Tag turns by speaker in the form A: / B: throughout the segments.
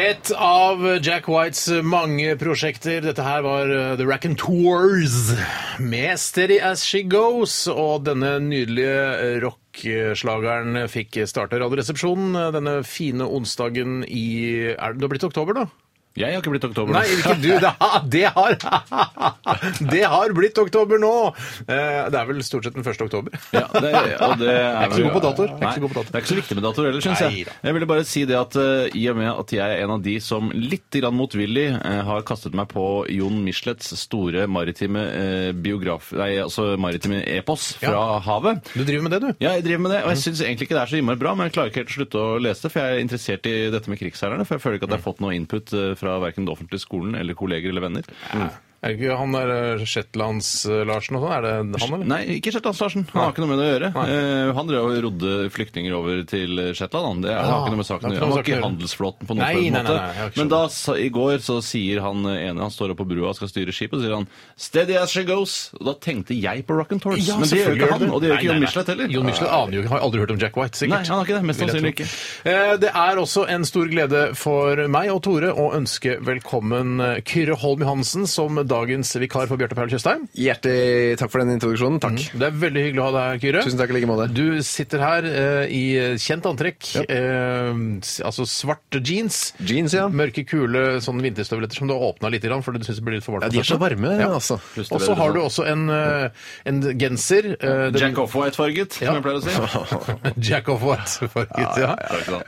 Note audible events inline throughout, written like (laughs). A: Et av Jack Whites mange prosjekter. Dette her var uh, The Rack Tours med Steady As She Goes. Og denne nydelige eh, rockslageren fikk starte Radioresepsjonen uh, denne fine onsdagen i er, Det har blitt oktober, da?
B: Jeg har ikke blitt oktober.
A: Nei, ikke du. Det har, det har, (laughs) det har blitt oktober nå! Eh, Det er vel stort sett den 1. oktober.
B: Ja, det, og det er
A: Jeg er ikke så
B: vel-
A: god på datoer. Jeg er ikke
B: Nei,
A: så god på datoer.
B: Det er ikke så viktig med datoer heller, syns jeg.
A: Neida.
B: Jeg ville bare si det at eh, i og med at jeg er en av de som litt grann motvillig eh, har kastet meg på Jon Michelets store maritime eh, biograf... Nei, altså maritime epos fra
A: Ja.
B: havet.
A: Du driver med det, du?
B: Ja, jeg driver med det, og jeg syns egentlig ikke det er så innmari bra, men jeg klarer ikke helt å slutte å lese det, for jeg er interessert i dette med krigsseilerne, for jeg føler ikke at jeg har
A: Mm.
B: fått noe input eh, fra verken den offentlige skolen eller kolleger eller venner.
A: Er det ikke han der eh, Shetlands-Larsen og sånn? Er det han, eller?
B: Nei, ikke Shetlands Larsen. Han har ikke noe med det å gjøre. Eh, han drev og rodde flyktninger over til Shetland. Han. Det er,
A: Ah,
B: har ikke noe med saken å
A: det
B: gjøre.
A: har ikke noe med
B: Han var ikke i
A: saken å gjøre.
B: handelsflåten på noen
A: Nei,
B: slags
A: nei, nei,
B: måte.
A: nei, jeg har ikke skjønt
B: Men da, sa- i går så sier han eh, ene Han står oppe på brua og skal styre skipet, og så sier han 'Steady as she goes'. Og da tenkte jeg på Rock and Tours.
A: Ja,
B: Men det gjør
A: selvfølgelig
B: ikke
A: gjør
B: han,
A: det.
B: og det gjør
A: Nei,
B: ikke Jon
A: nei, nei.
B: Michelet heller.
A: Jon Michelet aner jo ikke, har aldri hørt om Jack White, sikkert.
B: Nei, han har ikke det. Mest
A: Vil jeg
B: sannsynlig
A: tro.
B: ikke.
A: Eh, Det er også en stor glede for meg og Tore å ønske velkommen eh, Kyrre Holm Johansen som dagens vikar for Bjarte Paul Tjøstheim.
C: Hjertelig takk for den introduksjonen. Takk.
A: Det er veldig hyggelig å ha deg her, Kyrre.
C: Tusen takk i like måte.
A: Du sitter her eh, i kjent antrekk, eh, s- altså svarte jeans.
C: Jeans, ja.
A: Mørke, kule sånn vinterstøvletter som du har åpna litt, grann, for du syns det blir litt for varmt.
C: Ja,
A: på
C: de er så
A: føttene.
C: varme,
A: Ja.
C: altså.
B: Puster
A: Og så
B: bedre
A: har
B: nå.
A: du også en, eh, en genser. eh, den-
B: Jack Off-White-farget, som jeg
A: (laughs)
B: pleier å si.
A: Jack of what, for gutt, ja.
B: ja,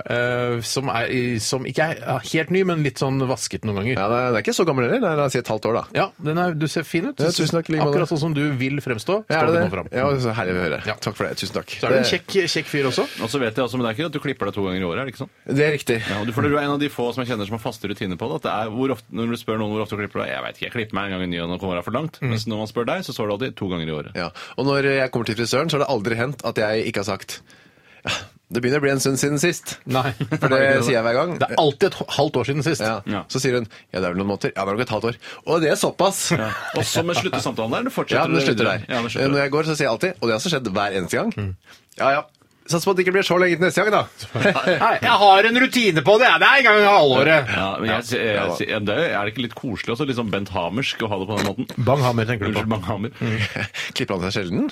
A: Eh, som, er, i- som ikke er ja, helt ny, men litt sånn vasket noen ganger.
C: (laughs) Ja, det er, det er ikke så gammel heller. Det er la oss si et halvt år, da.
A: Ja, den er, du ser fin ut.
C: Ja, tusen takk, i like måte.
A: Akkurat sånn som du vil fremstå.
C: Ja,
A: står
C: er
A: du
C: det
A: nå
C: det?
A: fram.
C: Ja, så herlig å høre.
A: Ja.
C: Takk for det. Tusen takk.
A: Så er du en kjekk, kjekk fyr også.
B: Og så vet jeg også, men det er ikke at du klipper deg to ganger i året, er det ikke sånn?
C: Det er riktig.
B: Ja, og du, for du er en av de få som jeg kjenner som har faste rutiner på det. At det er hvor ofte, når du spør noen hvor ofte du klipper deg, jeg vet ikke, jeg klipper meg en gang i ny og nå kommer jeg for langt. Mens når man spør deg, så står det alltid to ganger i året.
C: Ja. Og når jeg kommer til frisøren, så har det aldri hendt at jeg ikke har sagt «Ja, det begynner å bli en stund siden sist.
A: (laughs) Nei.
C: For det sier jeg hver gang.
A: Det er alltid et halvt år siden sist.
C: Ja.
B: Ja.
C: Så sier hun ja, det er vel noen måneder. Ja, det er nok et halvt år. Og det er såpass! Ja.
B: Og så med slutter samtalen der. Du fortsetter
C: Ja, men det slutter der.
B: Ja, det
C: Når
B: slutter der.
C: jeg går, så sier jeg alltid, og det har også skjedd hver eneste gang, ja, ja, sats på at det ikke blir så lenge til neste gang, da.
A: (laughs)
C: (laughs)
A: Nei, jeg har en rutine på det! jeg. Det er en gang i halvåret!
B: Ja, men jeg, jeg, jeg, jeg, det er, er det ikke litt koselig også, litt sånn Bent Hamersk å ha det på den måten?
A: Banghammer, tenker du på.
B: Unnskyld, Bang Hamer.
C: Mm. Klipper han seg sjelden?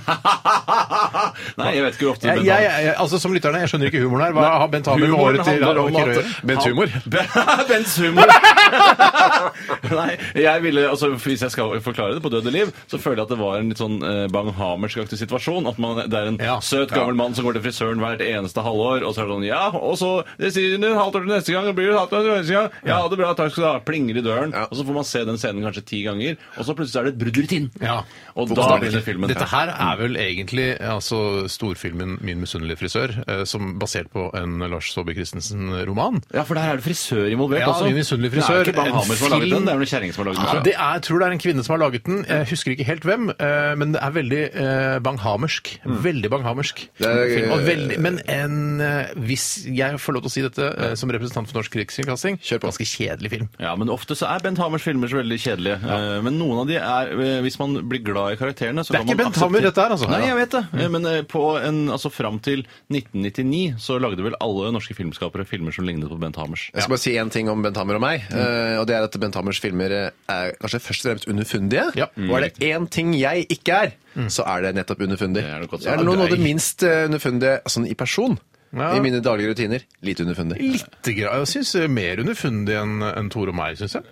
B: (laughs) Nei, jeg vet ikke hvor ofte
A: Jeg,
B: Bent
A: jeg,
B: Hamer
A: jeg, altså, som lytterne, jeg skjønner ikke humoren her. Hva har Bent Hamer med håret til
B: handler om
A: og Kyrre å
B: at-
A: gjøre?
C: Bent Humor.
B: (laughs) Ben- Bents humor.
A: (laughs)
B: Nei, jeg ville, altså, hvis jeg skal forklare det på døde liv, så føler jeg at det var en litt sånn eh, Bang Hamersk-aktig situasjon. At man, det er en
A: Ja.
B: søt, gammel mann som går til frisøren hvert eneste halvår, og så er det sånn Ja, og så det sier hun et halvt år til neste gang, og blir det et halvt år til neste gang. Ja, det er bra, takk skal du ha. Plinger i døren.
C: Ja.
B: Og så får man se den scenen kanskje ti ganger, og så plutselig er det et brudd i rutinen.
A: Ja.
B: Og
C: Hvorfor
B: da
C: snakker
B: begynner filmen.
A: Dette her er vel egentlig altså, storfilmen 'Min misunnelige frisør', eh, som basert på en Lars Saabye Christensen-roman.
B: Ja, for der er det frisør involvert
A: Ja,
B: også.
A: min misunnelige frisør.
B: Det er ikke Bang
A: En
B: Hamer som har laget
A: film.
B: den, det er jo en kjerring som har laget den. tror jeg.
A: Det er, jeg tror det er en kvinne som har laget den. Jeg husker ikke helt hvem, eh, men det er veldig eh, banghamersk. Veldig banghamersk.
C: er-
A: film, og veldig, men en, eh, hvis jeg får lov til å si dette eh, som representant for Norsk Rikskringkasting,
C: Kjør på.
A: ganske kjedelig film.
B: Ja, men ofte så er Bent Hamers filmer så veldig kjedelige. Eh, Men noen av de er eh, Hvis man blir glad i karakterene, så
A: Det er
B: kan
A: ikke
B: man
A: Bent Hamer, dette her, altså.
B: Nei, jeg vet det. Eh, Men eh, på en, altså, fram til 1999 så lagde vel alle norske filmskapere filmer som lignet på Bent Hamers.
C: Jeg skal bare si én ting om Bent Hammer og meg. eh, Og det er at Bent Hammers filmer eh, er kanskje først og fremst underfundige.
A: Ja.
C: Og er det én ting jeg ikke er, så er det nettopp underfundig.
B: Det er nok godt
C: Jeg
B: sagt.
C: er noe noe av
B: Nei.
C: det minst eh, underfundige sånn i person.
A: Ja.
C: I mine daglige rutiner. Lite underfundig.
A: Litt gra- Jeg syns mer underfundig enn enn Tore og meg, syns jeg.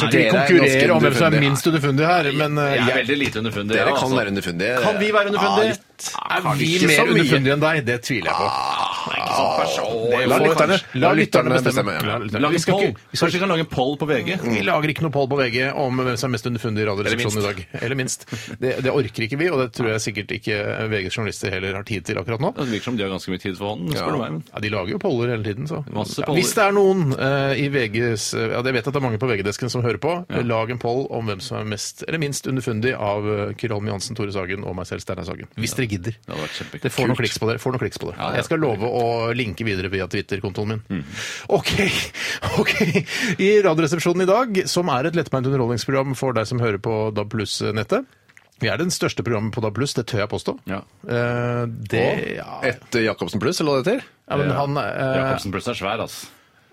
C: Så
A: Vi
C: dere er ganske
A: konkurrerer om hvem som er
C: underfundige.
A: minst underfundig her, men eh,
B: Jeg er
A: jeg-
B: veldig lite underfundig.
C: Dere
B: ja,
C: kan
B: altså.
C: være underfundige.
B: Kan vi være underfundige?
C: Ja, litt.
A: er vi
C: ikke så
A: mer
C: mye.
A: underfundige enn deg? Det tviler jeg på.
B: Nei, ikke som person. Det
C: La
B: får
C: lytterne,
B: kanskje-
C: la lytterne bestemme.
A: La lytterne-
B: Lag
A: Vi
B: en
A: skal
B: poll.
A: ikke- vi skal Mm.
B: Kanskje vi kan lage en poll på VG?
A: Vi lager ikke noe poll på VG om hvem som er mest underfundig i Radioresepsjonen i dag. Eller minst. Det, det orker ikke vi, og det tror jeg sikkert ikke VGs journalister heller har tid til akkurat nå.
B: Det virker som de har ganske mye tid for hånden. spør du meg. men-
A: Ja, De lager jo poller hele tiden, så.
B: Masse
A: Ja,
B: poller.
A: Hvis det er noen eh, i VGs eh, ja, Jeg vet at det er mange på VG-desken som hører på. Lag en poll om hvem som er mest eller minst underfundig av eh, Kyrre Holm Johansen, Tore Sagen og meg selv, Steinar Sagen. Hvis dere gidder.
B: Det hadde vært kjempekult.
A: Det får noen kliks på dere. Får noen kliks på dere.
B: Ja, Mm. ja.
A: Jeg skal love å linke videre via Twitter-kontoen min. OK. (laughs) ok. I Radioresepsjonen i dag, som er et lettbeint underholdningsprogram for deg som hører på DAB Pluss-nettet Vi er den største programmet på DAB Pluss, det tør jeg påstå.
B: Ja.
A: Eh, det ja.
C: Et eh, Jacobsen pluss, eller hva det heter?
A: ja, men han eh,
B: Jacobsen Brøst er svær, ass.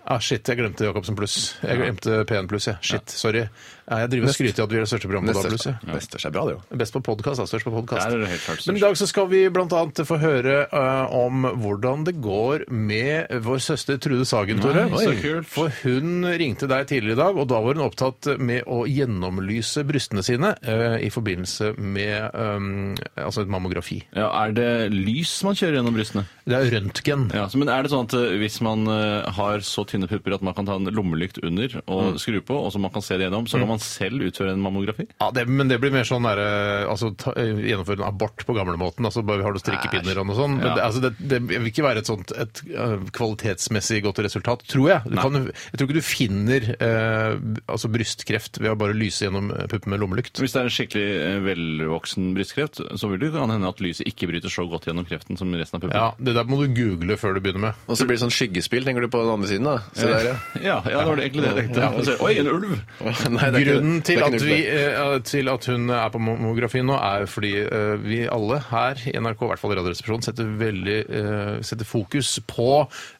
A: Ah, shit, jeg glemte Jacobsen Pluss. Jeg glemte P1 Pluss, jeg. Shit, sorry. Ja, Jeg driver og skryter av at vi er det største programmet på DAB+. Pluss. jeg.
C: Neste er bra, det jo.
A: Best på podkast, er størst på podkast.
B: Der er det helt klart størst.
A: Men i dag så skal vi bl.a. få høre eh, om hvordan det går med vår søster Trude Sagen, Tore.
B: Nei, så
A: Oi.
B: kult.
A: For hun ringte deg tidligere i dag, og da var hun opptatt med å gjennomlyse brystene sine eh, i forbindelse med eh, altså et mammografi.
B: Ja, er det lys man kjører gjennom brystene?
A: Det er røntgen.
B: Ja, så, men er det sånn at eh, hvis man eh, har så tynne pupper at man kan ta en lommelykt under og skru på, og så man kan se det gjennom, så kan man selv utføre en mammografi?
A: Ja, det, men det blir mer sånn der, eh, altså, ta, eh, gjennomføre en abort på gamlemåten. Altså, bare har du strikkepinner og noe sånt. Men
B: Ja.
A: det, altså, det, det vil ikke være et sånt et, eh, kvalitetsmessig godt resultat, tror jeg. Du kan, jeg tror ikke du finner eh, altså, brystkreft ved å bare lyse gjennom eh, puppen med lommelykt.
B: Hvis det er en skikkelig eh, velvoksen brystkreft, så vil det jo kan hende at lyset ikke bryter så godt gjennom kreften som resten av puppen.
A: Ja, Det der må du google før du begynner med.
C: Og så blir det sånn skyggespill, tenker du på den andre siden, da? Se der, ja. (laughs)
B: ja, ja, det var det egentlig det jeg tenkte. Og så, Oi, en ulv!
C: Nei, det er ikke-
A: Grunnen
C: det
A: til
C: er ikke
A: at,
C: null
A: vi, eh, til at hun er på mammografien nå, er fordi eh, vi alle her i NRK, i hvert fall i Radioresepsjonen, setter, veldig, eh, setter fokus på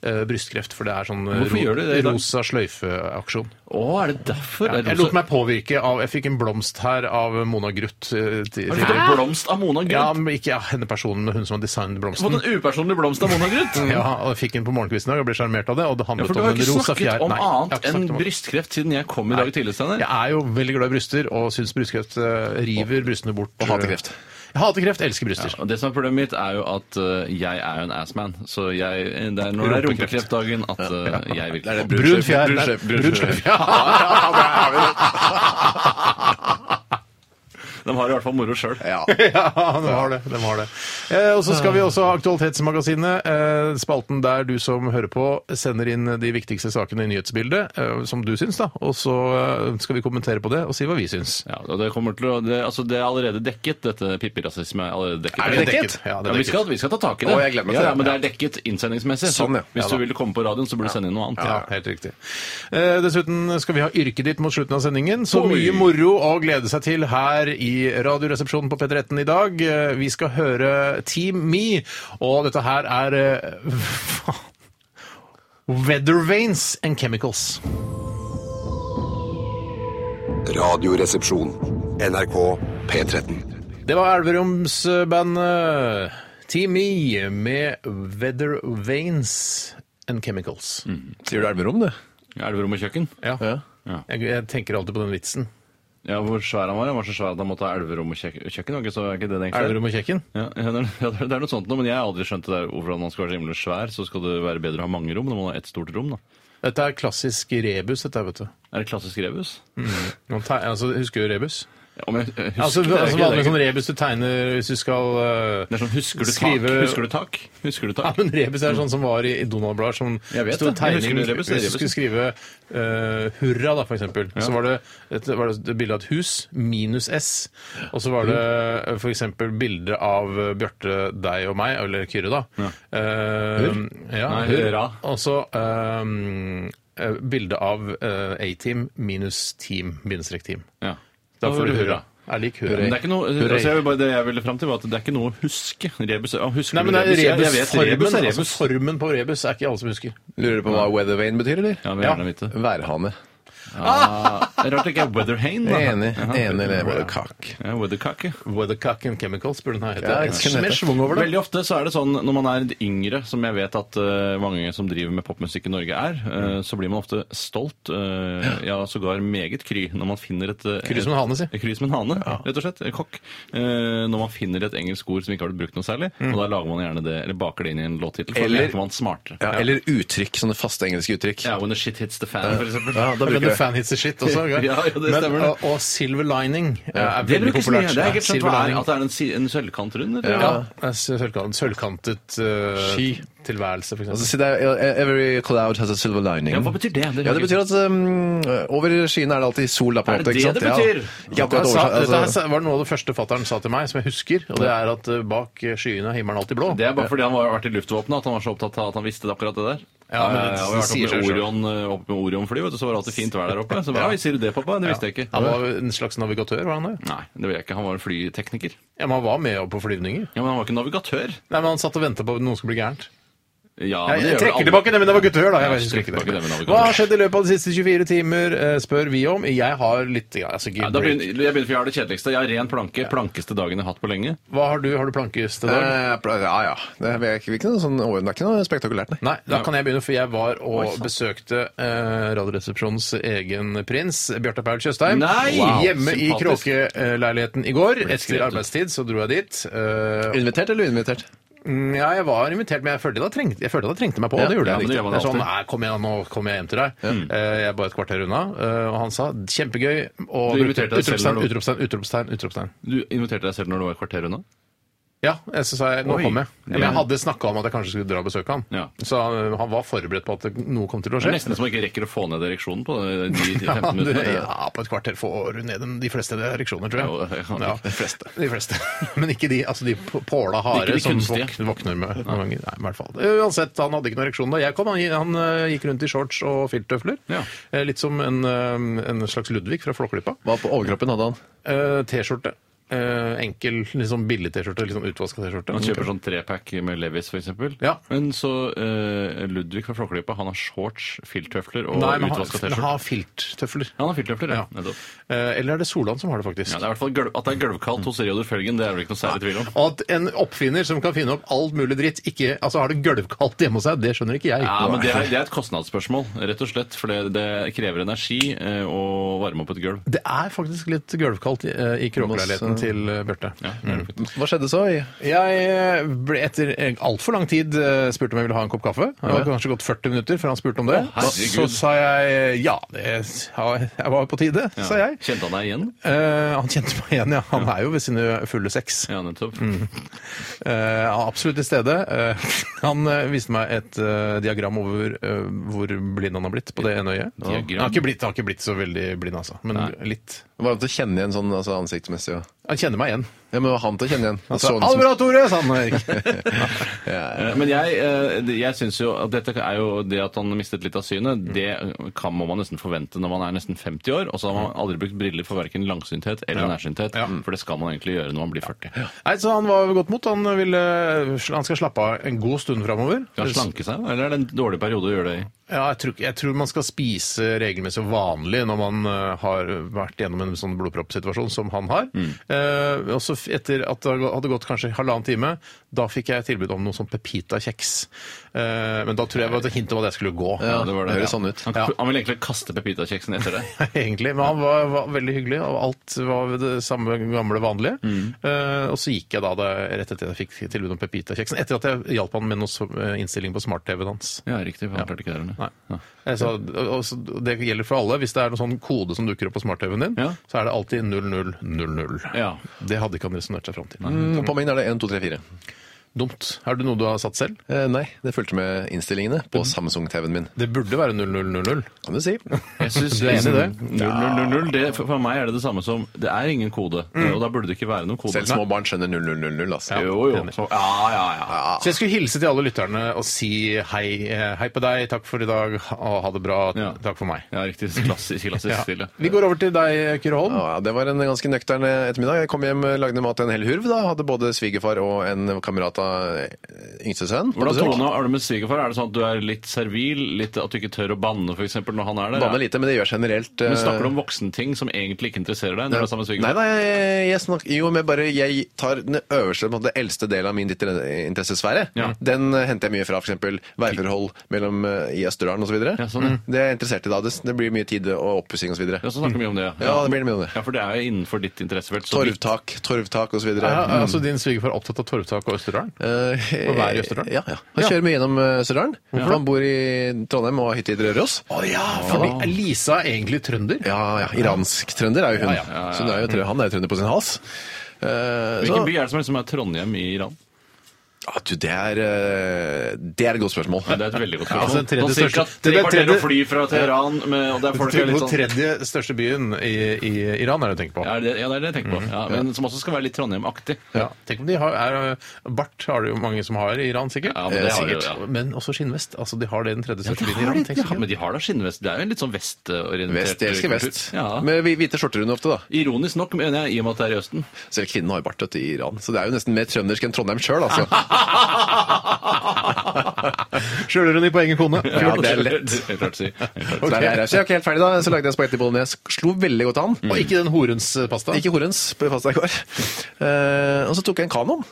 A: eh, brystkreft. For det er sånn eh,
B: Hvorfor gjør du det i dag?
A: rosa sløyfe-aksjon.
B: Å, er det derfor?
A: Ja,
B: Er det
A: jeg lot meg påvirke av Jeg fikk en blomst her av Mona Gruth. eh, til-
B: Har du fått en blomst av Mona
A: Ja,
B: Grunt?
A: men ikke ja, henne personen, men hun som har designet
B: Du har
A: blomsten.
B: Fått en upersonlig blomst av Mona Grunt?
A: Ja, og jeg fikk den på morgenkvisten i dag og ble sjarmert av det. Og det
B: Ja,
A: handlet
B: for du
A: om
B: har jo
A: en
B: ikke
A: rosa
B: snakket
A: fjær.
B: om
A: Nei, jeg har ikke
B: annet enn
A: snakket om-
B: brystkreft siden jeg kom i dag tidlig, Steinar.
A: Jeg er jo veldig glad i bryster, og syns brystkreft eh, river brystene bort. eh,
C: Og hater kreft.
A: Jeg hater kreft, elsker bryster.
B: Ja, og det som er Problemet mitt er jo at øh, jeg er jo en assman. Så jeg, det er når det er
A: Rumpekreft.
B: rumpekreftdagen at øh, jeg vil
C: Det er det
B: få-
A: Brun fjær.
C: Brun
A: Nei,
C: sjef, (laughs) brun
A: brun
C: sjef.
A: sjef, ja.
B: De har i hvert fall moro sjøl.
C: Ja.
A: (laughs) Ja, de har det. De har det. Eh, og så skal vi også ha Aktualitetsmagasinet, eh, spalten der du som hører på, sender inn de viktigste sakene i nyhetsbildet, eh, som du syns, da. Og så eh, skal vi kommentere på det og si hva vi syns.
B: Ja, og det, kommer til å, det, altså, det er allerede dekket, dette pipperasisme. Er allerede dekket.
A: Er det dekket?
B: Ja,
A: Ja, det er
B: vi,
A: dekket.
B: skal, vi skal ta tak i det.
C: Å, jeg gleder meg til
B: ja, ja,
C: det.
B: men det er dekket innsendingsmessig. Så
C: Sånn, ja.
B: Hvis
C: Ja,
B: du ville komme på radioen, så burde du sende inn noe annet.
A: Ja, helt riktig. Eh, dessuten skal vi ha yrket ditt mot slutten av sendingen. Så
B: Oi.
A: mye moro å glede seg til her i Radioresepsjonen på P13 i dag. Eh, vi skal høre Team Me, og dette her er eh, (laughs) faen. Weather Vanes and Chemicals.
D: Radioresepsjon. NRK P13.
A: Det var Elverumsbandet eh, Team Me med Weather Vanes and Chemicals.
B: Mm.
C: Sier du Elverum, du?
B: Ja. Elverom og kjøkken.
A: Ja.
B: Ja.
A: Jeg, jeg tenker alltid på den vitsen.
B: Ja, Hvor svær han var? Han var så svær at han måtte ha elverom og kjøk- kjøkken. var ikke Så er ikke det det egentlig er?
A: Elverum og kjekken.
B: Ja, ja, det er, (laughs) ja, det er- det er noe sånt noe, men jeg har aldri skjønt det der hvorfor man skal være så himmelens svær. Så skal det være bedre å ha mange rom når man har ett stort rom, da.
A: Dette er klassisk rebus, dette her, vet du.
B: Er det klassisk rebus?
A: Nå teg- altså, husker du rebus?
B: Ja, men jeg- jeg husker
A: Altså,
B: det, er
A: altså
B: ikke-
A: vanlig
B: det er
A: sånn
B: ikke-
A: rebus du tegner hvis du skal eh,
B: Det er sånn husker du tak?
A: skrive-
B: Husker du tak? Husker du
A: (laughs) Ja,
B: tak?
A: men rebus er sånn som var i, i Donald-blader. Som
B: Jeg vet
A: sto
B: det. Jeg
A: tegning-
B: husker det, rebus, det er
A: Hvis du
B: rebus.
A: skulle skrive eh, 'hurra', da, for eksempel, så var det, et, var det et bilde av et hus minus S. Og så var det eh, for eksempel bilde av eh, Bjarte, deg og meg, eller Kyrre, da. Eh, ja,
B: Nei,
A: hurr.
B: hurra.
A: Og så eh, eh, bilde av eh, A-team minus team, bindestrek team.
B: Ja.
A: Da får du
B: det
A: hurra. Er lik hurra.
B: Men det er ikke noe,
A: Hurra.
B: altså jeg vil bare, det jeg ville fram til, var at det er ikke noe å huske. Rebus, ja, husker
A: Nei, men
B: du
A: det er altså.
B: rebus? Jeg- jeg
A: rebusformen.
B: vet, rebus er rebus.
A: Altså, formen på rebus er ikke alle som husker.
C: Lurer du på hva weather vane betyr, eller?
B: ja, men jeg vil gjerne vite.
C: Værhane.
B: Ah, det er rart det ikke er Weatherhane. da.
C: Enig.
B: Ja,
C: Enig eller Weathercock.
B: Ja, Weathercock, ja.
A: Weathercock and Chemicals burde den her hete.
C: Ja,
A: Ja,
C: jeg skulle
A: Med
C: nettopp-
A: schwung over det.
B: Veldig ofte så er det sånn når man er yngre, som jeg vet at eh, mange som driver med popmusikk i Norge er, eh, så blir man ofte stolt, eh, ja sågar meget kry, når man finner et eh,
A: Kry som en hane, si.
B: et- Kry som en hane, rett og slett. eh, Kokk. Eh, Når man finner et engelsk ord som ikke har blitt brukt noe særlig,
A: Mm.
B: og da lager man gjerne det, eller baker det inn i en låttittel, for
C: Eller-
B: da er man smartere.
C: Ja, eller uttrykk. Sånne faste engelske uttrykk.
B: Ja, when the shit hits the fan, for eksempel.
C: Ja, da
A: Men the
C: bruker jeg det.
A: fan hits the shit også. ikke?
B: (laughs) Ja, ja, det
A: Men,
B: stemmer det.
A: Og, og Silver Lining eh, er
B: Det
A: veldig
B: brukes mye.
A: populært.
B: Det er
A: Ja,
B: ikke skjønt
A: Silver
B: hva er,
A: Lining.
B: at det er en, si- en sølvkant rundt, eller?
A: Ja, det er sølvkant, sølvkantet eh,
C: Ski.
A: tilværelse, for eksempel.
C: Altså, si det er, Every cloud has a silver lining.
B: Ja, hva betyr det?
C: Ja, det betyr at um, over skyene er det alltid sol. Da, på en
B: Er det
C: måte, ikke
B: det
C: sant?
B: det betyr?
C: Ja. Ikke akkurat over,
A: Sa- Dette her
C: altså,
A: sa- var noe av det første fatteren sa til meg, som jeg husker. Og det er at eh, bak skyene er himmelen alltid blå.
B: Det er bare fordi han har vært i luftvåpenet at han var så opptatt av at han visste det akkurat det der.
A: Ja, men det-
B: Eh, og
A: det
B: jeg
A: sier seg selv.
B: har vært oppe med Orion, eh, opp med Orion-fly, vet du, så var det alltid fint vær der oppe. Så bare, «Oi, sier du det, pappa? Det visste jeg ikke.
A: Han var en slags navigatør, var han det?
B: Nei, det vil jeg ikke. Han var en flytekniker.
A: Ja, men Han var med opp på flyvninger.
B: Ja, men han var ikke navigatør.
A: Nei, men Han satt og venta på at noen skulle bli gærent.
B: Ja,
A: Jeg,
B: men det
A: jeg
B: gjør
A: trekker
B: alle.
A: tilbake det med navigatør, da. Jeg
B: Ja,
A: vet
B: trekk
A: ikke,
B: tilbake det med
A: ikke det.
B: navigatør.
A: Hva har skjedd i løpet av de siste 24 timer, eh, spør vi om. Jeg har litt altså,
B: Ja, da begynner, jeg begynner, for jeg har det kjedeligste. Jeg har ren planke. Plankeste dagen jeg har hatt på lenge.
A: Hva har du? Har du plankeste dag?
C: Eh, pla- ja, ja. Det er, ikke- ikke noe sånn, over- det er ikke noe spektakulært, nei.
A: Nei, da kan jeg begynne, for jeg var og besøkte eh, Radioresepsjonens egen prins, Bjarte Paul Tjøstheim.
B: Nei!
A: Wow, Hjemme i
B: sympatisk.
A: kråkeleiligheten i går.
B: skrevet
A: Etter
B: ut.
A: arbeidstid så dro jeg dit. eh,
C: Invitert eller uinvitert?
A: mm, ja, jeg var invitert, men jeg følte da trengte, jeg følte da trengte meg på.
C: Ja,
A: det gjorde
B: ja,
A: jeg
B: men det
A: riktig.
B: gjør man
A: Det er sånn,
B: alltid.
A: nei, kom igjen, nå kommer jeg hjem til deg. Eh, jeg er bare et kvarter unna. eh, og han sa kjempegøy. Og
B: Du inviterte deg selv
A: utropstegn,
B: når du-
A: utropstegn, utropstegn, utropstegn.
B: Du inviterte deg selv når du var et kvarter unna?
A: Ja, jeg- så sa jeg nå
B: Oi.
A: kommer jeg. Men jeg
B: Ja.
A: hadde snakka om at jeg kanskje skulle dra og besøke han.
B: Ja.
A: Så eh, han var forberedt på at det- noe kom til å
B: Det
A: skje.
B: er nesten som man ikke rekker å få ned ereksjonen på eh, de 15
A: (laughs) Ja, du,
B: minuttene.
A: ja, på et kvarter får du ned de fleste ereksjoner, tror
B: Jo, det
A: jeg.
B: kan
A: Ja,
B: de fleste.
A: de fleste. (laughs) Men ikke de, altså de på- påla
B: Ikke
A: hare
B: de
A: som
B: kunstige.
A: våk- våkner med noen ganger. Nei, i hvert fall. Eh, Uansett, han hadde ikke noen ereksjon da jeg kom. Han, han eh, gikk rundt i shorts og filttøfler.
B: Ja.
A: Eh, Litt som en, eh, en slags Ludvig fra Flåklypa.
C: Hva på overkroppen hadde han?
A: Eh, T-skjorte. Eh, enkel, liksom billig T-skjorte. Litt sånn utvaska T-skjorte.
B: Man kjøper sånn trepack med Levis, f.eks.
A: Ja.
B: Men så eh, Ludvig fra Flåklypa han har shorts, filttøfler og
A: Nei, men han
B: utvaska
A: men
B: T-skjorte.
A: han har filttøfler.
B: Han har filttøfler, ja.
A: Ja.
B: Nettopp.
A: Eh, eller er det Solan som har det, faktisk?
B: Ja, det er i hvert fall gulv, At det er gulvkaldt hos Reodor Felgen, det er vel ikke noe særlig tvil om.
A: Og at en oppfinner som kan finne opp alt mulig dritt, ikke, altså har det gulvkaldt hjemme hos seg, det skjønner ikke jeg.
B: Ja, men det er, det er et kostnadsspørsmål, rett og slett. For det, det krever energi eh, å varme opp et gulv.
A: Det er faktisk litt gulvkaldt i, eh, i kråkeleiligheten til eh, Bjarte.
B: Ja, det er det
A: Mm.
B: faktisk.
C: Hva skjedde så? i-
A: Jeg eh, ble etter altfor lang tid eh, spurt om jeg ville ha en kopp kaffe. Det var kanskje gått 40 minutter før han spurte om det.
B: herregud.
A: så sa jeg eh, ja, det har- jeg var på tide,
B: Ja.
A: sa jeg.
B: Kjente han deg igjen?
A: Eh, han kjente meg igjen, ja. Han er jo ved sine fulle seks.
B: Ja, nettopp.
A: Eh, han er absolutt til stede. Eh, (laughs) han eh, viste meg et eh, diagram over eh, hvor blind han har blitt på det ene øyet.
B: Diagram?
A: Han, har ikke blitt, han har ikke blitt så veldig blind, altså. Men litt.
C: Var han til å kjenne igjen sånn altså, ansiktsmessig? og-
A: Han kjenner meg igjen.
C: Ja, men var han til å kjenne igjen?
A: Han
C: Så
A: sa
C: han
A: 'Ha
C: som-
A: det bra, Tore!' sa han. (laughs) Erik.
B: Eh, Men jeg, eh, det- jeg syns jo at dette er jo det at han mistet litt av synet, det eh, kan, må man nesten forvente når man er nesten 50 år. Og så har man aldri brukt briller for verken langsynthet eller nærsynthet.
A: Ja.
B: For det skal man egentlig gjøre når man blir 40.
A: Nei, så han var ved godt mot. Han, ville, han skal slappe av en god stund framover.
B: Skal han slanke seg, eller er det en dårlig periode å gjøre det i?
A: Ja, jeg, tror, ikke- jeg tror man skal spise regelmessig og vanlig når man eh, har vært gjennom en sånn blodproppsituasjon som han har.
C: Mm.
A: Eh, og så f- etter at det hadde gått kanskje halvannen time, da fikk jeg tilbud om noe sånn pepita-kjeks. Eh, men da tror jeg det var et hint om at jeg skulle gå.
C: Ja, det var det. høres sånn ut.
B: Han,
A: Ja. (laughs)
B: han vil egentlig kaste pepitakjeksen etter det.
A: Egentlig, Men han var, var veldig hyggelig, og alt var det samme gamle vanlige.
C: Mm.
A: Eh, og så gikk jeg da det, rett etter jeg fikk tilbud om pepita-kjeksen, etter at jeg hjalp han med noe så- eh, innstilling på smart-TV-en hans.
B: Ja, riktig. for Han klarte ikke det. eller?
A: Nei. Jeg sa- og- og- det gjelder for alle. Hvis det er noen sånn kode som dukker opp på smart-TV-en din,
B: Ja.
A: så er det alltid 0000.
B: Ja.
A: Det hadde ikke han resonnert seg fram til.
C: Mm, På min er det 1, 2, 3, 4.
A: Dumt. Er det noe du har satt selv?
C: Eh, nei, det fulgte med innstillingene på
A: Mm.
C: Samsung-TV-en min.
A: Det burde være 0000.
C: Kan du si.
B: Jeg synes,
A: Du er enig i det?
B: 0000, det? For for meg er det det samme som det er ingen kode, og da burde det ikke være noen kode.
C: Selv små barn skjønner 0000, altså.
B: Jo, jo. Så, ja, ja, ja.
A: Så jeg skulle hilse til alle lytterne og si hei, eh, hei på deg, takk for i dag, og ha det bra,
B: Ja.
A: takk for meg.
B: ja riktig. Klassisk, klassisk stille.
A: Vi går over til deg, Kyrre Holm.
C: Ja, ja, eh, det var en ganske nøktern ettermiddag. Jeg kom hjem, lagde mat til en hel hurv. da, Hadde både svigerfar og en kamerat av eh, yngste sønn. på
B: Hvordan
C: besøk.
B: tone har du med svigerfar? Er det sånn at du er litt servil? Litt at du ikke tør å banne, f.eks. når han er der?
C: Banner lite, men det gjør generelt eh,
B: Men snakker du om voksenting som egentlig ikke interesserer deg? når du er sammen med
C: Nei,
B: svigerfar?
C: nei, jeg, jeg snakker, jo, men bare jeg tar den øverste, på en måte, eldste delen av min ditt- interessesfære.
B: Ja.
C: Den eh, henter jeg mye fra, f.eks. veiforhold mellom, eh, i Østerdalen osv.
B: Ja, sånn, ja.
C: Mm. Det er jeg interessert i da. Det, det blir mye tid og oppussing osv.
B: Ja, så snakker vi mye om det.
C: Ja, det blir mye om det.
B: Ja, for det er jo innenfor ditt interessefelt. så vidt.
C: Torvtak, torvtak osv.
A: Ja, altså din svigerfar er opptatt av Torvtak og Østerdalen?
C: Å
A: være i Østerdalen?
C: Mm. Eh, Ja, ja. Han kjører mye gjennom eh, Østerdalen. For han bor i Trondheim og har hytte i Røros.
A: Å ja, Ah, fordi Lisa er egentlig trønder.
C: Ja, ja. Iransk trønder er jo hun.
A: Ja, ja. Ja,
C: Så det er jo, trø- han er jo trønder på sin hals. Eh, så-
B: Hvilken by er det som er, som er Trondheim i Iran?
C: Ja, Ah, du, det er, eh, det er et godt spørsmål.
B: Nei, det er et veldig godt
A: Ja, altså,
B: spørsmål.
A: den tredje
B: Nå sier ikke
A: største-
B: at tre
A: det er
B: kvarter
A: tredje-
B: å fly fra Teheran, med, og det er folk
A: Til
B: er litt
A: den
B: sånn
A: tredje største byen i, i Iran er det du tenker på.
B: ja, det, ja, det er det jeg tenker
C: Mhm.
B: på. Ja, men som også skal være litt Trondheim-aktig.
A: Ja. Tenk om de har er, Bart har det jo mange som har i Iran, sikkert.
B: Ja, men
C: Eh,
B: det har de jo,
A: sikkert.
B: ja.
A: Men også skinnvest. Altså, de har det i den tredje største byen i
B: Ja,
A: Iran. Tenk så gøy.
B: men de har da skinnvest. Det er jo en litt sånn vestorientert
C: Vest, jeg elsker
B: kultur.
C: vest.
B: Ja.
C: Med hvi- hvite skjorter under ofte, da.
B: Ironisk nok, mener jeg, i og med at det er i Østen.
C: Selv kvinnen har jo bart dette i Iran, så det er jo nesten mer trøndersk enn Trondheim sjøl,
A: (laughs)
C: altså.
A: Skjuler hun i på egen kone?
C: Ja, det er
A: (laughs)
C: lett.
B: Helt klart å si. Helt klart.
C: Så der er jeg. Så jeg er ikke helt ferdig, da. Så lagde jeg spagetti bolognese. Slo veldig godt an.
A: Og ikke den horens eh, pasta?
C: Ikke horens på pasta i går. Eh, og så tok jeg en kanon.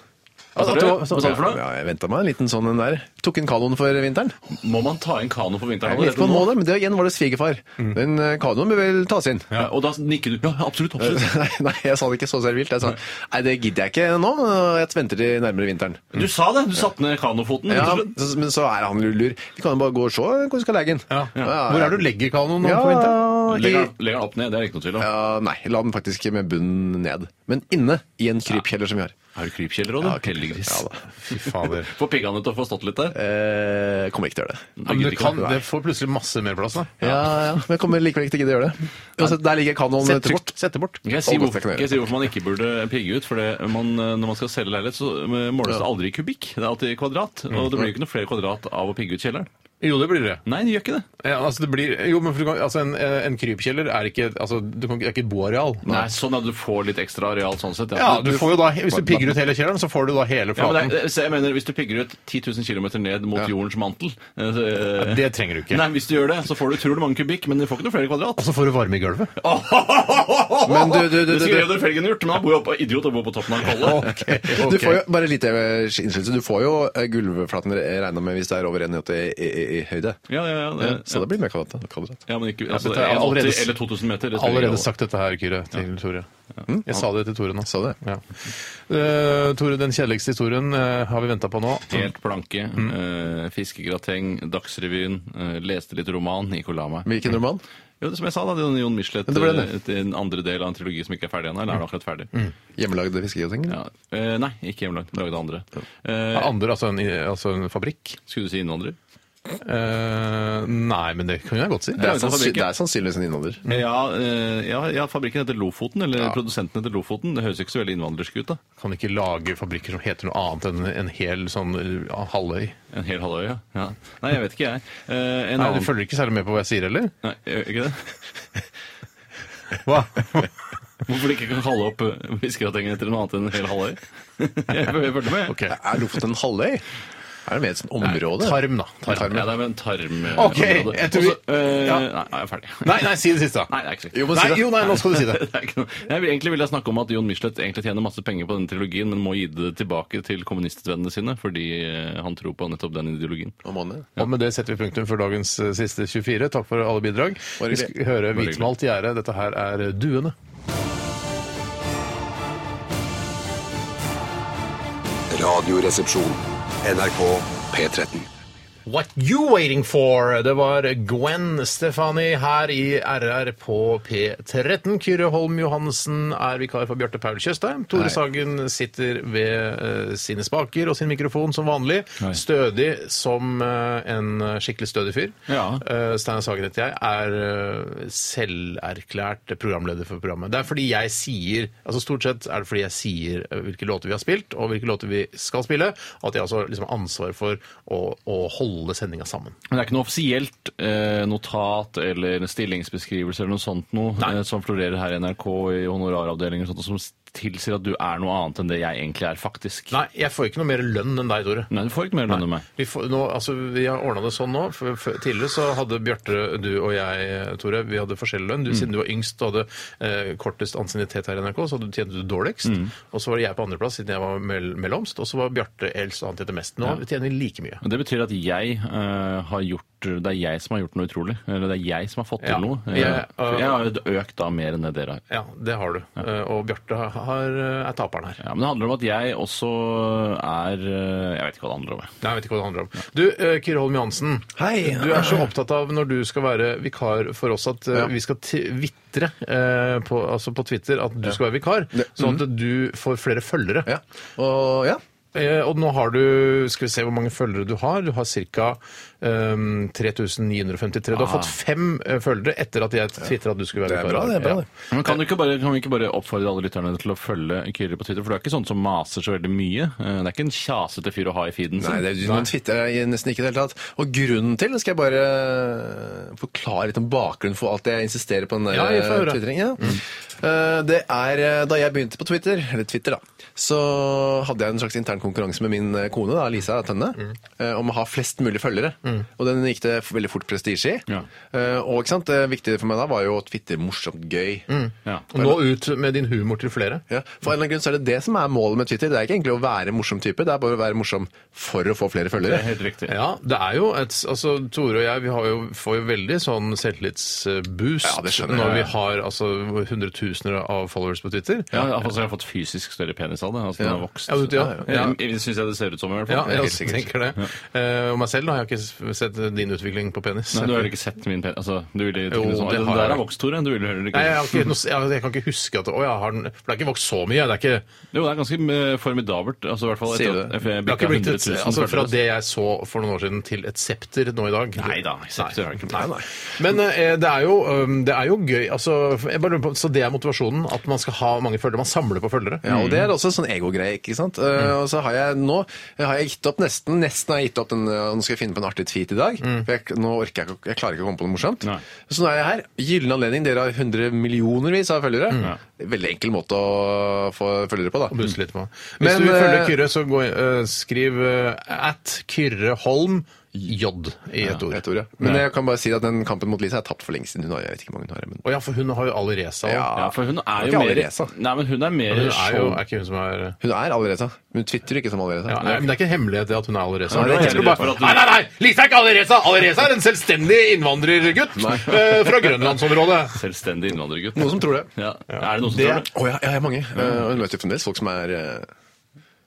C: Altså,
B: Hva sa du? Hva sa du for noe?
C: Ja, jeg venta meg en liten sånn en der. Tok en kanon for vinteren.
B: Må man ta inn kano på vinteren?
C: Jeg vet ikke om nå, da, men det igjen var det svigerfar.
A: Mm.
C: Men eh, kanoen bør vel
A: (laughs)
C: tas inn.
B: Ja, og da nikker du. Eh, Ja, absolutt. absolutt.
C: (laughs) Nei, nei, jeg sa det ikke så servilt. Jeg sa nei, det gidder jeg ikke nå. Jeg venter til nærmere vinteren.
B: Du sa det! Du satte ned kanofoten.
A: Mm.
C: Ja,
B: rett og slett.
C: så- men så er han lur. Vi kan jo bare gå og se hvor vi skal legge den.
A: Ja. Hvor er det du legger kanoen nå
C: Ja,
A: på vinteren?
B: Legger
C: i-
B: den- legger den opp ned, det er det ikke noe tvil om.
C: ja, nei, la den faktisk med bunnen ned. Men inne i en krypkjeller som vi har.
B: Er du krypkjeller òg, du? Heldiggris.
C: Ja, da.
A: Fy fader.
B: Får piggene til å få stått litt der?
C: Eh, kommer ikke til å gjøre det.
A: Ja, men det, kan, det får plutselig masse mer plass, da.
C: Ja, ja, Men jeg kommer likevel ikke til å gidde å gjøre det. Uansett, der ligger kanonen
A: Sett
C: trygt.
A: bort. Sette bort.
B: Kan jeg, si
C: Å, godt,
B: hvorfor,
C: det kan jeg
B: kan jeg si hvorfor man ikke burde pigge ut? For det, man, eh, Når man skal selge leilighet, så eh, måles det aldri i kubikk. Det er alltid i kvadrat. Og
C: Mhm.
B: det blir jo ikke noe flere kvadrat av å pigge ut kjelleren.
A: Jo, det blir det.
B: Nei, det gjør ikke det.
A: Ja, altså det blir, jo, men for du kan, altså en, en krypkjeller er ikke, altså, du kan, ikke- er ikke et boareal.
B: Nei, sånn at du får litt ekstra areal sånn sett.
A: Ja, du får jo da, Hvis du pigger ut hele kjelleren, så får du da hele
B: Ja, men
A: flaten.
B: det, er- så jeg mener, Hvis du pigger ut 10 000 km ned mot jordens mantel eh, så, eh,
A: Det trenger du ikke.
B: Nei, Hvis du gjør det, så får du utrolig mange kubikk, men du får ikke noe flere
A: (laughs)
B: kvadrat.
A: Og så får du varme i gulvet.
B: Men
C: du- du- du-
B: det
C: du-
B: skulle Reodor Felgen gjort, men han bor jo oppe, idiot og bor på toppen av en kolle.
A: Ok, ok.
B: (laughs)
C: Du får jo, bare litt eh, innskyldelse, du får jo eh, gulvflaten regna med hvis det er over 1,80 i, i, i, i høyde.
B: Ja, ja, ja, det,
C: Så det blir mer kvadrat. da. kvadrat.
B: ja, men ikke, altså,
A: dette er allerede-
B: 80 eller 2000 meter. det spiller ingen
A: Allerede
B: rolle.
A: sagt dette her, Kyrre, til Tore. Jeg sa det til Tore nå.
C: Sa du det?
A: Ja. Eh, Tore, den kjedeligste historien eh, har vi venta på nå.
B: Helt blanke. eh, fiskegrateng, Dagsrevyen. eh, leste litt roman. Gikk og la meg.
C: Hvilken roman?
B: Jo, det som jeg sa, da, det er Jon Michelet.
C: Det var den,
B: eh, til en andre del av en trilogi som ikke er ferdig ennå. Eller er den akkurat ferdig?
C: Hjemmelagde fiskegrateng?
B: Ja. Eh, nei, ikke hjemlagd. Lagde andre.
A: Ja,
B: Eh,
A: Andre, altså en, altså en fabrikk?
B: skulle du si innvandrer?
A: Eh, nei, men det kan jeg godt si.
C: Det,
B: Ja,
C: er
B: det er
C: sannsy-
B: fabrikken.
C: det er sannsynligvis en innvandrer.
B: Ja, eh, ja, ja, fabrikken heter Lofoten, eller produsenten heter Lofoten. Det høres ikke så veldig innvandrersk ut, da.
A: Kan ikke lage fabrikker som heter noe annet enn en hel sånn ja, halvøy.
B: En hel halvøy, ja. ja. Nei, jeg vet ikke, jeg. Eh, en
A: Nei, Du
B: annen...
A: følger ikke særlig med på hva jeg sier, eller?
B: Nei, gjør ikke det?
A: (laughs) Hva?
B: (laughs) Hvorfor de ikke kan kalle opp eh, fiskegratengen etter noe annet enn en
A: (laughs)
B: hel halvøy? jeg følte med. jeg.
A: Ok.
C: Er Lofoten en halvøy? Er det mer et sånt område?
A: Tarm, da. Tarm.
B: Ja, det er med en tarm... eh,
A: Ok,
B: område.
A: jeg tror vi-
B: Også, eh,
A: Ja.
B: Nei, jeg er ferdig.
A: Nei, nei, si det siste, da.
B: Nei, det er ikke
C: Jo,
B: sikkert.
C: men si
A: Nei,
C: det.
A: jo, nei, nå skal du si det.
B: (laughs) Det er ikke noe. Jeg vil, egentlig vil jeg snakke om at Jon Michelet egentlig tjener masse penger på denne trilogien, men må gi det tilbake til kommunistvennene sine, fordi eh, han tror på nettopp den ideologien.
C: Om måneden.
A: Og med det setter vi punktum for dagens eh, siste 24. Takk for alle bidrag. Vi
C: hyggelig.
A: skal høre Hvitmalt gjerde. Dette her er Duene.
D: Radioresepsjon. NRK P13.
A: What you waiting for? Det var Gwen Stefani her i RR på P13. Kyrre Holm Johansen er vikar for Bjarte Paul Tjøstheim. Tore Sagen sitter ved eh, sine spaker og sin mikrofon som vanlig. Stødig som eh, en skikkelig stødig fyr.
B: Ja.
A: Eh, Steinar Sagen heter jeg. Er eh, selverklært programleder for programmet. Det er fordi jeg sier altså Stort sett er det fordi jeg sier eh, hvilke låter vi har spilt, og hvilke låter vi skal spille. Og at jeg også liksom har ansvar for å, å holde sendinga sammen.
B: Men det er ikke noe offisielt eh, notat eller en stillingsbeskrivelse eller noe sånt noe eh, som florerer her i NRK i honoraravdelingen og sånt, som s- tilsier at du er noe annet enn det jeg egentlig er, faktisk.
A: Nei, jeg får ikke noe mer lønn enn deg, Tore.
B: Nei, du får ikke mer lønn enn meg.
A: Vi, får, nå, altså, vi har ordna det sånn nå. For, for, tidligere så hadde Bjarte, du og jeg, Tore, vi hadde forskjellig lønn. Du, Siden du var yngst og hadde eh, kortest ansiennitet her i NRK, så hadde, tjente du dårligst. Og så var det jeg på andreplass siden jeg var mell mellomst. Og så var Bjarte eldst og han tjente mest. Nå tjener vi like mye.
B: Men Det betyr at jeg eh, har gjort det er jeg som har gjort noe utrolig. Eller det er jeg som har fått til
A: Ja.
B: noe. Eh,
A: Jeg,
B: for
A: øh,
B: jeg har jo økt da mer enn det dere har.
A: Ja, det har du. Eh, og Bjarte har- har, eh, er taperen her.
B: Ja, Men det handler om at jeg også er eh, Jeg vet ikke hva det handler om. jeg.
A: Nei, jeg vet ikke hva det handler om. Du, eh, Kyrre Holm Johansen.
C: Hei.
A: Du er så opptatt av når du skal være vikar for oss, at eh, vi skal t- vitre eh, på, altså på Twitter at du skal være vikar, sånn at du får flere følgere.
C: Mm. Ja. Og ja.
A: Eh, og nå har du Skal vi se hvor mange følgere du har. Du har ehm, ca. 3953. Du har fått fem eh, følgere etter at jeg tvitra at du skulle
C: Ah. Det
A: være
C: er
A: vikar.
C: bra, det. er bra det.
B: Men kan, du ikke bare, kan vi ikke bare oppfordre alle lytterne til å følge Kyrre på Twitter? For du er ikke sånn som maser så veldig mye. Eh, Det er ikke en kjasete fyr å ha i feeden
C: Nei,
B: sin.
C: det, man twitter er nesten ikke i det hele tatt. Og grunnen til skal jeg bare eh, forklare litt om bakgrunnen for alt jeg insisterer på den der
A: Ja, jeg får høre.
C: twitteringen. ja. Eh, Det er eh, da jeg begynte på Twitter, eller Twitter da, så hadde jeg en slags intern konkurranse med min eh, kone, da, Lisa Tønne, eh, om å ha flest mulig følgere. Og den gikk det f- veldig fort prestisje i.
B: Ja.
C: Eh, Og ikke sant, det viktige for meg da var jo å twitter morsomt gøy.
B: Ja.
A: Og nå ut med din humor til flere.
C: Ja, for en eller annen grunn så er det det som er målet med Twitter. Det er ikke egentlig å være en morsom type, det er bare å være morsom for å få flere
B: Det
C: følgere.
B: er helt riktig.
A: Ja, det er jo et Altså, Tore og jeg vi har jo, får jo veldig sånn selvtillitsboost
C: Ja, det skjønner jeg.
A: når vi har altså hundretusener av followers på Twitter.
B: Ja, altså, jeg har fått fysisk større penis av det. Altså, den har vokst.
A: Ja, vet du, ja.
B: Jeg, jeg syns jeg det ser ut som, i hvert
A: Ja,
B: fall.
A: jeg
B: Helt
A: også
B: sikkert.
A: tenker det. Eh, Og meg selv da, jeg har ikke sett eh, din utvikling på penis.
B: Nei, du har ikke sett min penis? Altså, du ville
A: Jo,
B: tenke sånn,
A: det
B: den
A: har jeg.
B: der har vokst, Tore. Du ville heller ikke
A: Nei, jeg, har ikke, noe- jeg, jeg kan ikke huske at Å, jeg har den For det har ikke vokst så mye. Det er ikke,
B: Jo, det er ganske eh, formidabelt. Altså, i hvert fall
C: Sier
B: etter
C: du
B: at
C: det?
B: jeg
A: det har
B: bikket
A: ikke blitt
B: 100
A: et,
B: 000
A: altså, fra
B: følgere.
A: det jeg så for noen år siden, til et septer nå i dag.
B: Nei da, septer har det ikke blitt.
A: Nei. Men eh, det er jo, um, det er jo gøy altså, jeg bare lurer på, Så det er motivasjonen? At man skal ha mange følgere? Man samler på følgere?
C: Ja, og det er også en sånn egogreie, ikke sant? Eh,
A: Mm.
C: og så har jeg nå har jeg gitt opp nesten, nesten har jeg gitt opp den, eh, nå skal jeg finne på en artig tweet i dag,
A: Mm.
C: for jeg, nå orker jeg ikke, jeg klarer ikke å komme på noe morsomt.
B: Nei.
C: Så nå er jeg her, gyllen anledning, dere har hundre millionervis av følgere.
A: Mm.
C: Veldig enkel måte å få følgere på da.
A: å busse litt på. Hvis
C: Men,
A: du vil følge
C: eh,
A: Kyrre, så gå, inn- eh, skriv eh, at Kyrre Holm J i et ord.
C: Mm. Et ord, ja. Men jeg kan bare si at den kampen mot Lisa er tapt for lenge siden. Hun har, jeg vet ikke hvor mange hun har, men...
A: Å ja, for hun har jo Ali Reza. også.
C: Ja.
B: Ja, for hun er
C: Ikke
B: jo mer
C: Alireza.
B: Nei, men hun er mer
A: Men Hun er jo
B: show-
A: er ikke hun som er
C: Hun er allerede, hun twitter ikke som allerede.
A: ja, nei, Men det er ikke en hemmelighet det at hun er Ali Reza.
B: Nei, det er
A: Jeg
B: ikke
A: skal bare-
B: for at hun-
A: Nei, nei, nei! Lisa er ikke Ali Reza! Ali Reza er en selvstendig innvandrergutt eh, fra grønlandsområdet.
B: selvstendig innvandrergutt.
C: Noen som tror det.
B: Ja. Er det noen som
A: Det-
B: tror det?
C: Å ja, ja, jeg har mange. Eh, Og hun vet jo fremdeles folk som er... eh,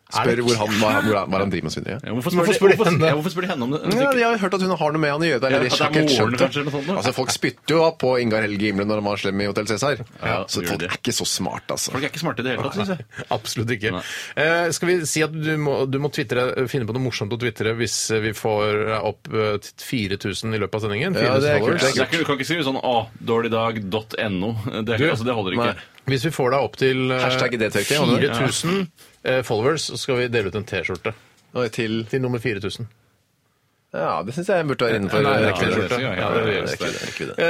C: Spør
A: det-
C: hvor han, hva, hvor han- hva han driver med og så videre.
B: Ja, hvorfor spør,
A: Hvorfor spør
B: de, hvorfor,
A: henne?
B: ja, hvorfor spør de henne om det? Hun
C: Ja,
B: sikkert-
C: jeg har hørt at hun har noe med han å gjøre.
B: Ja,
C: Det er
B: at det
C: det
B: er
C: jeg ikke helt
B: moren,
C: skjønte.
B: kanskje, eller noe sånt, da.
C: Altså, folk spytter jo på Ingar Helge Gimle når han var slem i Hotell Cæsar.
B: Ja,
C: så
B: gjør
C: folk
B: det.
C: er ikke så smart, altså.
B: Folk er ikke smarte i det hele tatt, syns jeg.
A: Absolutt ikke. Eh, skal vi si at du må, du må
C: eh,
A: twittere, finne på noe morsomt å twitre hvis eh, vi får opp eh, 4000 i løpet av sendingen?
C: Ja, det
A: 4000
C: er kult,
A: followers.
C: det
B: Det er ikke, du kan ikke skrive sånn å, dårligdag.no. Det,
A: Du-
B: altså, det holder ikke.
C: Nei.
A: Hvis vi får deg opp til eh,
C: Hashtag idétørke, hadde du?
A: 4000 eh, followers, så skal vi dele ut en T-skjorte
C: Og til
A: til nummer 4000.
C: Ja, det syns jeg burde være innenfor
A: Nei, ja,
C: rekkevidde.
A: det er
B: det, ja,
C: Ja,
B: det er det.
C: rekkevidde, rekkevidde.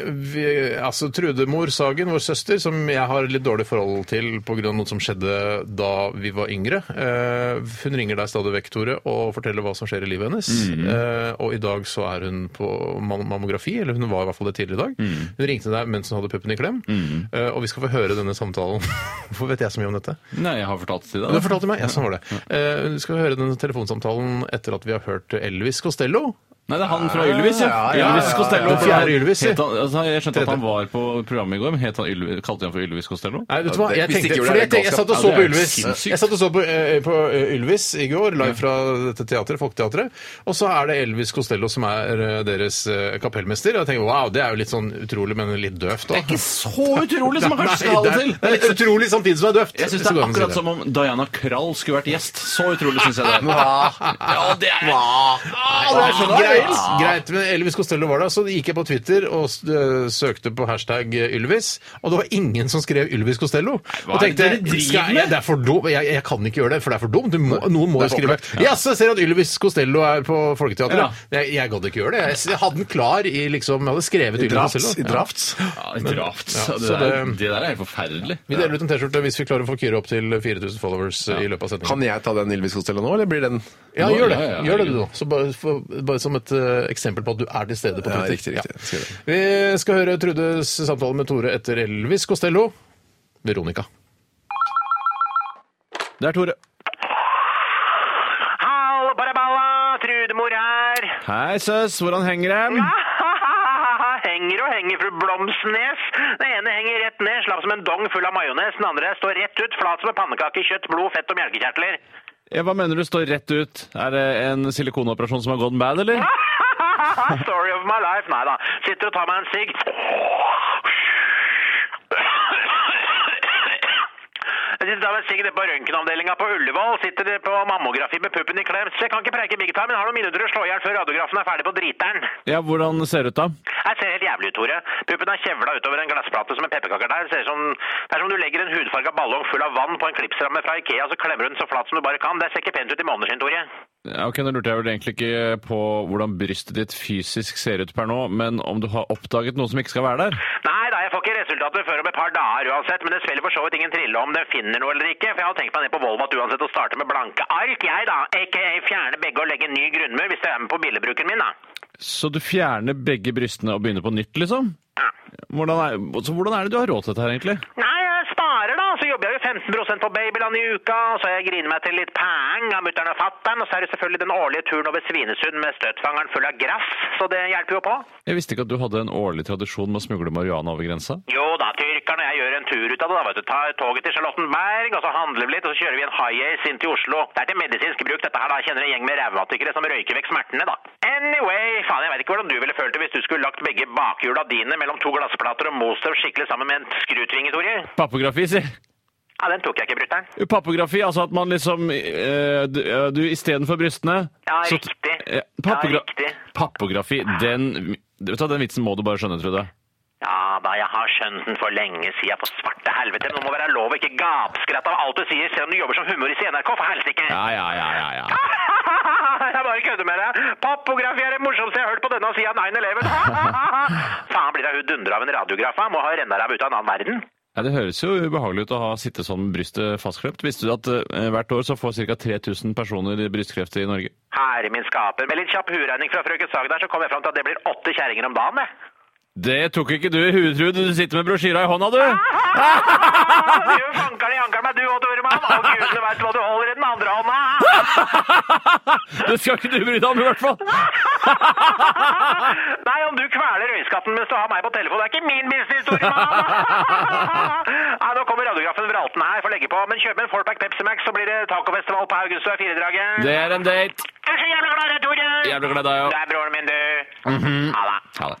A: Eh, vi, altså Trude Mor Sagen, vår søster, som jeg har litt dårlig forhold til pga. noe som skjedde da vi var yngre. eh, hun ringer deg stadig vekk, Tore, og forteller hva som skjer i livet hennes. Eh, og i dag så er hun på mam- mammografi, eller hun var i hvert fall det tidligere i dag. Hun ringte deg mens hun hadde puppen i klem, eh, og vi skal få høre denne samtalen. (laughs) Hvorfor vet jeg så mye om dette?
B: Nei, jeg har fortalt det til
A: Ja,
B: deg.
A: Det fortalte meg. Ja, sånn var det. Eh, vi skal høre denne telefonsamtalen etter at vi har hørt Elvis Costello.
B: Nei, det er han fra Ylvis, ja.
C: Ja, ja, ja,
B: Ylvis
C: ja,
B: Costello.
A: ja. Fjerde Ylvis, ja.
B: Het han, altså, jeg skjønte at
A: Tredje.
B: han var på programmet i går, men het han Ylvis, kalte de han for Ylvis Costello?
A: Nei, vet du
C: Ja,
A: hva?
C: det-
A: Jeg
C: hvis
A: tenkte,
C: ikke gjorde
A: fordi jeg,
C: det, det er
A: tenkte- jeg satt og
B: galskap.
A: så
B: Ja,
A: på
B: det er
A: Ylvis
B: sinnssykt.
A: Jeg satt og så på, eh, på eh, Ylvis i går, live fra dette teatret, Folketeatret. Og så er det Elvis Costello som er eh, deres eh, kapellmester. Og jeg tenker, wow, det er jo litt sånn utrolig, men litt døvt òg.
B: Ikke så utrolig som man kanskje skal ha
A: det,
B: det
A: er-
B: til!
A: det er litt utrolig samtidig som det er døvt.
B: Jeg
A: hvis
B: syns det
A: det
B: er
A: går an å si
B: akkurat
A: det.
B: som om Diana Krall skulle vært gjest. Så utrolig syns jeg det er. Ja, det er
A: Ah, det er så greit. Wales. Greit, men Elvis Costello var der. Så gikk jeg på Twitter og s- øh, søkte på hashtag eh, Ylvis, og det var ingen som skrev Ylvis Costello. Og
B: er det
A: tenkte,
B: dere driver
A: skal jeg,
B: med?
A: det er for dumt. Jeg, jeg kan ikke gjøre det, for det er for dumt. Du må, noen må jo skrive. Jaså, jeg ser at Ylvis Costello er på
B: Ja.
A: Folketeatret. Jeg, jeg gadd ikke gjøre det. Jeg, s- jeg hadde den klar i liksom Jeg hadde skrevet Ylvis
C: Drafts. I
A: Costello.
C: drafts.
B: Ja, litt ravt.
A: Ja,
B: det,
A: så
B: der,
A: det-
B: det der er helt forferdelig.
A: Vi deler ut en T-skjorte hvis vi klarer å få Kyrre opp til 4000 followers eh, i løpet av sendingen.
C: Kan jeg ta den Ylvis Costello nå, eller blir den
A: Ja,
B: Nå-
A: gjør det.
B: ja, ja,
A: gjør det du,
B: herregud.
A: da. Så bare, for, bare som et eh, eksempel på at du er til stede på
C: Ja,
A: Twitter.
C: riktig, riktig. Skal jeg
A: Vi skal høre Trudes samtale med Tore etter Elvis Costello. Veronica.
B: Det er Tore.
E: Hallo, Baraballa! Trudemor her.
B: Hei, søs. Hvordan henger den?
E: (laughs) henger og henger, fru Blomsnes. Den ene henger rett ned, slapp som en dong full av majones. Den andre står rett ut, flat som en pannekake, kjøtt, blod, fett og melkekjertler.
B: Ja, Hva mener du står rett ut? Er det en silikonoperasjon som har gått bad, eller?
E: Story of my life. Nei da. Sitter og tar meg en sigg. Jeg sitter og tar meg en sigg nede på røntgenavdelinga på Ullevål. Sitter på mammografi med puppen i klem. Så jeg kan ikke preike big time, men jeg har noen minutter å slå i hjel før radiografen er ferdig på driteren.
B: Ja, Hvordan ser det ut, da?
E: Jeg ser helt jævlig ut, Tore. Puppen er kjevla utover en glassplate som en pepperkaker der. Det ser ut som, det er som om du legger en hudfarga ballong full av vann på en klipsramme fra Ikea, så klemmer du den så flat som du bare kan. Det ser ikke pent ut i måneder sin, Tore.
B: Ja, ok, Nå lurte jeg vel egentlig ikke på hvordan brystet ditt fysisk ser ut per nå, men om du har oppdaget noe som ikke skal være der?
E: Nei da, jeg får ikke resultatet før om et par dager uansett, men det spiller for så vidt ingen trille om den finner noe eller ikke, for jeg har tenkt meg ned på Volvat uansett å starte med blanke ark, jeg da. Ikke fjerne begge og legge en ny grunnmur hvis det er med på billedbruken min, da.
B: Så du fjerner begge brystene og begynner på nytt, liksom? Hvordan er, så hvordan er det du har råd til dette her, egentlig?
E: Nei, jeg sparer da, så jobber jeg jo 15 på Babyland i uka, og så har jeg griner meg til litt peng av mutter'n og fatter'n, og så er det selvfølgelig den årlige turen over Svinesund med støtfangeren full av grass, så det hjelper jo på.
B: Jeg visste ikke at du hadde en årlig tradisjon med å smugle marihuana over grensa.
E: Jo da, tyrkerne, jeg gjør en tur ut av det da, vet du, tar toget til Charlottenberg, og så handler vi litt, og så kjører vi en high-ace inn til Oslo. Det er til medisinsk bruk dette her da, jeg kjenner en gjeng med revmatikere som røyker vekk smertene da. Anyway, faen, jeg vet ikke hvordan du ville følt det hvis du skulle lagt begge bakhjula dine mellom to glassplater og most dem skikkelig sammen med en skrutvinge, Torje.
B: Pappografi, si!
E: Ja, den tok jeg ikke, brutter'n.
B: Pappografi, altså at man liksom eh, Du, eh, du istedenfor brystene
E: Ja,
B: så-
E: riktig.
B: eh,
E: Ja, riktig.
B: Pappografi, den Vet du hva, Den vitsen må du bare skjønne, Trude.
E: Ja da, jeg har skjønt den for lenge siden på svarte helvete. Men det må være lov å ikke gapskratte av alt du sier, selv om du jobber som humorist i NRK, for helsike!
B: Ja, ja, ja, ja, ja.
E: (laughs) jeg bare kødder med deg. Pappografi er det morsomste jeg har hørt på denne sida av 9-11. (laughs) Faen, blir jeg dundra av en radiograf? da? Må ha rennaræv ut av en annen verden.
B: ja det høres jo ubehagelig ut å ha sitte sånn med brystet fastklemt. Visste du at eh, hvert år så får ca. 3000 personer brystkreft i Norge?
E: Herre min skaper. Med litt kjapp huregning fra frøken Sagen der, så kom jeg fram til at det blir åtte kjerringer om dagen, det.
B: Det tok ikke du i huet, Trude. Du sitter med brosjyra i hånda, du!
E: (laughs) Du fanker det i ankeren meg, du og Toremann. Og gudene veit hva du holder i den andre hånda. (laughs)
B: Det skal ikke du bry deg om, i hvert fall!
E: Nei, om du kveler øyeskatten mens du har meg på telefon, det er ikke min business, Stormann! (laughs) Nei, nå kommer radiografen Vralten her, får legge på. Men kjøp en Forpack Pepsi Max, så blir det tacofestival på Haugenstua i firedraget.
B: Det er en date.
E: Jeg er så jævla glad i deg, Tore!
B: Jævlig glad i deg, ja.
E: Du er broren min, du. Ha det.
B: Ha det.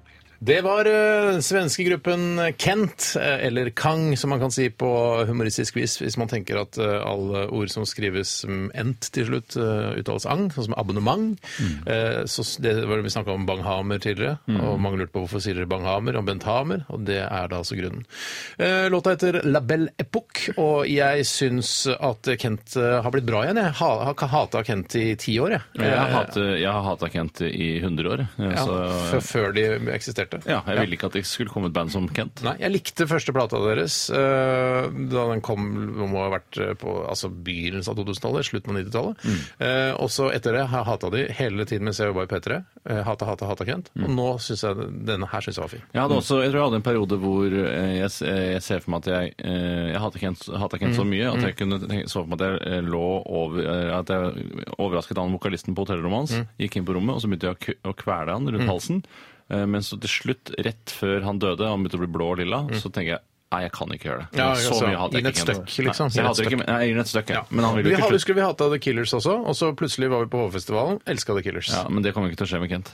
A: Det var eh, svenske gruppen Kent, eh, eller Kang, som man kan si på humoristisk vis, hvis man tenker at eh, alle ord som skrives som ent til slutt, eh, uttales ang, sånn som abonnement. Eh, så s- det var det vi snakka om Bang-Hamer tidligere, og mange lurte på hvorfor sier dere Bang-Hamer og Bent Hamer, og det er da altså grunnen. Eh, låta heter La Belle Époque, og jeg syns at Kent eh, har blitt bra igjen. Jeg ha, har hata Kent i ti år, jeg.
B: Jeg har
A: Eh,
B: hatet- jeg har hata Kent i 100 år. jeg.
A: ja,
B: Så,
A: f- før de eksisterte.
B: ja, jeg ville ikke at det skulle komme et band som Kent.
A: Nei, jeg likte første plata deres. eh, da den kom, det må ha vært eh, på altså begynnelsen av 2000-tallet, slutten av 90-tallet.
B: Mm.
A: Eh, og så etter det har jeg hata de hele tiden mens jeg jobba i P3. Eh, hata, hata, hata Kent.
B: Mm.
A: Og nå syns jeg denne her synes jeg var fin.
B: Jeg, hadde også, jeg tror jeg hadde en periode hvor eh, jeg, s- eh, jeg ser for meg at jeg, eh, jeg hatet Kent, hatet Kent
A: Mm.
B: så mye at jeg kunne tenke, så for meg at jeg eh, lå over, eh, at jeg overrasket han vokalisten på hotellrommet
A: Mm.
B: hans, gikk inn på rommet, og så begynte jeg å, ku- å kvele han rundt halsen. Eh, Men så til slutt, rett før han døde, han begynte å bli blå og lilla, så tenker jeg Nei, jeg kan ikke gjøre det.
A: Mm. Ja,
B: så
A: altså,
B: mye hater
A: gi den
B: jeg
A: et
B: ikke.
A: støkk, liksom.
B: Nei, jeg hater ikke, men- nei, jeg gir den et støkk, jeg. Men han
A: vi
B: vil jo ikke
A: hadde-
B: slutte.
A: Husker vi hatt av The Killers også, og så plutselig var vi på HV-festivalen. Elska The Killers.
B: Ja, men det kommer ikke til å skje med Kent.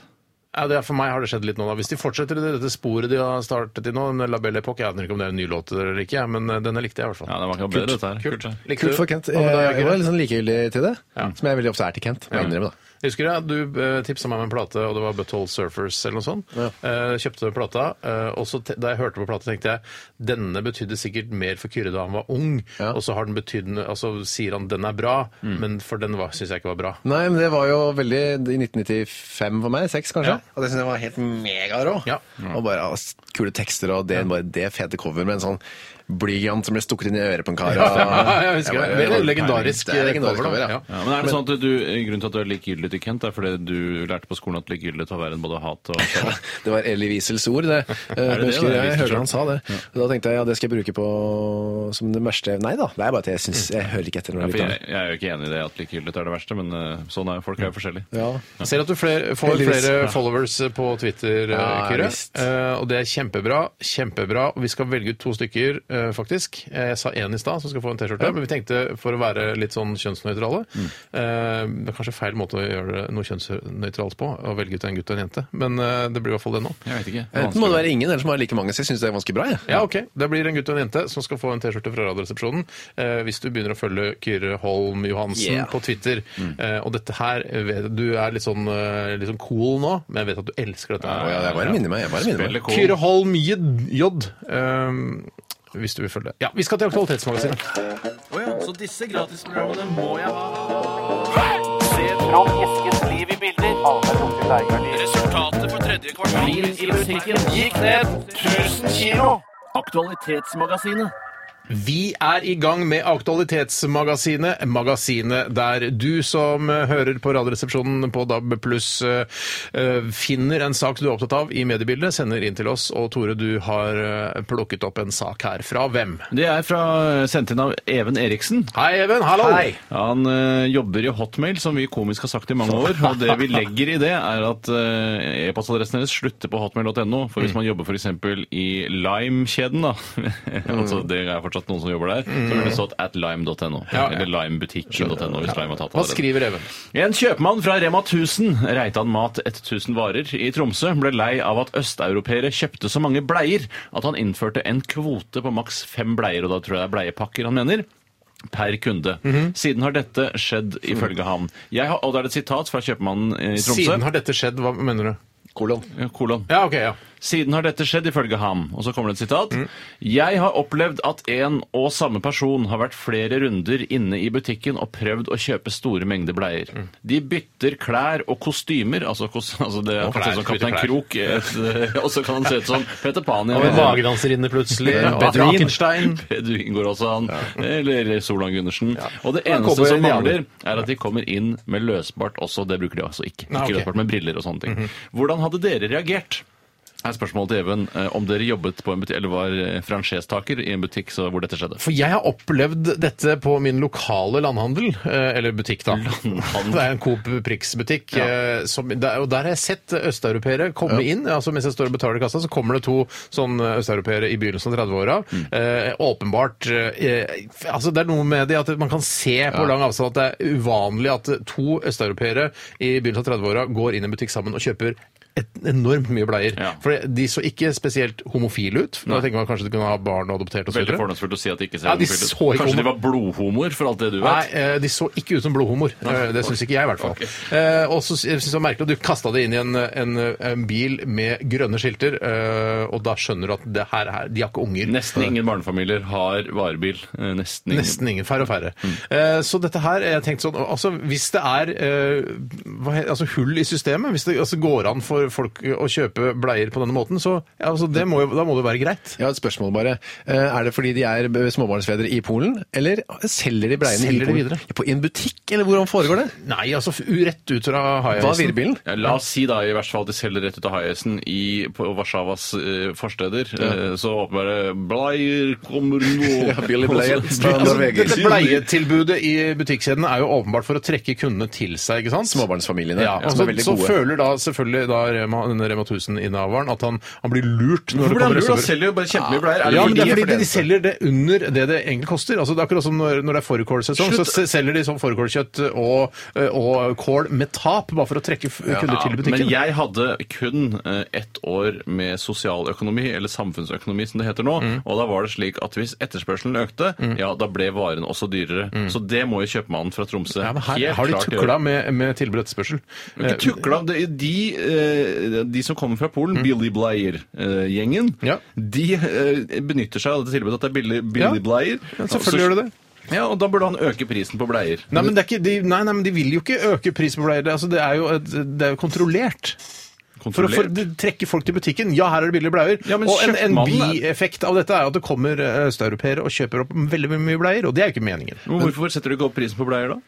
A: Ja, det er, for meg har det skjedd litt nå. da. Hvis de fortsetter i dette sporet de har startet i nå, en La Belle Epoque Jeg aner ikke om det er en ny låt eller ikke, men eh, denne likte jeg i hvert fall.
B: Ja, det var ikke bedre, dette her. Kult.
A: Kult, Likte
C: Kult
A: du?
C: for Kent.
A: Ja, men da er
C: Jeg
A: jeg
C: var
A: greit.
C: litt sånn likegyldig til det, som jeg veldig ofte er til Kent. må Jeg innrømme da.
A: Husker jeg, du eh, tipsa meg om en plate, og det var Butthole Surfers eller noe sånt. Eh, kjøpte plata, eh, og så te da jeg hørte på plata, tenkte jeg denne betydde sikkert mer for Kyrre da han var ung,
C: Ja. Mm.
A: og så har den betydd Altså sier han den er bra, men for den syns jeg ikke var bra.
C: Nei, men det var jo veldig i 1995 for meg. Seks, kanskje.
A: Ja.
C: Og det synes jeg var helt megarå.
A: Ja.
C: Og bare ah, s- kule tekster og det, bare det fete cover med en sånn blyant som ble stukket inn i øret på en kar. og-
A: (laughs) (laughs) Ja, jeg husker
C: bare-
A: det. Det er legendarisk, eh,
C: Det er legendarisk
A: cover, da.
C: cover, ja.
A: Ja.
B: Ja, men er det sånn at du, Grunnen til at du er likegyldig til Kent, er fordi du lærte på skolen at likegyldig til å være en både hat og
C: (laughs) Det var Ellie Wiesels
A: (laughs)
C: ord, det. Jeg
B: det,
C: husker
B: det er
C: jeg
B: Wiesels
C: hørte
B: ord?
C: han sa det. Og Da tenkte jeg ja, det skal jeg bruke på som det verste Nei da, det er bare at jeg syns Jeg hører ikke etter når
B: Ja,
C: jeg
B: for
C: lytter.
B: jeg, jeg er jo ikke enig i det at likegyldig er det verste, men eh, sånn er folk er jo forskjellige.
C: Ja.
A: Jeg ser at du fler, får
C: Heldigvis.
A: flere followers på Twitter,
C: Ja,
A: Kyrre.
C: visst.
A: Eh, og det er kjempebra. kjempebra. Og vi skal velge ut to stykker, eh, faktisk. Eh, Jeg sa én i stad som skal få en T-skjorte, men vi tenkte for å være litt sånn kjønnsnøytrale
C: Mm.
A: eh, Det er kanskje feil måte å gjøre det noe kjønnsnøytralt på, å velge ut en gutt og en jente, men eh, det blir i hvert fall det nå.
B: Jeg vet ikke.
C: Enten må det være ingen, eller så må det være like mange. Så jeg syns det er ganske bra. jeg.
A: Ja, ok. Det blir en gutt og en jente som skal få en T-skjorte fra Radioresepsjonen eh, hvis du begynner å følge Kyrre Holm Johansen
C: Yeah. Mm.
A: på Twitter. Eh, og dette her vet, Du er litt sånn, eh, litt sånn cool nå, men jeg vet at du elsker dette.
C: Å,
A: her.
C: ja, jeg bare minner meg. Jeg bare minner meg.
B: Veldig cool.
A: Kyrre Holm J. J. Eh, hvis du vil følge det. Ja, vi skal til Aktualitetsmagasinet. Vi er i gang med Aktualitetsmagasinet, magasinet der du som eh, hører på Radioresepsjonen på DAB pluss finner en sak du er opptatt av i mediebildet, sender inn til oss. Og Tore, du har eh, plukket opp en sak her. Fra hvem?
B: Det er fra eh, sendt inn av Even Eriksen.
A: Hei, Even. Hallo.
B: Han eh, jobber i Hotmail, som vi komisk har sagt i mange år. Og det
A: (laughs)
B: vi legger i det, er at eh, e-postadressen deres slutter på hotmail.no.
A: Mm.
B: For hvis man jobber f.eks. i Lime-kjeden, da (laughs)
A: Mm.
B: altså Det er fortsatt noen som jobber der. Så ville det stått at lime.no.
A: Ja.
B: Eller limebutikken.no, hvis Lime har tatt
A: Hva
B: adressen.
A: skriver Even?
B: En kjøpmann fra Rema 1000, Reitan Mat 1000 varer, i Tromsø ble lei av at østeuropeere kjøpte så mange bleier at han innførte en kvote på maks fem bleier, og da tror jeg det er bleiepakker han mener. Per kunde.
A: Mhm.
B: Siden har dette skjedd, ifølge ham. Jeg har, og da er det et sitat fra kjøpmannen i Tromsø.
A: Mm. Siden har dette skjedd, hva mener du?
C: Kolon.
B: Ja, kolon.
A: Ja, ok, ja.
B: Siden har dette skjedd, ifølge ham. Og så kommer det et sitat.
A: Mm.
B: Jeg har opplevd at en og samme person har vært flere runder inne i butikken og prøvd å kjøpe store mengder bleier.
A: Mm.
B: De bytter klær og kostymer. Altså, kos, altså det kan se
A: klær,
B: ut som Kaptein
A: bytter klær.
B: Krok, eh, (laughs) et- og så kan han se ut som Peter Pan. i
A: Og en
B: en-
A: magedanserinne plutselig. Og
B: Beduin.
A: Frankenstein.
B: (laughs) Pedro går også han. Eller Solan Gundersen. Og det
C: Han
B: eneste
C: kommer
B: som
C: inn i
B: mangler, er at de kommer inn med løsbart også. Det bruker de altså ikke.
A: Nei,
B: Ikke
A: ok. Mhm.
B: løsbart, men briller og sånne ting. Hvordan hadde dere reagert? Her er spørsmålet til Even eh, om dere jobbet på en butikk, eller var eh, franchisetaker i en butikk så, hvor dette skjedde.
A: For jeg har opplevd dette på min lokale landhandel, eh, eller butikk, da.
B: Landhandel.
A: (laughs) Det er en Coop Prix-butikk. eh, som- der- Og der har jeg sett østeuropeere komme inn. altså Mens jeg står og betaler i kassa, så kommer det to sånn østeuropeere i begynnelsen av 30-åra.
B: Mm.
A: Eh, åpenbart eh, altså Det er noe med det at man kan se på lang avstand at det er uvanlig at to østeuropeere i begynnelsen av 30-åra går inn i en butikk sammen og kjøper et enormt mye bleier.
B: Ja.
A: For de så ikke spesielt homofile ut. Da tenker man kanskje de kunne ha barn og adoptert og så
B: Veldig
A: videre.
B: fordomsfullt å si at de ikke ser
A: Ja, de
B: homofile ut.
A: så ikke
B: Kanskje de
A: homo-
B: var blodhomoer, for alt det du
A: Nei,
B: vet.
A: eh, de så ikke ut som blodhomor. Eh, Det syns ikke jeg, i hvert fall.
B: Ok.
A: Eh, Og så sy- jeg synes det var merkelig at du kasta det inn i en, en, en bil med grønne skilter, eh, og da skjønner du at det her, her De har ikke unger.
B: Nesten ingen barnefamilier har varebil. Eh, Nesten ingen.
A: Nesten ingen. Færre og færre.
B: Mm.
A: Eh, så dette her, jeg tenkte sånn, altså hvis det er eh, hva he, altså, hull i systemet, hvis det altså, går an for folk å kjøpe bleier på denne måten, så ja, altså, det må jo, da må det være greit.
C: Jeg har et spørsmål bare. Eh, Er det fordi de er b- småbarnsfedre i Polen, eller selger de bleiene
A: Selger de
C: i Polen?
A: videre?
C: På, I en butikk, eller hvordan foregår det?
A: Nei, altså f- rett ut fra haia.
C: Hva er virbilen?
B: Ja, la oss si da i verste fall at de selger rett ut av Haiesen i på Warszawas eh, forsteder. Eh, så åpenbare Bleier kommer
A: (laughs)
B: nå
C: Ja, Billy Bleier fra
B: Altså,
C: Norge.
A: Dette bleietilbudet i butikkjeden er jo åpenbart for å trekke kundene til seg, ikke sant?
C: Småbarnsfamiliene,
A: Ja, altså,
C: som er
A: og
C: veldig
A: så, så
C: gode.
A: føler da selvfølgelig da Rema, denne Rema 1000-innehaveren at han, han blir lurt når det
B: (laughs) Hvorfor blir han
A: kommer
B: lurt? Han
A: restauranter.
B: selger jo bare kjempemye bleier. Er det
A: Ja, men
B: fordi
A: det er
B: de
A: fordi de,
B: fortjener det?
A: selger det under det det egentlig koster. Altså, det er akkurat som når, når det er fårikålsesong, så
B: Slutt.
A: se- selger de sånn fårikålkjøtt og, eh, og kål med tap, bare for å trekke f- kunder til butikken.
B: Men jeg hadde kun eh, ett år med sosialøkonomi, eller samfunnsøkonomi som det heter nå,
A: Mm.
B: og da var det slik at hvis etterspørselen økte, ja, da ble varen også dyrere. Så det må jo kjøpmannen fra Tromsø
A: Mm. ja, men her
B: helt
A: har de
B: klart
A: tukla med, med tilbud og etterspørsel.
B: Men
A: Eh,
B: Ikke tukla, det er de, eh, de som kommer fra Polen, Billy Bleier-gjengen,
A: Mm. Ja.
B: de eh, benytter seg av dette tilbudet at det er Billy, Billy
A: Ja.
B: Bleier.
A: Ja, selvfølgelig gjør de det.
B: Ja, og da burde han øke prisen på bleier.
A: Nei, men det er ikke, de, nei, nei, men de vil jo ikke øke prisen på bleier. Det- Altså, det, er jo et, det er jo kontrollert. For å
B: Kontrollert.
A: for, trekke folk til butikken. Ja, her er det billige bleier.
B: Ja, men
A: og en, en
B: kjøpmannen er-
A: bieffekt av dette er at det kommer eh, østeuropeere og kjøper opp veldig mye bleier, og det er jo ikke meningen.
B: Men Hvorfor setter du ikke opp prisen på bleier da?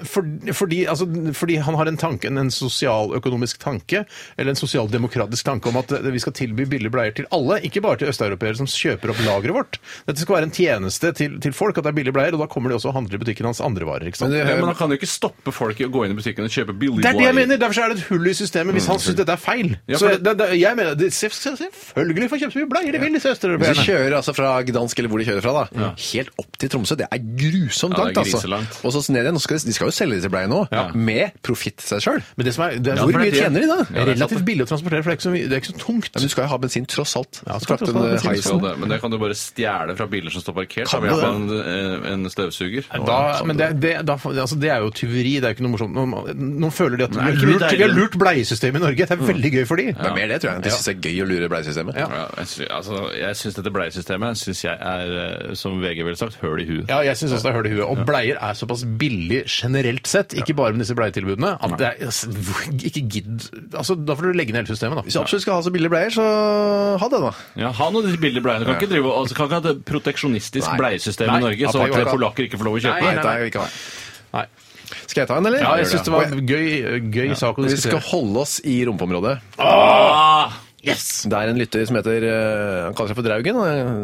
A: For, fordi, altså, fordi han har en tanke, en- en sosialøkonomisk tanke, eller en sosialdemokratisk tanke om at eh, vi skal tilby billige bleier til alle, ikke bare til østeuropeere som kjøper opp lageret vårt. Dette skal være en tjeneste til, til folk, at det er billige bleier, og da kommer de også og handler i butikken hans andre varer. ikke sant?
B: Ja, men han kan jo ikke stoppe folk i å gå inn i butikken og kjøpe billig
A: Eh, Det er det jeg
B: bleier.
A: mener! Derfor så er det et hull i systemet
C: Mm,
A: hvis han syns dette er feil.
B: Ja,
A: så
B: for
A: det, det, jeg mener, det, se- se- Selvfølgelig får kjøpt så mye bleier de vil, disse
C: Hvis de
A: østeuropeerne.
C: kjører altså fra Gdansk eller hvor de kjører fra, da, helt opp til Tromsø, det er grusomt
B: Ja, det
C: langt.
B: er
C: altså.
B: griselangt.
C: Og så ned igjen, nå skal de, de skal jo selge disse bleiene nå, med profitt seg sjøl.
A: Men det som er, det er,
C: Ja,
A: hvor
C: for
A: mye
C: det er det.
A: tjener de da?
C: Ja, det er sant,
A: Relativt billig å transportere, for det er ikke så, mye- det er ikke så tungt.
C: Men du skal jo ha bensin tross alt.
A: Ja,
C: Ja,
A: du skal tross alt ha bensin,
B: Skal det, men det kan du bare stjele fra biler som står parkert.
C: Kan
B: Da vil jeg
C: du
B: ha en, eh, en støvsuger.
A: Da, men det, det, da, altså, det er jo tyveri, det er jo ikke noe morsomt. Noen, noen føler de at vi
B: er
A: har
B: ikke
A: lurt,
B: det
A: vi har
B: deilig?
A: lurt bleiesystemet i Norge. Det
C: Mm.
A: er veldig gøy for de.
C: Det er mer det, tror jeg. De syns det er gøy å lure bleiesystemet.
B: Ja, jeg sy- altså, jeg syns dette bleiesystemet synes jeg er, eh, som VG ville sagt, høl i huet.
A: Ja, jeg syns også det er høl i huet. Og bleier er såpass billig generelt sett, ikke bare med disse bleietilbudene, at det er altså, Ikke gidd Altså, da får du legge ned hele systemet,
C: Hvis du
A: da.
C: absolutt skal ha så billige bleier, så ha det, da.
B: Ja, ha noen av disse billige bleiene. Kan ikke drive, altså, kan ikke ha et proteksjonistisk
C: Nei.
B: bleiesystem
A: Nei,
B: i Norge, så
C: absolutt
B: at
C: ikke.
B: polakker ikke får lov å kjøpe.
C: Nei,
A: nei,
C: det
A: nei.
C: er jo ikke det.
A: Nei.
C: Skal jeg ta en, eller?
A: Ja, jeg syns det var
C: Og jeg-
A: en gøy, gøy sak å
C: Vi skal
A: diskutere.
C: holde oss i rumpeområdet.
B: Ah! Yes!
C: Det er en lytter som heter eh, Han kaller seg for Draugen,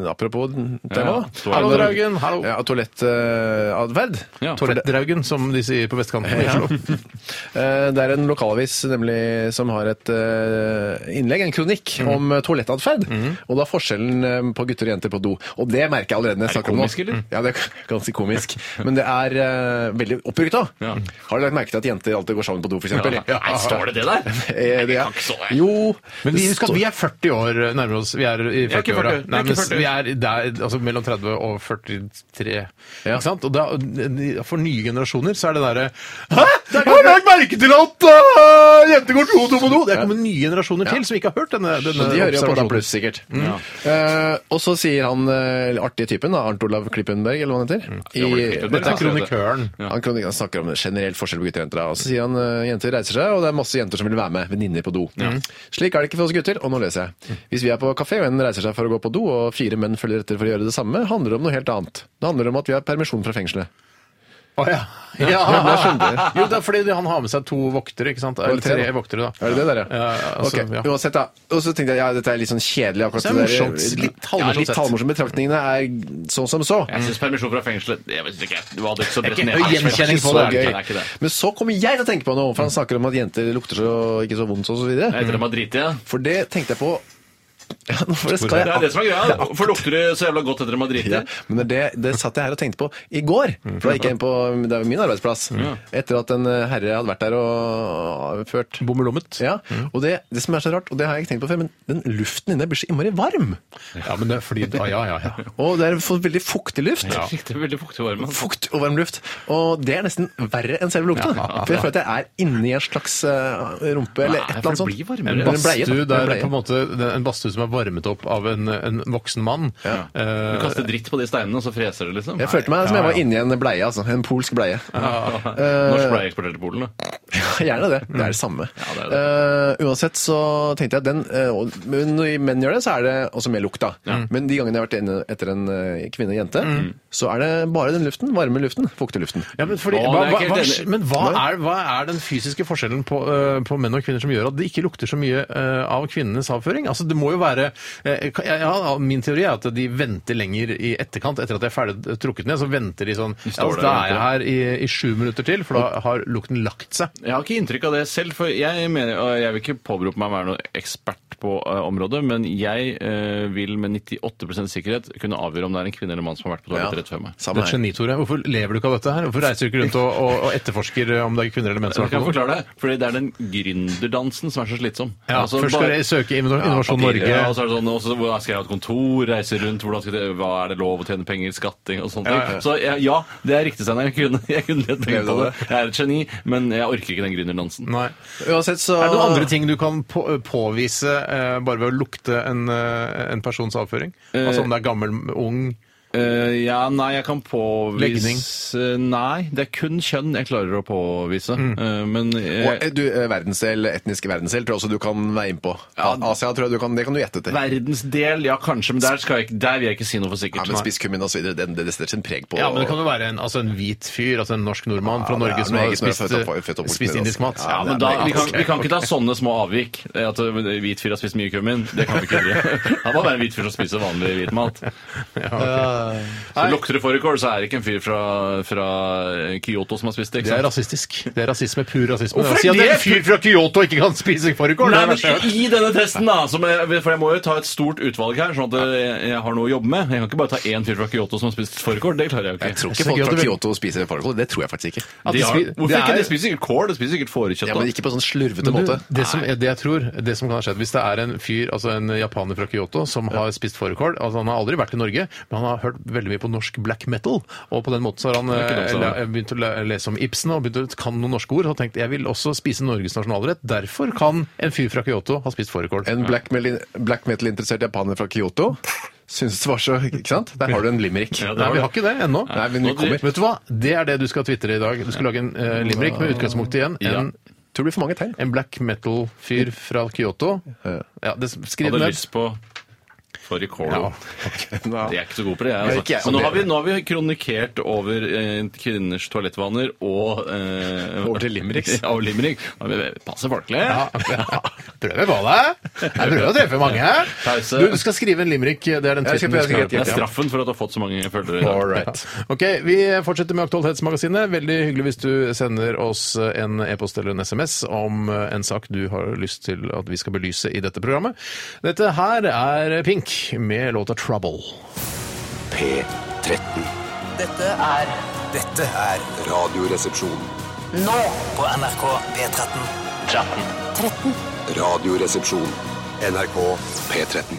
C: eh, apropos
B: Ja,
C: temaet.
B: toalett-
A: Hallo, Draugen. Hallo.
C: Ja, eh, Toalettadverd.
B: Ja, for det-
A: Toalettdraugen, som de sier på vestkanten i Oslo.
C: (laughs) Eh, Det er en lokalavis nemlig som har et eh, innlegg, en kronikk,
B: Mm.
C: om eh, toalettadferd. Og da forskjellen eh, på gutter og jenter på do. Og det merker jeg allerede
B: Er
C: når jeg
B: det
C: snakker om
B: komisk, eller?
C: Ja, det er ganske komisk. Men det er eh, veldig oppbrukt, da.
B: Ja.
C: Har du lagt merke til at jenter alltid går sammen på do, f.eks.?
B: Nei, Ah! står det det der?
A: Mm.
C: Eh, det
B: Jeg
C: er-
B: kan ikke stå der.
C: Jo.
A: Men vi,
C: det
A: husk at
C: står-
A: vi er 40 år nærmere oss. Vi er i
B: er ikke 40,
A: 40-åra.
B: jeg er
A: Nei,
B: ikke
A: men
B: 40.
A: Vi er der, altså mellom 30 og 43.
C: Ja.
A: Ikke sant? Og da, for nye generasjoner så er det derre Hæ! Jeg har lagt merke til at uh, jenter går to do på do! Det er kommet nye generasjoner til som ikke har hørt denne, denne
C: Men de hører jo på da
A: observasjonen.
C: pluss, sikkert.
B: Mm.
C: Eh, og så sier han eh, artige typen, da, Arnt Olav Klippenberg, eller hva han heter.
B: Olav
C: I,
B: Klippenberg,
C: dette
A: Dette
C: er
A: er
B: Mm. Ja.
A: kronikøren.
C: Han, kan, han snakker om generell forskjell på gutter og jenter. da. Og så sier han uh, jenter reiser seg, og det er masse jenter som vil være med. Venninner på do.
A: Mm.
C: Slik er det ikke for oss gutter. Og nå leser
B: Mm.
C: jeg. Hvis vi er på kafé, og en reiser seg for å gå på do, og fire menn følger etter for å gjøre det samme, handler det om noe helt annet. Det handler om at vi har permisjon fra fengselet.
A: Å ja. ja.
C: jeg skjønte det.
A: Jo, det er fordi han har med seg to voktere, ikke sant? Eller
C: Eller tre,
A: tre
C: da.
A: voktere, da.
C: Er det det der, ja?
A: Ja, altså,
C: Ok,
A: ja.
C: Uansett, da. Og så tenkte jeg ja, dette er litt sånn kjedelig. akkurat
A: Så det er
C: der.
A: morsomt.
C: Litt
A: Ja,
C: halvmorsomt.
A: litt
C: Litt halvmorsomt. Betraktningene er sånn som så.
B: Jeg syns permisjon fra fengselet det vet ikke, jeg. Du hadde ikke så bredt
A: Det er ikke
B: ned.
A: høy gjenkjenning på
C: så
A: det.
B: Det
C: gøy.
B: er ikke det.
C: Men så kommer jeg til å tenke på noe, for han snakker om at jenter lukter så ikke så vondt og så videre.
B: Etter at man driter i det.
C: For det tenkte jeg på (laughs) ja, nå for det skal
B: Det er det
C: jeg
B: som er greia. Hvorfor lukter det så jævla godt etter at man driter?
C: ja, men det, det satt jeg her og tenkte på i går. For da gikk jeg inn på det er jo min arbeidsplass. Etter at en eh, herre hadde vært der og ført
A: Bommelommet.
C: Ja, og det, det som er så rart, og det har jeg ikke tenkt på før, men den luften inne blir så innmari varm.
A: Ja, men det er fordi Ja, ja,
B: (laughs)
A: ja. ja.
C: Og det er for veldig fuktig luft.
B: Ja. Det er veldig fuktig varme. altså.
C: Fukt og varm luft. Og det er nesten verre enn selve lukta. For jeg føler at jeg er inni en slags eh, rumpe eller
B: Nei,
C: et
B: for
C: eller annet
B: det
C: sånt.
B: blir varmere.
A: En
C: Eller en bleie,
A: badstue
C: da. Eller en
A: der
C: bleie.
A: på en måte det er En badstue som er varmet opp av en, en voksen mann. Eh,
B: Du kaster dritt på de steinene, og så freser det, liksom.
C: Jeg følte meg som jeg var inni en bleie, altså. En polsk bleie.
A: Eh,
B: Norsk bleieeksportør til Polen, da.
C: (laughs) Gjerne det. Det er
A: Mm.
C: det samme.
B: det er
C: Eh, uansett så tenkte jeg at den eh, og- men Når menn gjør det, så er det også mer lukta. Mm. Men de gangene jeg har vært inne etter en eh, kvinne og jente, så er det bare den luften. Varme luften. Fukte luften.
A: Mm. ja, men, fordi,
B: Å,
A: hva,
B: det er
A: hva,
B: ikke
A: hva,
B: helt enig.
A: men hva er, hva er den fysiske forskjellen på, eh, på menn og kvinner som gjør at det ikke lukter så mye eh, av kvinnenes avføring? Altså, det må jo være eh, kan- ja, ja, Min teori er at de venter lenger i etterkant. Etter at de er ferdig trukket ned, så venter de sånn ja,
B: står
A: altså,
B: der
A: Da
B: og
A: er jeg her i, i sju minutter til, for da har lukten lagt seg.
B: Jeg har ikke inntrykk av det selv, for jeg, mener, og jeg vil ikke påberope meg å være noen ekspert på eh, området, men jeg eh, vil med 98 sikkerhet kunne avgjøre om det er en kvinne eller mann som har vært på toalettet rett før meg.
A: Du
C: Samme
A: er et
C: her.
A: geni, Tore. Hvorfor lever du ikke av dette her? Hvorfor reiser du ikke rundt og, og, og etterforsker om det er kvinner eller menn som
B: Jeg
A: har vært
B: kan
A: på do?
B: forklare det, fordi det er den gründerdansen som er så slitsom.
A: Ja,
B: Altså,
A: først skal
B: bare-
A: jeg søke Inno- Innovasjon Norge.
B: Ja, og så er det sånn, og så, hvordan skal jeg ha et kontor, reise rundt, hvordan skal det, hva er det lov å tjene penger, skatting og sånne ting. Så jeg- ja, det er riktig, Steinar. Jeg kunne, (laughs) jeg kunne lett tenkt
C: Levde
B: på
C: av
B: det. Jeg er et geni, men jeg orker ikke den gründerdansen.
A: Nei.
C: Uansett så
A: Er det noen andre ting du kan på, påvise eh, bare ved å lukte en, eh, en persons avføring? altså om det er gammel, ung
B: Eh, ja, nei, jeg kan påvise Nei, det er kun kjønn jeg klarer å påvise.
A: Mm.
B: Eh, men eh,
C: Og, eh, du, eh, verdensdel, etniske verdensdel, tror jeg også du kan være innpå.
B: Ja.
C: Asia tror jeg du kan, det kan du gjette etter.
B: verdensdel, ja kanskje, men der, skal jeg, ikke- der vil jeg ikke si noe for sikkert.
C: Ja, men spisskummin og så videre, den- det, det setter sin preg på
A: Ja, men det kan jo være en, altså en hvit fyr, altså en norsk nordmann fra
C: Ja, det er
A: Norge som har
C: Norge som er
A: spist,
C: født opp- født opp-
A: spist indisk mat.
C: Ja,
B: Ja, men
C: det er
B: da, vi, kan,
C: veldig
B: vi kan ikke ta sånne små avvik. Eh, At eh, hvit fyr har spist mye kummin. Det kan vi ikke gjøre. (laughs) Han må være en hvit fyr som spiser vanlig hvit mat.
A: (laughs)
B: Så lukter det fårikål, så er det ikke en fyr fra, fra Kyoto som har spist det.
A: Det
B: ikke
A: er
B: sant?
A: rasistisk. Det er rasisme, pur rasisme.
B: Hvorfor er
A: Si at
B: det-
A: en fyr fra Kyoto ikke kan spise fårikål!
B: Nei,
A: det er
B: men
A: verst jeg har hørt.
B: I denne testen, da, som jeg, for jeg må jo ta et stort utvalg her, sånn at eh, jeg, jeg har noe å jobbe med. Jeg kan ikke bare ta én fyr fra Kyoto som har spist fårikål. Det klarer jeg jo
C: Jeg
B: ikke.
C: tror
A: Jeg
C: ikke
A: synes
C: folk
A: ikke at
C: fra
A: det-
C: Kyoto spiser fårikål. Det tror jeg faktisk ikke.
A: At de
B: De har,
A: spi-
B: hvorfor
A: det
B: ikke?
A: er-
B: De spiser sikkert kål, de spiser sikkert fårekjøtt.
C: Ja,
B: da.
C: men ikke på sånn slurvete
A: Men du,
C: måte.
A: det som det jeg tror, det som kan ha skjedd, hvis det er en fyr, altså en japaner fra Kyoto, som har spist fårikål altså Han har aldri vært i Norge, men han har hørt veldig mye på norsk black metal. Og på den måten så har han
B: er ikke dumt,
A: eh,
B: sa
C: altså.
A: la-
B: han.
A: begynt å le- lese om Ibsen og begynt å kan noen norske ord. Og tenkt jeg vil også spise Norges nasjonalrett. Derfor kan en fyr fra Kyoto ha spist fårikål.
C: En black, metal- black metal-interessert japaner fra Kyoto syns det var så Ikke sant? Der har du en limerick.
B: Ja, det
A: Nei,
B: var
A: vi har ikke det ennå.
C: Nei, men vi
B: Og de-
C: kommer.
A: Vet du hva? Det er det du skal tvitre i dag. Du skal lage en uh, limerick med utgangspunkt i en, en,
C: Tror det blir for mange tegn.
A: en black metal-fyr fra Kyoto. Ja, det, skriv
B: Hadde
A: den ned.
B: lyst på fårikål.
A: Ja.
B: Jeg er ikke så god på det, jeg.
C: Jeg er ikke
B: Altså.
C: jeg.
B: Men nå har, vi, nå har vi kronikert over eh, kvinners toalettvaner og eh,
C: Over til limericks.
B: (laughs) Ja, og limerick. Nå er vi- Passe folkelig.
A: Ja, prøver på det. Jeg prøver å treffe mange.
B: Pause.
A: Du, du skal skrive en limerick. eh, Det er den
C: Jeg skal
A: tweeten du
C: prøve å
A: skal ha.
B: Det er
C: Ja.
B: straffen for at du har fått så mange følgere. i dag.
C: All right.
A: Ok, Vi fortsetter med Aktualitetsmagasinet. Veldig hyggelig hvis du sender oss eh, en e-post eller en SMS om eh, en sak du har lyst til at vi skal belyse i dette programmet. Dette her er Pink med låta 'Trouble'.
D: P13.
F: Dette er Dette er
G: Radioresepsjon.
F: Nå på NRK P13.
G: Radioresepsjon.
D: NRK P13.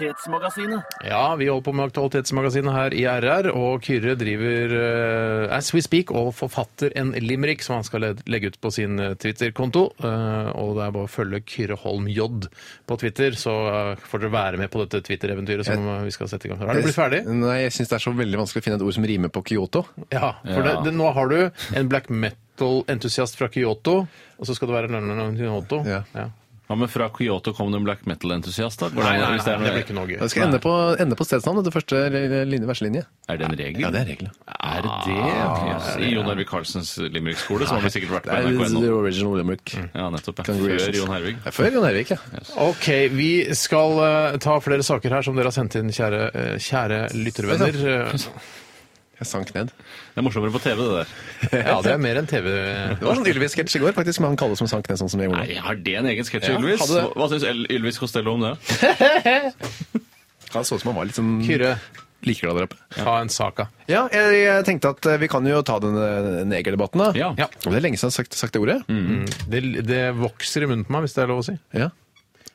A: Ja, vi holder på med Aktualitetsmagasinet her i RR, og Kyrre driver eh, as we speak og forfatter en limerick som han skal led- legge ut på sin eh, Twitter-konto. Eh, og det er bare å følge Kyrre Holm J på Twitter, så eh, får dere være med på dette Twitter-eventyret som eh, vi skal sette i gang. Har du blitt ferdig?
C: Nei, jeg syns det er så veldig vanskelig å finne et ord som rimer på Kyoto.
A: Ja. For det, det, nå har du en black metal-entusiast fra Kyoto, og så skal du være lønneren av Kyoto.
C: Ja.
B: Hva med fra Kyoto kom det en black metal-entusiast? da? Går
A: Nei,
B: det an,
A: nei,
B: hvis
A: nei, det
B: er,
A: blir ikke noe gøy.
C: Det skal ende på, ende på stedsnavn, det første linje, verselinje.
B: er det en regel?
C: Ja, det er regelen. Ah,
B: Er det? Yes. I Jon Hervik Karlsens limerickskole, så har vi sikkert vært
C: Det
B: på
C: er the
B: NRK.no.
C: original limerick.
B: Ja, nettopp. ja. Mm.
C: Congratulations.
B: Før Jon Hervig.
C: Det er Før Jon Ervik, sånn? ja.
A: Ok, vi skal eh, ta flere saker her som dere har sendt inn, kjære, eh, kjære lyttervenner.
C: Jeg sank ned.
B: Det er morsommere på TV, det der.
A: Eh, Ja, det er mer enn TV.
C: (laughs) Det var sånn Ylvis-sketsj i går, faktisk, med han Kalle som sank ned sånn som jeg gjorde.
B: Nei, Har det en egen sketsj,
C: Ja,
B: Ylvis?
C: hadde det.
B: Hva syns Ylvis Costello om det?
C: Han så ut som han var litt sånn
A: Kyrre,
C: liker deg der oppe.
A: ta en sak, da.
C: Ja, jeg, jeg tenkte at eh, vi kan jo ta den eh, negerdebatten, da.
B: Ja.
C: Og det er lenge siden jeg har sagt, sagt det ordet.
A: Det, det vokser i munnen på meg, hvis det er lov å si.
C: Ja.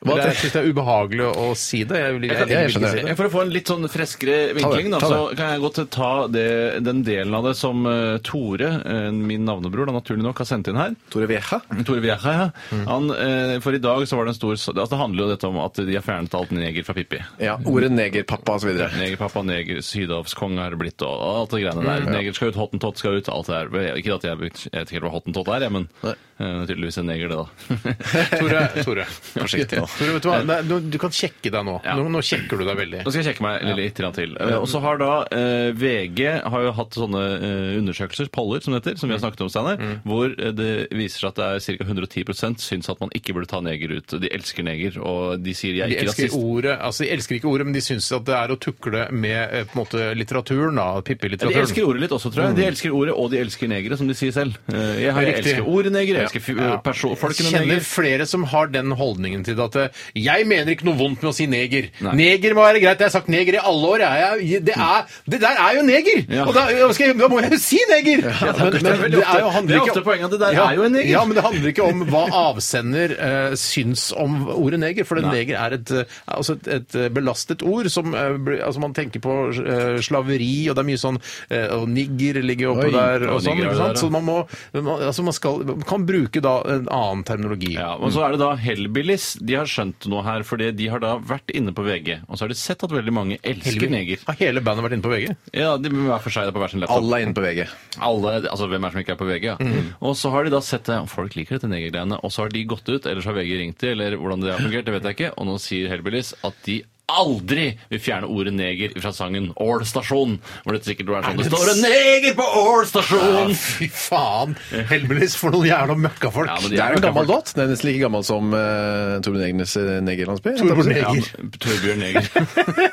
C: Hva
A: Det er, jeg
C: tenker-
A: syns det er ubehagelig å si det. Jeg, vil- jeg,
C: kan- jeg
A: vil ikke
C: skjønner.
A: si det.
B: For å få en litt sånn freskere vinkling, da,
C: ta
B: så kan jeg godt ta det, den delen av det som eh, Tore, eh, min navnebror, da, naturlig nok har sendt inn her.
C: Tore Vieja.
B: Tore Vieja, ja.
A: Mm.
B: Han, eh, for i dag så var det en stor s- altså, Det handler jo dette om at de har fjernet alt neger fra Pippi.
C: Ja, ordet negerpappa osv.
B: Negerpappa, neger, sydhavskonge har det blitt, og
A: Mm,
B: alt det greiene der. Neger skal ut, hottentott skal ut, alt det der. Ikke at jeg, jeg vet ikke helt hva hottentott er, jeg, men
C: Nei.
B: Eh, tydeligvis en neger, det, da.
A: (laughs) Tore, Tore.
B: (laughs) Forsiktig nå.
A: Tore, vet du hva? Nei, du, du kan sjekke deg nå.
B: Ja.
A: nå. Nå sjekker du deg veldig.
B: Nå skal jeg sjekke meg litt, litt grann til. Eh, Og så har da eh, VG har jo hatt sånne eh, undersøkelser, poller som det heter, som vi har
A: Mm.
B: snakket om, Steinar, hvor eh, det viser seg at det er ca. 110 syns at man ikke burde ta neger ut. De elsker neger, og de sier 'jeg
A: De
B: er ikke
A: elsker,
B: rasist'.
A: ordet, altså de elsker ikke ordet, men de syns at det er å tukle med eh, på en måte, litteraturen. da,
B: Ja, De
A: Pippelitteraturen.
B: elsker ordet litt også, tror jeg. De elsker ordet, og de elsker negere, som de sier selv. Eh, Jeg, jeg
A: Mm. Riktig.
B: elsker ordet neger, jeg
A: Ja.
B: elsker fi-
A: Ja.
B: perso-
A: Jeg
B: eh, folkene
A: kjenner
B: neger.
A: flere som har den holdningen til det. At eh, jeg mener ikke noe vondt med å si neger.
B: Nei.
A: Neger må være greit. Jeg har sagt neger i alle år. Jeg, jeg, det, er, det der er jo neger!
B: Ja.
A: Og da, jeg skal, da må jeg jo si neger!
B: men- men det er veldig ofte- det er ofte poenget at det der
A: ja,
B: er jo en neger.
A: Ja, men det handler ikke om hva avsender eh, syns om ordet neger. For det neger er et, eh, altså et, et eh, belastet ord som eh, blir- altså Man tenker på eh, slaveri, og det er mye sånn eh, Og nigger ligger oppe
B: Oi,
A: der, og
B: og
A: sånn.
B: nigger er
A: ikke sant?
B: der,
A: Så
B: ja.
A: man må man, altså man skal, kan bruke da en annen terminologi.
B: Ja, men så er det da Hellbillies. De har skjønt noe her, fordi de har da vært inne på VG, og så har de sett at veldig mange elsker neger.
A: Har hele bandet vært inne på VG?
B: Ja, de må være for seg da på hver sin laptop.
C: Alle er inne på VG.
B: Alle, altså hvem er det som ikke er på VG, ja. Og så har de da sett det, folk liker dette negergreiene, og så har de gått ut, eller så har VG ringt de, eller hvordan det har fungert, det vet jeg ikke, og nå sier Hellbillies at de aldri vil fjerne ordet neger fra sangen Ål stasjon, hvor det sikkert var sånn, det står en neger på Ål stasjon!
A: Fy faen! Heldigvis for noen jævla møkkafolk.
B: Ja, men de
C: Det er jo en gammel
B: folk.
C: låt. Den er nesten like gammel som uh, Torbjørn Egnes eh, negerlandsby.
A: Torbjørn
C: Ja.
A: Egner.
B: Torbjørn Neger.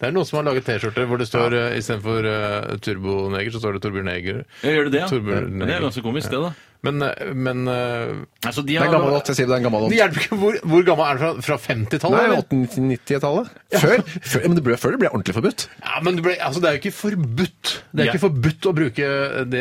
A: Det er noen som har laget T-skjorter hvor det står eh, istedenfor uh, Turboneger, så står det Torbjørn Eger.
B: Ja, Gjør du det? Ja?
A: Torbjørn
B: Det er
A: Neger.
B: ganske komisk, det, da.
A: Men, eh, men eh,
B: Altså, de
C: Det
B: har,
C: er en gammel låt. Jeg sier det er en gammel
A: det
C: låt.
A: hjelper ikke hvor, hvor gammel er den fra? Fra
C: Nei,
A: 50-tallet? eller?
C: 1890-tallet. Før, før, men det ble, før det ble ordentlig forbudt.
A: Ja, men det, ble, altså, det er jo ikke forbudt. Det er
B: Ja.
A: ikke forbudt å bruke det,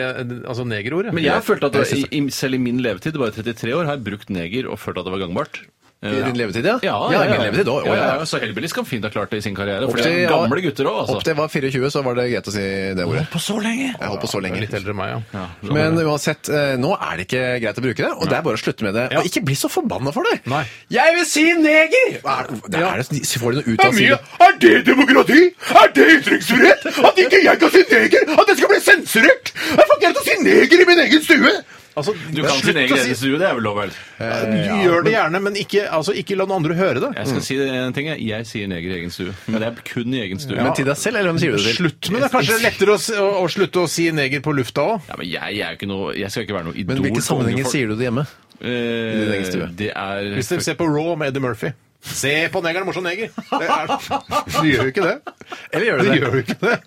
A: altså negerordet.
B: Men jeg har følt at det,
A: Jeg synes-
B: i, i- selv i min levetid, bare 33 år, har jeg brukt neger og følt at det var gangbart. Eh,
C: I din levetid, ja?
B: Ja,
C: i min levetid òg.
B: ja, ja, ja. Så Hellbillies kan fint ha klart det i sin karriere. For
C: Opp
B: det
C: til-
B: er
C: ja,
B: gamle gutter òg,
C: Opp
B: altså.
C: til jeg var 24, så var det greit å si det ordet.
B: På så lenge!
C: Jeg holdt på så lenge.
A: Litt eldre enn meg, ja.
B: Sånn
C: Men uansett, eh, nå er det ikke greit å bruke det, og det er bare å slutte med det. Og ikke bli så forbanna for
B: altså.
C: det!
A: Nei.
C: Jeg vil si neger! Hva Er, det er det, så får de noe ut av å si det.
A: Er det demokrati? Er det ytringsfrihet? At ikke jeg kan si neger? At det skal bli sensurert? Jeg får ikke helt å si neger i min egen stue! Altså,
B: Du kan sin egen egen stue, det er vel lov, vel?
A: Gjør det gjerne, men ikke, altså, ikke la noen andre høre det.
B: Jeg skal si en ting. Jeg, jeg sier neger i egen stue. Men det er kun i egen stue.
C: Men til deg selv, eller hvem sier du det til?
A: Slutt med det. Kanskje det er lettere å, s- å, å slutte å si neger på lufta òg.
B: Ja, men jeg, jeg, er jo ikke noe, jeg skal ikke være noe idol.
C: Men hvilke sammenhenger sier du det hjemme? din egen stue?
B: Eh, Det er
A: Hvis dere ser på Raw med Eddie Murphy. Se på negeren, morsom neger! (laughs) Det er, du gjør jo ikke det.
C: Eller gjør
A: Du
C: du det?
A: gjør jo ikke det.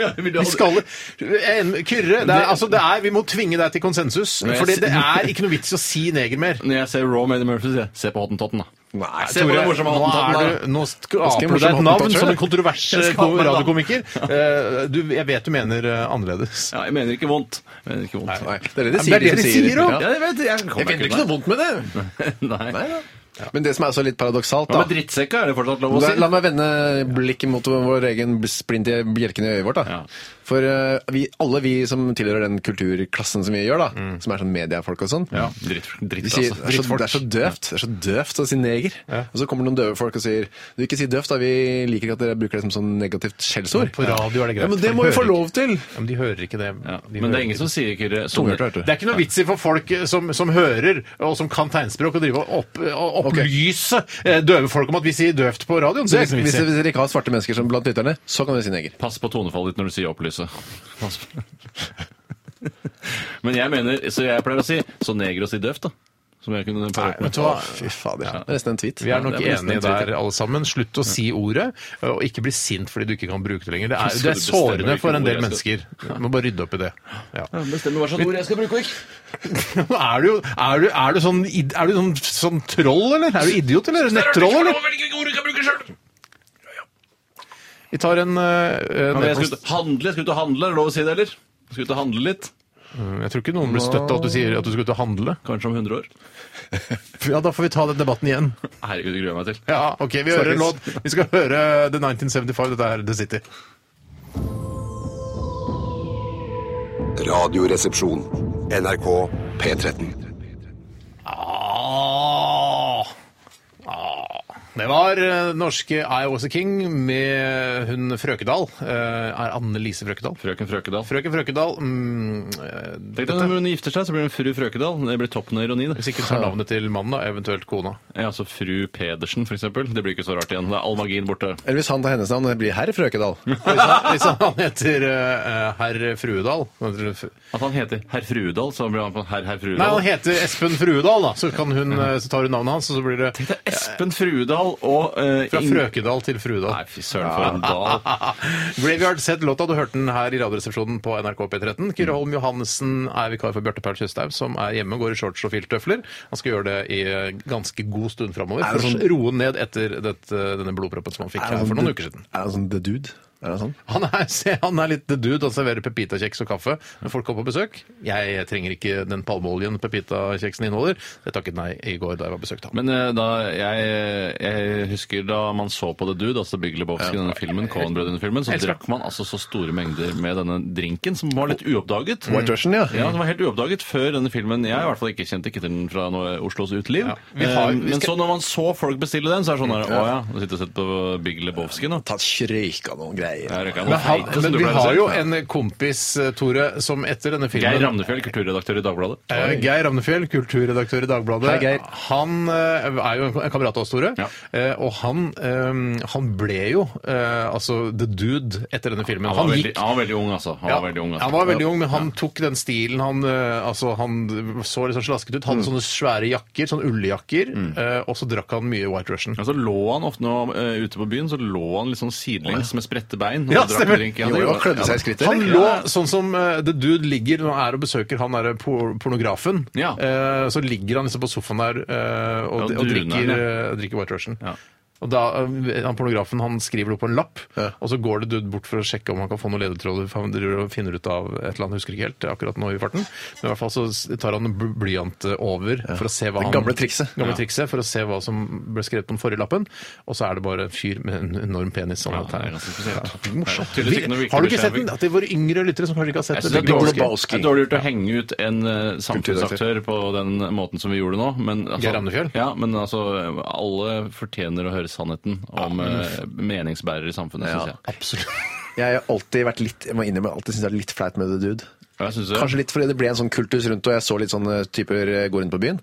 B: Ja, vil
A: Vi
B: du ha-
A: skal Jeg er enig med Kyrre, det er, altså, det er, vi må tvinge deg til konsensus.
B: Men jeg
A: Fordi
B: s-
A: det er ikke noe vits i å si neger mer.
B: Når jeg ser Raw Made in Murphy, sier jeg se på Hottentotten, da.
C: Nei,
B: Se på
A: Tore,
B: den morsomme
A: nå,
B: Hottentotten,
A: er
B: da.
A: du, nå skaper du deg
C: morsom
A: et navn
C: Hottentott,
A: som en
C: tror
A: kontrovers eh,
B: Jeg
A: ko-
B: skaper meg navn.
A: radiokomiker. Eh, du- Jeg vet du mener eh, annerledes.
B: Ja, jeg mener ikke vondt. Jeg mener ikke vondt.
C: Nei, det er det de
A: Men
C: sier.
A: det er det de sier, jo.
C: Ja.
B: Ja, jeg vet, jeg
C: Jeg finner ikke noe vondt med det.
B: (laughs) Nei.
C: Nei, da. Men det som er så litt paradoksalt,
B: Hva med
C: da
B: drittsekka? Er det fortsatt lov å
C: La,
B: si?
C: la meg vende blikket mot vår egen splint i bjelken i øyet vårt. Da.
B: Ja.
C: For eh, vi, alle vi som tilhører den kulturklassen som vi gjør, da, som er sånn mediefolk og sånn,
B: Mm. Ja, dritt, dritt
C: de sier,
B: altså.
C: det, er så, det er så døvt det er så døvt å si neger. Og så kommer noen døve folk og sier Du, ikke si døvt, da. Vi liker ikke at dere bruker det som sånn negativt skjellsord.
A: På radio er det greit.
C: Ja, men det
A: for
C: må
A: de
C: vi få
A: hører
C: lov til!
A: ikke- Ja, men de hører ikke det.
B: Ja.
A: De
B: Men det
A: hører
B: er ingen
A: ikke
B: som sier Kyrre sånn-
C: Tunghørt, vet
A: det
C: du.
A: er ikke noe vits i for folk eh, som, som hører, og som kan tegnspråk, å drive og opp, eh, og opplyse eh, døve folk om at vi sier døvt på radioen. Det er
C: Så hvis,
A: ikke noe
C: hvis
A: vits i.
C: dere ikke har svarte mennesker som blant lytterne, så kan dere si neger.
B: Pass på tonefallet ditt når du sier 'opplyse'. Pass på. (laughs) Men jeg mener, så jeg pleier å si så neger å si døvt, da. Som jeg kunne parert med.
A: Vet du hva?
C: Fy fader. Det er nesten en tweet.
A: Vi er
B: Ja,
A: nok
B: det er nesten
A: enige
B: en tweet,
A: der, alle sammen. Slutt å si ordet, eh, og ikke bli sint fordi du ikke kan bruke det lenger. Det er,
B: Skal
A: det
B: du
A: er
B: bestemme
A: sårende
B: hvilke
A: for en
B: ord
A: del
B: jeg skal-
A: mennesker. Du må bare rydde opp i det. Ja.
B: Bestemmer hva slags ord jeg skal bruke og ikke.
A: Nå (laughs) Er du, jo- er du, er du, sånn, id- er du sånn, sånn troll, eller? Er du idiot, eller? Nettroll, eller? Vi tar en eh, en
B: Jeg skal
A: e-post.
B: ut og handle, jeg skal ut og handle, er det lov å si det, eller? Jeg skal ut og handle litt.
A: Jeg tror ikke noen blir støtta at du sier at du skal ut og handle.
B: Kanskje om 100 år.
A: Ja, Da får vi ta den debatten igjen.
B: Herregud, det gruer jeg meg til.
A: (laughs) Ja, ok, Vi hører en låt. Vi skal høre The 1975. Dette er The City.
G: Radioresepsjon.
D: NRK P13.
A: Ah. Ah. Det var eh, norske I Was A King med hun Frøkedal. eh, Er Anne Lise Frøkedal?
B: Frøken Frøkedal.
A: Frøken Frøkedal mm, eh,
B: Tenk deg når hun gifter seg, så blir hun fru Frøkedal. Det blir toppen av ironi.
A: Hvis
B: det.
A: ikke hun tar navnet til mannen, da, eventuelt kona.
B: Ja, altså fru Pedersen, for eksempel. Det blir ikke så rart igjen. Det er all magien borte.
C: Eller hvis han tar hennes navn, det blir herr Frøkedal.
A: (laughs) Hvis han, hvis han heter eh, herr Fruedal Nei,
B: At han heter herr Fruedal, så blir han på herr herr
A: han
B: Fruedal.
A: heter Espen Fruedal, da. Så, kan hun, eh, så tar hun navnet hans, og så blir det
B: Tenk deg Espen Fruedal og eh,
A: fra
B: Ing-
A: Frøkedal til Fruedal.
B: Nei,
A: (laughs)
B: fy søren, for en dal.
A: Graveyard Set låta, du hørte den her i Radioresepsjonen på NRK
C: Mm.
A: P13. Kyrre Holm Johannessen er vikar for Bjarte Paul Tjøstheim, som er hjemme og går i shorts og filttøfler. Han skal gjøre det i eh, ganske god stund framover.
C: Er det
A: For å
C: sånn-
A: roe ned etter dette, denne blodproppen som han fikk for noen uker siden.
C: Er han sånn The Dude? Er han sånn?
A: Han er, (laughs) se, han er litt the dude. Han serverer pepitakjeks og kaffe når folk kommer på besøk. Jeg trenger ikke den palmeoljen pepitakjeksen inneholder. Jeg takket nei i går da jeg var besøkt av ham.
B: Men eh, da, jeg, jeg husker da man så på The Dude, altså Big Lebowski, denne filmen, Coen-brødrene-filmen, så
A: Elsker.
B: drakk man altså så store mengder med denne drinken, som var litt uoppdaget.
C: White Russian, ja.
B: Ja, den var helt uoppdaget før denne filmen. Jeg i hvert fall ikke kjente ikke til den fra noe Oslos uteliv.
A: Ja, vi har-
B: Eh,
A: vi
B: Men
A: skal-
B: så når man så folk bestille den, så er det sånn her, å ja, nå sitter og sett på Big Lebowski nå.
C: Tatt røyka noen greier.
B: Jeg røyka
A: Men,
B: noe
A: han,
B: feite, som
A: men
B: du
A: vi
B: pleier å
A: har
B: si.
A: jo en eh, kompis, Tore, som etter denne
B: Geir
A: filmen
B: Ramnefjell, kulturredaktør i Dagbladet.
A: Eh, Geir Ravnefjell, kulturredaktør i Dagbladet.
C: Hei, Geir.
A: Han eh, er jo en en kamerat av oss, Tore.
B: Ja.
A: Eh, Og han, eh, han ble jo eh, altså the dude etter denne filmen.
B: Han var, veldig, han var veldig ung, altså. Han var veldig ung, altså.
A: han var veldig ung, men han tok den stilen. Han, eh, altså, han så litt sånn slasket ut. Hadde
B: Mm.
A: sånne svære jakker, sånne ulljakker. eh, Og så drakk han mye White Russian.
B: Ja, så lå han ofte nå eh, ute på byen, så lå han litt sånn sidelengs med spredte bein. og
A: Ja,
B: drakk
A: stemmer.
B: drink.
C: Jo, jo,
B: det-
C: klødde seg i skrittet,
A: Han
C: eller?
A: lå sånn som eh, The Dude ligger når han er og besøker han derre por pornografen.
B: Ja.
A: Eh, så ligger han liksom på sofaen der eh, og,
B: Ja,
A: og
B: duner,
A: drikker,
B: ja.
A: eh, drikker White Russian.
B: Ja.
A: Og da, eh, han Pornografen han skriver det på en lapp, og så går det dude bort for å sjekke om han kan få noen ledetråder. for Han driver og finner ut av et eller annet, husker ikke helt akkurat nå i farten. Men i hvert fall så s- tar han en bl- blyant eh, over for å se hva
C: Det
A: han
C: gamle trikset.
A: gamle
B: Ja.
A: trikset for å se hva som ble skrevet på den forrige lappen. Og så er det bare en fyr med en enorm penis. Sånn
B: Ja,
A: at
B: det er
A: han-
B: ganske spesielt.
A: Ja, morsomt.
B: Det er tydeligvis ikke noe
A: Vi-
B: virkelig
A: Har du ikke
B: beskjed
A: sett
B: vi-
A: den? At det er våre yngre lyttere som kanskje ikke har sett
B: Jeg
A: den.
B: synes det er
A: Lebowski.
B: dårlig- det er dårlig gjort å henge ut en eh, samfunnsaktør på den måten som vi gjorde nå. Men,
A: Geir Andefjell?
B: ja, men altså, alle fortjener å høre sannheten om eh, meningsbærere i samfunnet, synes jeg.
A: Absolutt.
C: Jeg har alltid vært litt, jeg må innrømme, alltid syntes det er litt flaut med The Dude.
B: Ja, synes du?
C: Kanskje litt fordi det ble en sånn kultus rundt, og jeg så litt sånne typer eh, gå rundt på byen.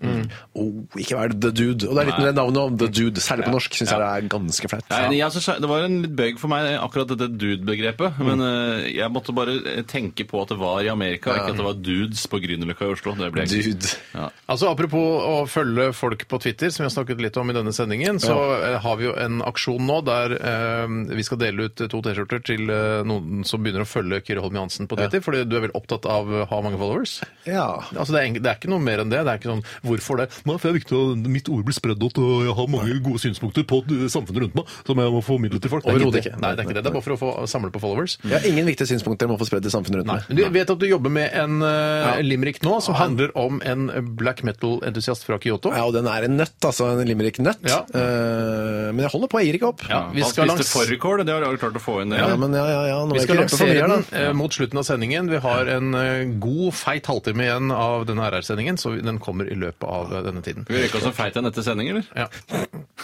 C: Oh, ikke vær The Dude. Og det er litt med det navnet om The Dude, særlig på norsk, syns jeg det er ganske flaut.
B: Nei, jeg synes det var en litt bøgg for meg, akkurat dette dude-begrepet.
A: Mm.
B: Men eh, jeg måtte bare eh, tenke på at det var i Amerika, ikke at det var dudes på Grünerløkka i Oslo. Det ble jeg-
C: Dude.
B: Ja.
A: Altså Apropos å følge folk på Twitter, som vi har snakket litt om i denne sendingen, så eh, har vi jo en aksjon nå der eh, vi skal dele ut to T-skjorter til eh, noen som begynner å følge Kyrre Holm Johansen på Twitter. Fordi du er vel opptatt av å ha mange followers?
C: Ja.
A: Altså, det, er, eng- det er ikke noe mer enn det. Det er ikke sånn 'hvorfor det'? Nei, for jeg er viktig, og mitt ord blir spredd ut, og jeg har mange gode synspunkter på eh, samfunnet rundt meg som jeg må formidle til folk. Det er
C: Overhodet
A: det.
C: ikke.
A: Nei, Mm. det er ikke det. Det er bare for å få samle på followers.
C: Jeg har ingen viktige synspunkter jeg må få spredd til samfunnet rundt
A: Men
C: meg.
A: du vet at du jobber med en uh, limerick nå som handler om en black metal-entusiast fra Kyoto.
C: Ja, og den er en nøtt, altså. En limerick-nøtt.
A: Ja.
C: Eh, men jeg holder på, jeg gir ikke opp.
B: Ja,
A: vi
B: han
A: skal
B: spiste
A: langs-
B: fårikål, det har du klart å få inn. det.
C: Ja, men ja, ja, ja. Nå
A: Vi
C: vil jeg
A: skal
C: ikke røpe for
A: lansere
C: mye her,
A: den
C: da.
A: eh, mot slutten av sendingen. Vi har en eh, god, feit halvtime igjen av denne RR-sendingen, så vi- den kommer i løpet av eh, denne tiden.
B: Skal vi røyke oss en feit en etter sending, eller?
A: Ja.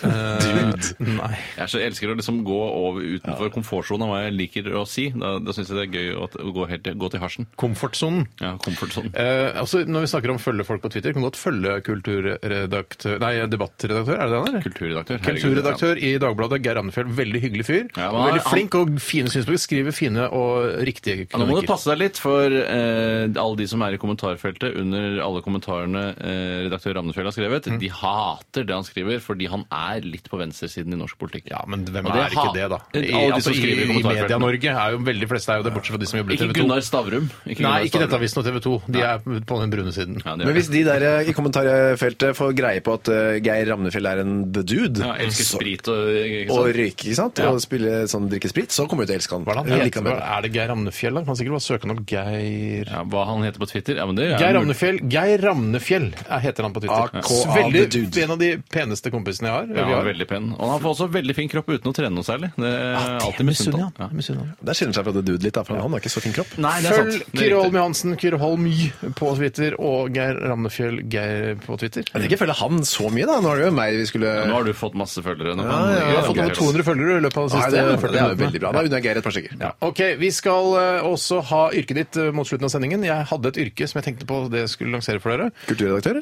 A: Dude. Nei.
B: Jeg er så elsker å liksom gå over utenfor komfortsonen av hva jeg liker å si. Da, da syns jeg det er gøy å, å gå, helt, gå til hasjen.
A: Komfortsonen.
B: Ja, sånn. komfortsonen.
A: Eh, altså, når vi snakker om følge folk på Twitter, kan du godt følge kulturredaktør Nei, debattredaktør, er det det han er?
B: Kulturredaktør. herregud.
A: Kulturredaktør i Dagbladet, Geir Andefjell. Veldig hyggelig fyr.
B: Ja, men
A: og
B: han-
A: veldig flink og fine synspunkter. Skriver fine og riktige
B: Ja, nå må du
A: kronikker.
B: passe deg litt for eh, alle de som er i kommentarfeltet under alle kommentarene eh, redaktør Ramnefjell har skrevet. De hater det han skriver fordi han er litt på venstresiden i norsk politikk.
A: Ja, men hvem
B: Og
A: er
B: det
A: ikke
B: ha-
A: det, da? I,
B: Alle de som
A: altså, i,
B: skriver i
A: i
B: kommentarfeltene.
A: Media-Norge er jo veldig fleste er jo det, bortsett fra de som jobber i
B: Ikke
A: TV 2.
B: Gunnar Stavrum.
A: Nei,
B: Gunnar
A: ikke dette
B: Stavrum.
A: avisen og TV 2. De er på den brune siden.
B: Ja, det er
C: Men
B: det.
C: hvis de der eh, i kommentarfeltet får greie på at eh, Geir Ramnefjell er en the dude
B: ja, elsker
C: så-
B: sprit og ikke
C: og
B: sant?
C: røyke, ikke sant? Og spille sånn drikke sprit, så kommer du til å elske han.
A: Hva er det
C: Jeg
A: han
C: liker
A: heter?
C: han bedre.
A: Er det Geir Ramnefjell? da? Kan sikkert bare søke han opp Geir
B: Ja, hva han heter på Twitter? Ja, men det er
A: Geir
B: mulig.
A: Ramnefjell, Geir Ramnefjell er- heter han på Twitter.
C: AKA
A: Veldig,
C: The Dude.
A: en av de peneste kompisene jeg har.
B: Ja,
A: vi har.
B: veldig pen. Og han får også veldig fin kropp uten å trene noe særlig. Det er
A: Ah,
B: alltid
A: misunner
B: misunt.
A: han.
B: Ja.
A: Jeg misunner han.
C: Der skiller seg fra The Dude litt, da, for han har ikke så fin kropp.
B: Nei, det er sant.
A: Følg
B: Det er
A: Kyrre Holm
B: riktig.
A: Johansen, Kyrre Holm Y på Twitter, og Geir Ramnefjell Geir på Twitter.
C: Jeg vil ikke følge han så mye, da. Nå er det jo meg vi skulle
B: Nå har du fått masse følgere. Nå
C: ja, ja.
A: Vi har fått over 200 følgere i løpet av de
C: Nei,
A: siste
C: det,
A: 40
C: er, det er jo
A: minuttene.
C: veldig bra. Da unner jeg Geir et par stykker.
A: Ok, Vi skal eh, også ha yrket ditt eh, mot slutten av sendingen. Jeg hadde et yrke som jeg tenkte på det jeg skulle lansere for dere.
C: Kulturredaktør?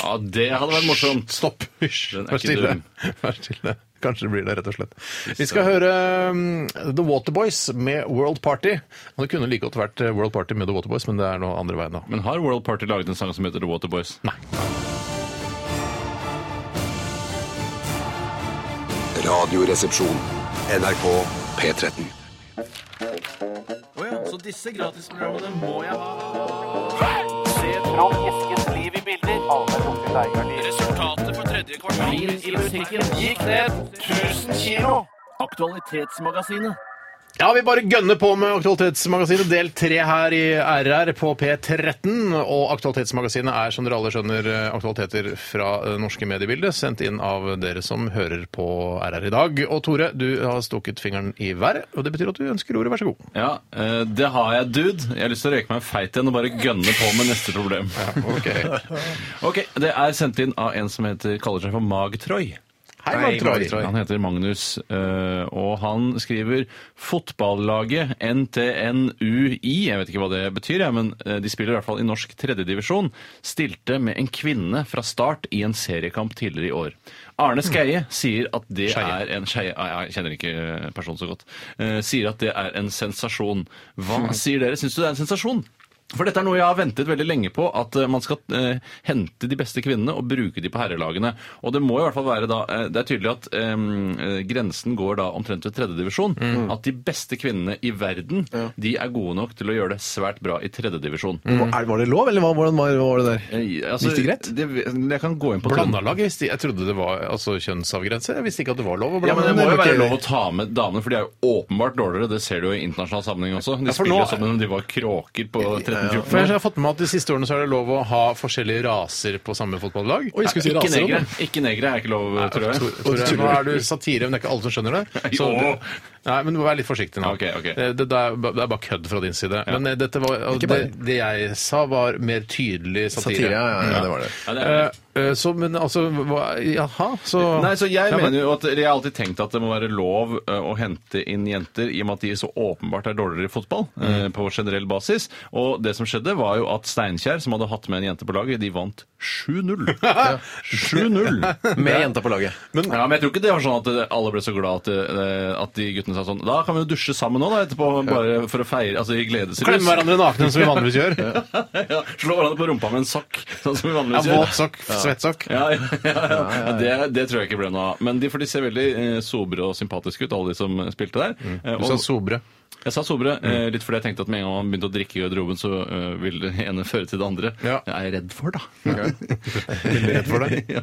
B: Ja, det hadde vært morsomt.
A: Stopp! Hysj.
B: Den er
A: Vær
B: ikke
A: stille.
B: dum.
A: Vær stille. Kanskje det blir det, rett og slett. Vi skal høre um, The Waterboys med World Party. Og det kunne like godt vært eh, World Party med The Waterboys, men det er noe andre veien, da.
B: Men har World Party laget en sang som heter The Waterboys?
G: Radioresepsjon.
D: NRK P13.
A: Ja, vi bare gønner på med Aktualitetsmagasinet del tre her i RR på P13. Og Aktualitetsmagasinet er, som dere alle skjønner, eh, aktualiteter fra det norske mediebildet, sendt inn av dere som hører på RR i dag. Og Tore, du har stukket fingeren i været, og det betyr at du ønsker ordet. Vær så god.
B: Ja, eh, det har jeg, dude. Jeg har lyst til å røyke meg feit igjen og bare gønne på med neste problem. (laughs) Ok, Det er sendt inn av en som heter, kaller seg for Magtroy.
A: Hei, Magtroy.
B: Han heter Magnus, eh, og han skriver fotballaget NTNUI, jeg vet ikke hva det betyr, jeg, men eh, de spiller i hvert fall i norsk tredjedivisjon, stilte med en kvinne fra start i en seriekamp tidligere i år. Arne Skeie sier at det
A: Skeie.
B: er en skeie, ah, jeg kjenner ikke personen så godt, eh, sier at det er en sensasjon. Hva
A: (laughs)
B: sier dere? Syns du det er en sensasjon? For dette er noe jeg har ventet veldig lenge på, at eh, man skal eh, hente de beste kvinnene og bruke de på herrelagene. Og det må i hvert fall være da eh, Det er tydelig at eh, grensen går da omtrent ved tredjedivisjon. At de beste kvinnene i verden de er gode nok til å gjøre det svært bra i tredjedivisjon. Mm.
C: Er- Var det lov, eller hva- hvordan var, var det der?
B: Altså,
C: Gikk det greit?
B: Det, jeg kan gå inn på
A: Blanda lag? Jeg, jeg trodde det var altså, kjønnsavgrense. Jeg visste ikke at det var lov å
B: Ja,
A: blande
B: men Det må jo
A: lag.
B: være lov å ta med damene, for de er jo åpenbart dårligere. Det ser du jo i internasjonal sammenheng også. De
A: Ja, for
B: spiller
A: nå-
B: jo som om de var kråker på
A: For
B: 13-14
A: jeg har fått med meg at De siste årene så er det lov å ha forskjellige raser på samme fotballag.
C: Oi, skulle si
B: Ikke
C: raser
B: negre.
C: om.
B: Ikke negre er ikke lov, tror jeg.
A: Tore, Tore, nå er du satire, men det er ikke alle som
C: (laughs)
A: skjønner det. Så,
B: Jo.
A: nei, men du må være litt forsiktig nå.
B: Ok, ok.
A: Det, det, det er, ba- det er bare kødd fra din side. Men eh, dette var, og
C: Ikke
A: det,
C: bare.
A: det jeg sa, var mer tydelig satire.
C: Satire, ja, ja, ja, det var det.
B: Ja, det er det.
A: Eh, eh, så, men altså hva, Jaha, så
B: Nei, så jeg
A: Ja, men-
B: mener jo at jeg har alltid tenkt at det må være lov eh, å hente inn jenter i og med at de så åpenbart er dårligere i fotball eh,
A: Mm.
B: på generell basis. Og det som skjedde, var jo at Steinkjer, som hadde hatt med en jente på laget, de vant
A: (laughs)
B: 7-0. Ja, 7-0!
C: Med jenta på laget.
B: ja, men jeg tror ikke det var sånn at eh, alle ble så glad at, eh, at de guttene sa sånn Da kan vi jo dusje sammen nå, da, etterpå, bare for å feire. Altså i gledesrus.
A: Klemme hverandre nakne, som vi vanligvis gjør.
B: (laughs) ja, slå hverandre på rumpa med en sokk, sånn som vi
A: Ja,
B: vanligvis gjør.
A: Våtsokk, svettsokk.
B: Ja, ja, ja, ja. Det, det tror jeg ikke ble noe av. Men de, for de ser veldig eh, sobre og sympatiske ut, alle de som spilte der. Eh,
A: Mm. Du
B: og-
A: sa sobre. Mm.
B: jeg sa sobre, eh, litt fordi jeg tenkte at med en gang man begynte å drikke i garderoben, så eh, vil det ene føre til det andre.
A: Ja.
B: Jeg er redd for, da.
A: (laughs) Veldig redd for det.
B: (laughs) ja.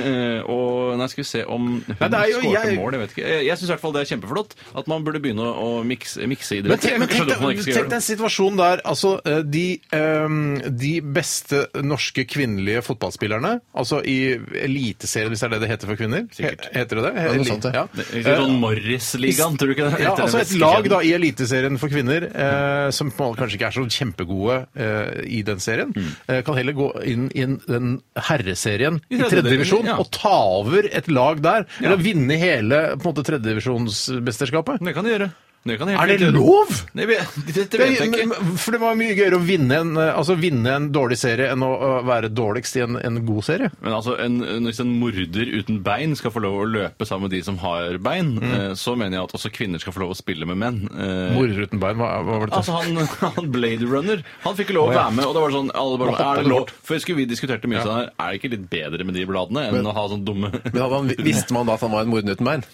B: Eh, og nei, skal vi se om hun
A: Nei, det er jo-
B: skårte
A: jeg-
B: mål, jeg vet ikke. Eh, Jeg, jeg syns i hvert fall det er kjempeflott at man burde begynne å å mikse, mikse
A: Men
B: idrett.
A: tenk, men
B: Jeg
A: tenk,
B: skjønner hvorfor man
A: deg-
B: ikke skal
A: tenk
B: gjøre
A: deg
B: det.
A: en situasjon der altså, eh, de, eh, de beste norske kvinnelige fotballspillerne, altså i Eliteserien, hvis det er det det heter for kvinner
B: Sikkert.
A: he- Heter det det?
C: noe sånt, ja.
B: Det er ikke Sånn Morris-ligaen, tror du ikke det?
A: Eh, Ja,
B: Etter den
A: altså Et
B: veskekjeden.
A: lag da i Eliteserien for kvinner eh, som på en måte kanskje ikke er så kjempegode eh, i den serien,
B: Mm.
A: eh, kan heller gå inn i en- den herreserien i
B: tredje
A: tredjedivisjon
B: divisjon, ja.
A: og ta over et lag der.
B: Ja.
A: Eller vinne hele på en måte tredjedivisjonsmesterskapet.
B: Det kan de gjøre. Det kan de helt
A: Er det
B: fint gjøre.
A: lov?!
B: Nei, vi- (laughs) Dette vet jeg
A: Men-
B: ikke.
A: men- For det var mye gøyere å vinne en, eh, altså vinne en dårlig serie enn å eh, være dårligst i en, en god serie.
B: Men altså, en, en- hvis en morder uten bein skal få lov å løpe sammen med de som har bein,
C: Mm.
B: eh, så mener jeg at også kvinner skal få lov å spille med menn. Eh,
A: Morder uten bein, hva, hva var det?
B: Altså han, (laughs) han Blade Runner Han fikk ikke lov
A: Å,
B: å
A: ja.
B: være med, og det var sånn alle bare,
A: Hoppa
B: er det
A: litt
B: lov?
A: bort.
B: For husker vi diskuterte mye sånn her Er det ikke litt bedre med de bladene enn å ha sånn dumme (laughs)
C: Men hadde han, Visste man da at han var en morder uten bein?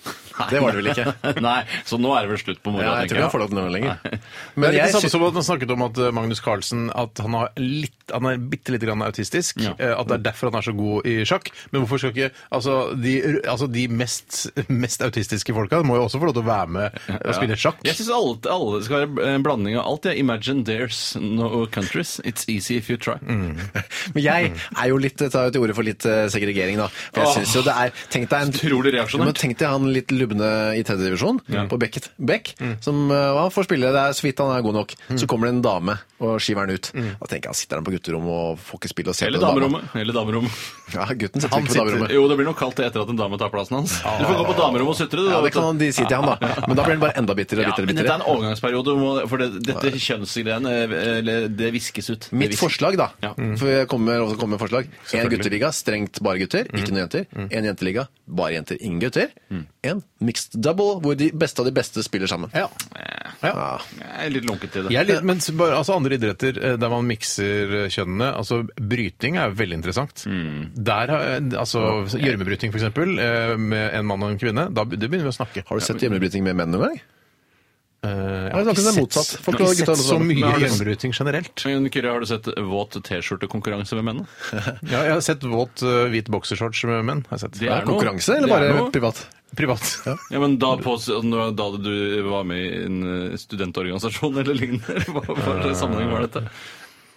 C: Det var det vel ikke.
B: (laughs) Nei, så nå er det vel slutt på moroa,
C: Ja, jeg tror ikke han får lov til å nå lenger.
B: Nei.
A: Men
C: Men
A: det er
C: jeg
A: ikke samme
C: syns
A: som at man snakket om at eh, Magnus Carlsen at han har litt litt, han er bitte lite grann autistisk.
B: Ja.
A: eh, At det er derfor han er så god i sjakk. Men hvorfor skal ikke Altså, de, altså, de mest, mest autistiske folka må jo også få lov til å være med og spille sjakk.
B: Jeg syns alle, alle skal være en blanding av alt. Ja. Imagine there's no countries. It's easy if you try.
C: Men jeg er jo litt, tar jo til orde for litt eh, segregering, da. For jeg synes jo det er Tenk deg en
B: Utrolig reaksjonært.
C: Ja, Men tenk deg han litt lubne i tredje divisjon, på Beckett, Beck,
B: Mm.
C: som eh, han får spille, det er så vidt han er god nok. Så kommer det en dame og skiver han ut. Da tenker jeg, han sitter han på gutterommet og får ikke spille og
B: Mm.
C: se
B: Eller
C: på den dama.
B: damerommet. Eller damerommet.
C: Ja, gutten sitter
A: Han
C: ikke på
A: sitter-
C: damerommet.
B: Jo, det blir nok kaldt det etter at en dame tar plassen hans. Du får gå på damerommet og sutre, du. da,
C: Ja, det
B: vet du.
C: kan han- de si til han, da. Men da blir han bare enda bittere og
B: Ja,
C: bittere.
B: men dette er
C: bittere.
B: en overgangsperiode, hvor- for det, dette kjønnsgreiene eh, eller det viskes ut. Det
C: Mitt
B: viskes.
C: forslag, da. Mm.
B: Ja.
C: For jeg kommer også komme med forslag. En gutteriga, strengt bare gutter,
B: Mm.
C: ikke noen jenter. En jenteliga, bare jenter, ingen gutter. En mixed double, hvor de beste av de beste spiller sammen. Ah.
A: Ja. ja.
C: Ja.
B: Jeg er litt lunket til det.
A: Jeg er litt, men s- bare, altså andre idretter eh, der man mikser eh, kjønnene altså Bryting er veldig interessant.
C: Mm.
A: Der, har, eh, altså Gjørmebryting, f.eks., med en mann og en kvinne. Da be- det begynner vi å snakke.
C: Har du sett hjemmebryting med menn noen gang?
A: Eh, jeg
C: Har
A: har
C: du
A: ikke
C: snakket om det
A: sett,
C: motsatt?
A: jeg
C: Folk
A: har
C: lager
A: ikke
C: gutter
A: sett så
C: alle sammen.
B: Men
A: mye
B: har du-
A: gjørmebryting generelt.
B: Men Kyrre, har du sett våt T-skjorte-konkurranse med menn?
A: (laughs) Ja, jeg har sett våt eh, hvit boksershorts med menn. har jeg sett.
B: Det
C: Er
B: er
C: det
B: noe.
C: konkurranse, eller
B: Det er
C: bare
B: noe.
C: privat?
A: Privat.
B: Ja, men da, på, altså, når- da du var med i en eh, studentorganisasjon eller lignende? eller Hva hva slags sammenheng var dette?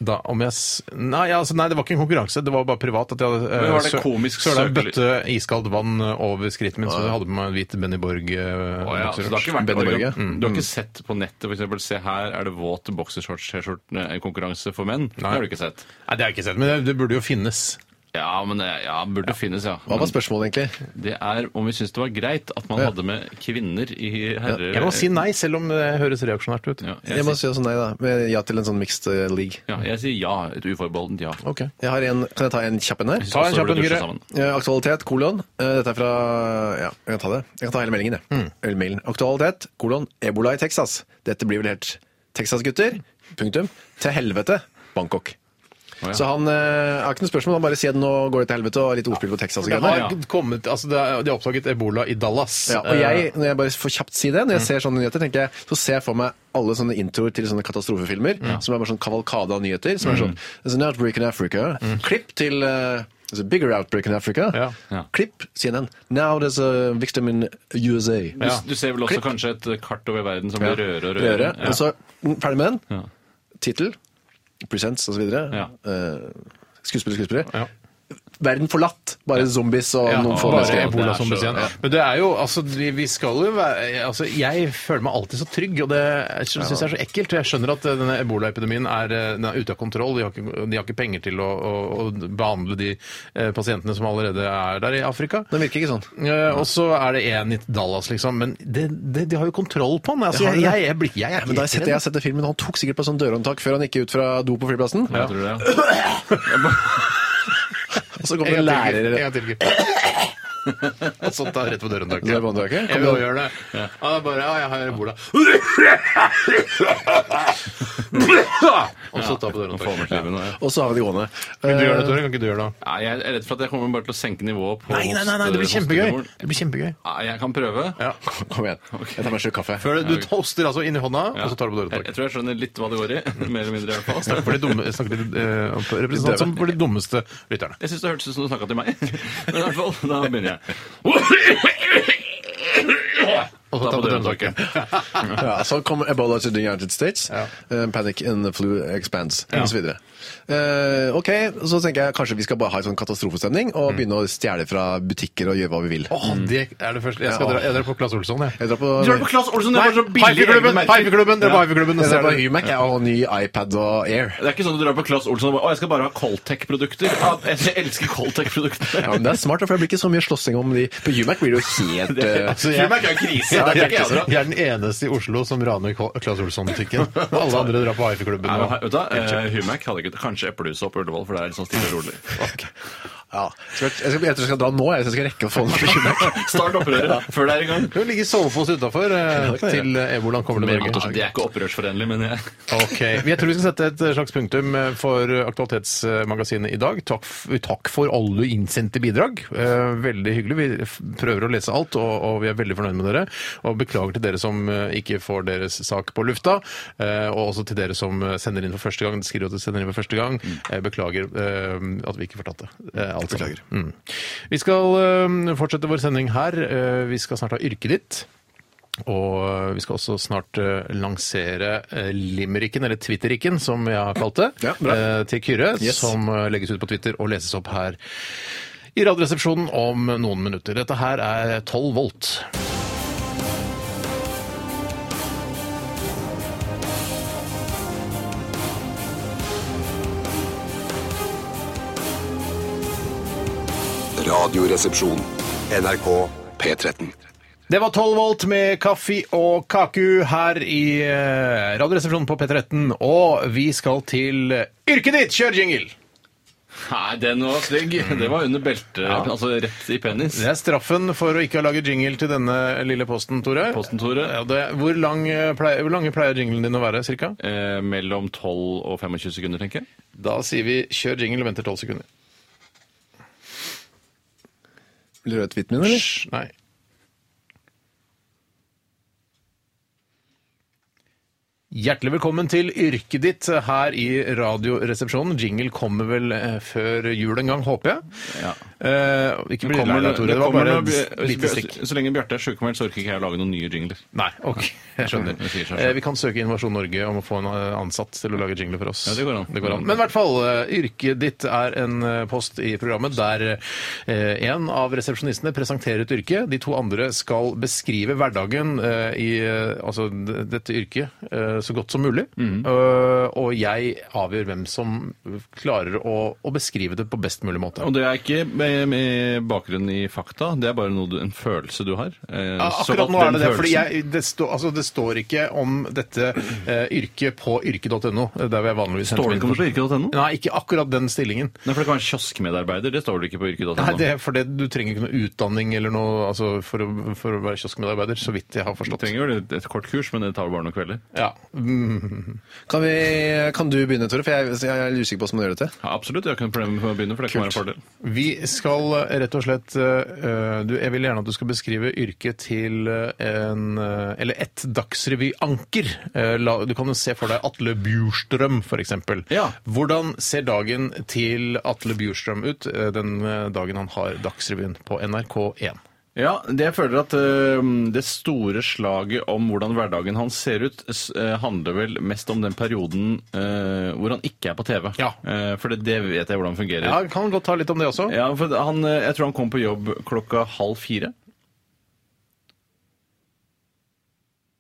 A: Da, om jeg, s- nei, ja, altså, nei, det var ikke en konkurranse, det var bare privat. At jeg hadde eh,
B: Men var det
A: sø-
B: komisk
A: søla en
B: søkelys?
A: bøtte iskaldt vann eh, over skrittet mitt, så jeg hadde på meg en hvit Benny eh,
B: Å ja, så det har
A: Borg-boksershorts.
B: ikke vært
C: Benny Borge.
B: Mm. Du har ikke sett på nettet for eksempel, Se her er det våt boksershorts-T-skjorte-konkurranse for menn. Det har du ikke sett.
A: Nei, det har jeg ikke sett, men det, det burde jo finnes.
B: Ja, men det ja, burde finnes, ja.
C: Hva var spørsmålet, egentlig?
B: Det er om vi syns det var greit at man hadde med kvinner i herre...
A: Jeg må si nei, selv om det høres reaksjonært ut.
B: Ja,
C: Jeg
B: jeg,
C: må
B: sier,
C: si også nei, da. Men ja til en sånn mixed eh, league.
B: ja, jeg sier ja. Et uforbeholdent ja.
A: Ok.
C: Jeg har en, kan jeg ta en kjapp en her?
A: Ta en
B: Så
A: kjapp
B: burde
A: en,
B: dusje
A: Kyrre.
B: sammen.
C: Eh, Aktualitet, kolon. Eh, Dette er fra Ja, jeg kan ta det. Jeg kan ta hele meldingen, jeg. Hele mailen. Aktualitet, kolon, ebola i Texas. Dette blir vel helt Texas, gutter. Punktum. Til helvete, Bangkok.
B: ja.
C: Så han eh, har ikke noe spørsmål, han bare sier at nå går det til helvete, og litt ordspill på Texas.
A: Det
C: og
A: har
C: greier.
A: kommet, altså det er, de har oppdaget ebola i Dallas. Eh,
C: Ja, og jeg, når jeg bare får kjapt si det, når jeg ser sånne nyheter, tenker jeg, så ser jeg for meg alle sånne introer til sånne katastrofefilmer, som er bare sånn kavalkade av nyheter, som er sånn, there's an outbreak in Africa, klipp til... eh, there's a bigger outbreak in Africa.
A: Ja.
B: Ja.
C: Klipp, CNN. Now there's a victim in USA.
B: Du, du ser vel også
C: Klipp.
B: kanskje et kart over verden som
C: Ja.
B: blir rødere og rødere. Ja.
C: Og så, mm, ferdig med den.
B: Ja.
C: Titel, presents og så videre.
B: Ja.
C: Eh, skuespiller, skuespiller.
A: Ja.
C: Verden forlatt. Bare zombies og
A: Ja,
C: noen få
A: bare
B: mennesker.
A: ebola
B: Det er
A: som
B: så-
A: du sier.
B: ja.
A: Men det er jo, altså, vi, vi skal jo være altså, Jeg føler meg alltid så trygg, og det syns jeg er så ekkelt. Og jeg skjønner at eh, denne ebolaepidemien er, eh, den er ute av kontroll. De har ikke, de har ikke penger til å, å, å behandle de eh, pasientene som allerede er der i Afrika.
C: Den virker ikke sånn.
A: Eh, og så er det én i Dallas, liksom. Men det, det, de har jo kontroll på den. Altså,
C: Det har
A: jeg, jeg,
C: de det.
A: jeg, blir- jeg,
C: Ja,
A: er
C: men da
A: helt
C: jeg sett,
A: redd.
C: jeg har sett det filmen, Han tok sikkert på sånn dørhåndtak før han gikk ut fra do på flyplassen.
B: Jeg tror det, ja.
C: Og så kom det
A: En
C: en
A: gang til, en
C: lærer
A: gang til, Gud. (laughs) Og sånt da, rett på døren, takk.
C: Så er det på døren, takk.
A: Jeg vil også gjøre det. Ja, det er bare, ja, jeg har ebola. Og så ta på døren,
B: Få med
A: takk.
B: kniven, ja.
C: Og så har vi det gående.
A: Kan du gjøre det, Tore? Kan ikke du gjøre det?
B: Nei, Jeg er redd for at jeg kommer bare til å senke nivået på
A: Nei, nei, nei, nei, det blir
B: hoste-
A: kjempegøy.
B: hostenivåen.
A: Det blir kjempegøy.
B: Nei, Jeg kan prøve.
A: Ja.
C: Eh, Kom igjen. Jeg tar meg en slurk
A: (laughs)
C: kaffe.
A: Før du toaster altså inn i hånda, og så tar du på døren,
B: Jeg, jeg
A: takk.
B: tror jeg skjønner litt hva det går i. (laughs) Mer eller mindre i hvert fall.
A: (laughs) Snakk for de dumme, snakk til de, eh, representant som for de dummeste lytterne.
B: Jeg syns det hørtes ut som du snakka
A: (laughs)
B: til meg. Men i hvert fall, da begynner jeg.
A: Og så
B: Ta
A: ta
B: på
A: på døren,
B: dørhåndtaket.
C: Ja, så kom ebola to the United States.
A: Ja.
C: Eh, Panic and the flu expands, og osv. Uh, ok, så tenker jeg kanskje vi skal bare ha en sånn katastrofestemning og begynne å stjele fra butikker og gjøre hva vi vil.
A: Mm. Åh,
B: Mm.
A: det er det første. Jeg skal
C: Ja.
A: dra, jeg drar på Klaas Olsson, jeg.
C: Jeg drar på,
B: Du Sånn, er på Klass Olsson, det
A: Nei,
B: er bare så billig
A: Hiveklubben!
B: egne merker.
A: Hiveklubben! Dere på Hiveklubben! og
C: jeg drar
A: ser
C: på
A: det.
C: Ymac jeg, og ny iPad og Air.
B: Det er ikke sånn at du drar på Klass Olsson og bare, å, jeg skal bare ha Coltech-produkter. Ja, Jeg elsker Coltech-produkter.
C: Ja, men det er smart, for det blir ikke så mye slåssing om de. På Ymac blir det jo helt eh,
A: Så jeg-
B: Fullmerk altså, er jo krise.
A: Ja,
B: det
A: jeg,
B: er ikke jeg drar.
A: jeg er den eneste i Oslo som raner Claes Olsson-butikken. Og alle andre drar på AIF-klubben. (laughs)
B: Nei, men, vet du, hva, eh, Humac hadde ikke Kanskje Eplehuset opp Ullevål, for det er litt sånn stille og rolig.
C: Ja. Skal Jeg, jeg, skal, jeg tror jeg skal dra nå, jeg, hvis jeg skal rekke å få den bekymret.
B: Start opprøret før det er i gang.
A: Du ligger sovefoss utafor til eh, Ebola kommer til Norge.
B: Det er ikke opprørsforenlig, men jeg
A: Ok, Jeg tror vi skal sette et eh, slags punktum for eh, Aktualitetsmagasinet i dag. Takk, f- takk for alle innsendte bidrag. Eh, Veldig hyggelig. Vi f- prøver å lese alt, og, og vi er veldig fornøyd med dere. Og beklager til dere som eh, ikke får deres sak på lufta, eh, og også til dere som eh, sender inn for første gang. Skriver at dere sender inn for første gang. Eh, Beklager eh, at vi ikke fortalte eh, alt. sammen. Mm. Vi skal eh, fortsette vår sending her. Eh, Vi skal snart ha yrket ditt. Og vi skal også snart eh, lansere eh, limericken, eller twittericken, som jeg har kalt det,
C: (laughs) Ja, bra.
A: eh, til Kyrre,
C: Yes.
A: som eh, legges ut på Twitter og leses opp her i Radioresepsjonen om noen minutter. Dette her er 12 volt.
G: Radioresepsjon.
D: NRK P13.
A: Det var 12 volt med kaffe og kaku her i eh, Radioresepsjonen på P13, og vi skal til yrket ditt! Kjør jingle!
B: Nei, den var stygg. Det var under beltet. Altså rett i penis.
A: Det er straffen for å ikke ha laget jingle til denne lille posten, Tore.
B: Posten, Tore.
A: Ja, det, hvor, lang eh, pleier, hvor lange pleier jinglen din å være, cirka?
B: Eh, mellom 12 og 25 sekunder, tenker jeg.
A: Da sier vi kjør jingle og venter 12 sekunder.
C: Vil du høre tweeten min, eller?
A: Hysj, nei. Hjertelig velkommen til yrket ditt her i Radioresepsjonen. Jingle kommer vel eh, før jul en gang, håper jeg.
B: Ja.
A: Eh, ikke bli lei deg, Tore. Det, var
B: kommer
A: bare
B: når Bj-
A: et lite
B: hvis Bj-
A: stikk.
B: Så lenge Bjarte er sjukmeldt, så orker ikke jeg å lage noen nye jingler.
A: Nei, ok. (laughs) Jeg skjønner.
B: Det sier seg selv.
A: Eh, Vi kan søke Innovasjon Norge om å få en eh, ansatt til å lage jingler for oss.
B: Ja, det går an. Mm.
A: Men i hvert fall, eh, yrket ditt er en eh, post i programmet der eh, en av resepsjonistene presenterer et yrke. De to andre skal beskrive hverdagen eh, i eh, altså, d- dette yrket eh, så godt som mulig.
B: Mm.
A: Eh, Og jeg avgjør hvem som klarer å, å beskrive det på best mulig måte.
B: Og det er ikke med, med bakgrunn i fakta, det er bare noe du, en følelse du har. Eh,
A: Ja,
B: så
A: akkurat
B: at
A: nå er
B: den
A: det det. fordi
B: følelsen-
A: jeg, det, står- altså, det står ikke om dette eh, yrket på yrke.no. eh, Der hvor jeg vanligvis henter
B: Står det
A: min
B: ikke om det på
A: informasjon.
B: yrke.no?
A: Nei, ikke akkurat den stillingen.
B: Nei, for det kan være kioskmedarbeider, det står det ikke på yrke.no.
A: Nei, det, er for det, Du trenger ikke noe utdanning eller noe, altså, for, å, for å være kioskmedarbeider, så vidt jeg har
B: Du
A: forstått.
B: trenger jo et, et kort kurs, men det tar jo bare noen kvelder.
A: Ja. Mm.
C: Kan, vi, kan du begynne, Tore? For jeg, jeg er litt usikker på hvordan man gjør dette.
B: Ja, absolutt, jeg har ikke noe problem med å begynne, for det kan være en fordel.
A: Vi skal eh, rett og slett eh, du, Jeg vil gjerne at du skal beskrive yrket til eh, en eh, Eller ett dagsrevyanker. Eh, la- Du kan jo se for deg Atle Bjurstrøm, f.eks.
B: Ja.
A: Hvordan ser dagen til Atle Bjurstrøm ut eh, den eh, dagen han har Dagsrevyen på NRK1?
B: Ja, det jeg føler at øhm, det store slaget om hvordan hverdagen hans ser ut, s- eh, handler vel mest om den perioden øh, hvor han ikke er på TV.
A: Ja.
B: Eh, for det, det vet jeg hvordan fungerer.
A: Ja, vi kan godt ta litt om det også.
B: Ja, for han, eh, jeg tror han kom på jobb klokka halv fire.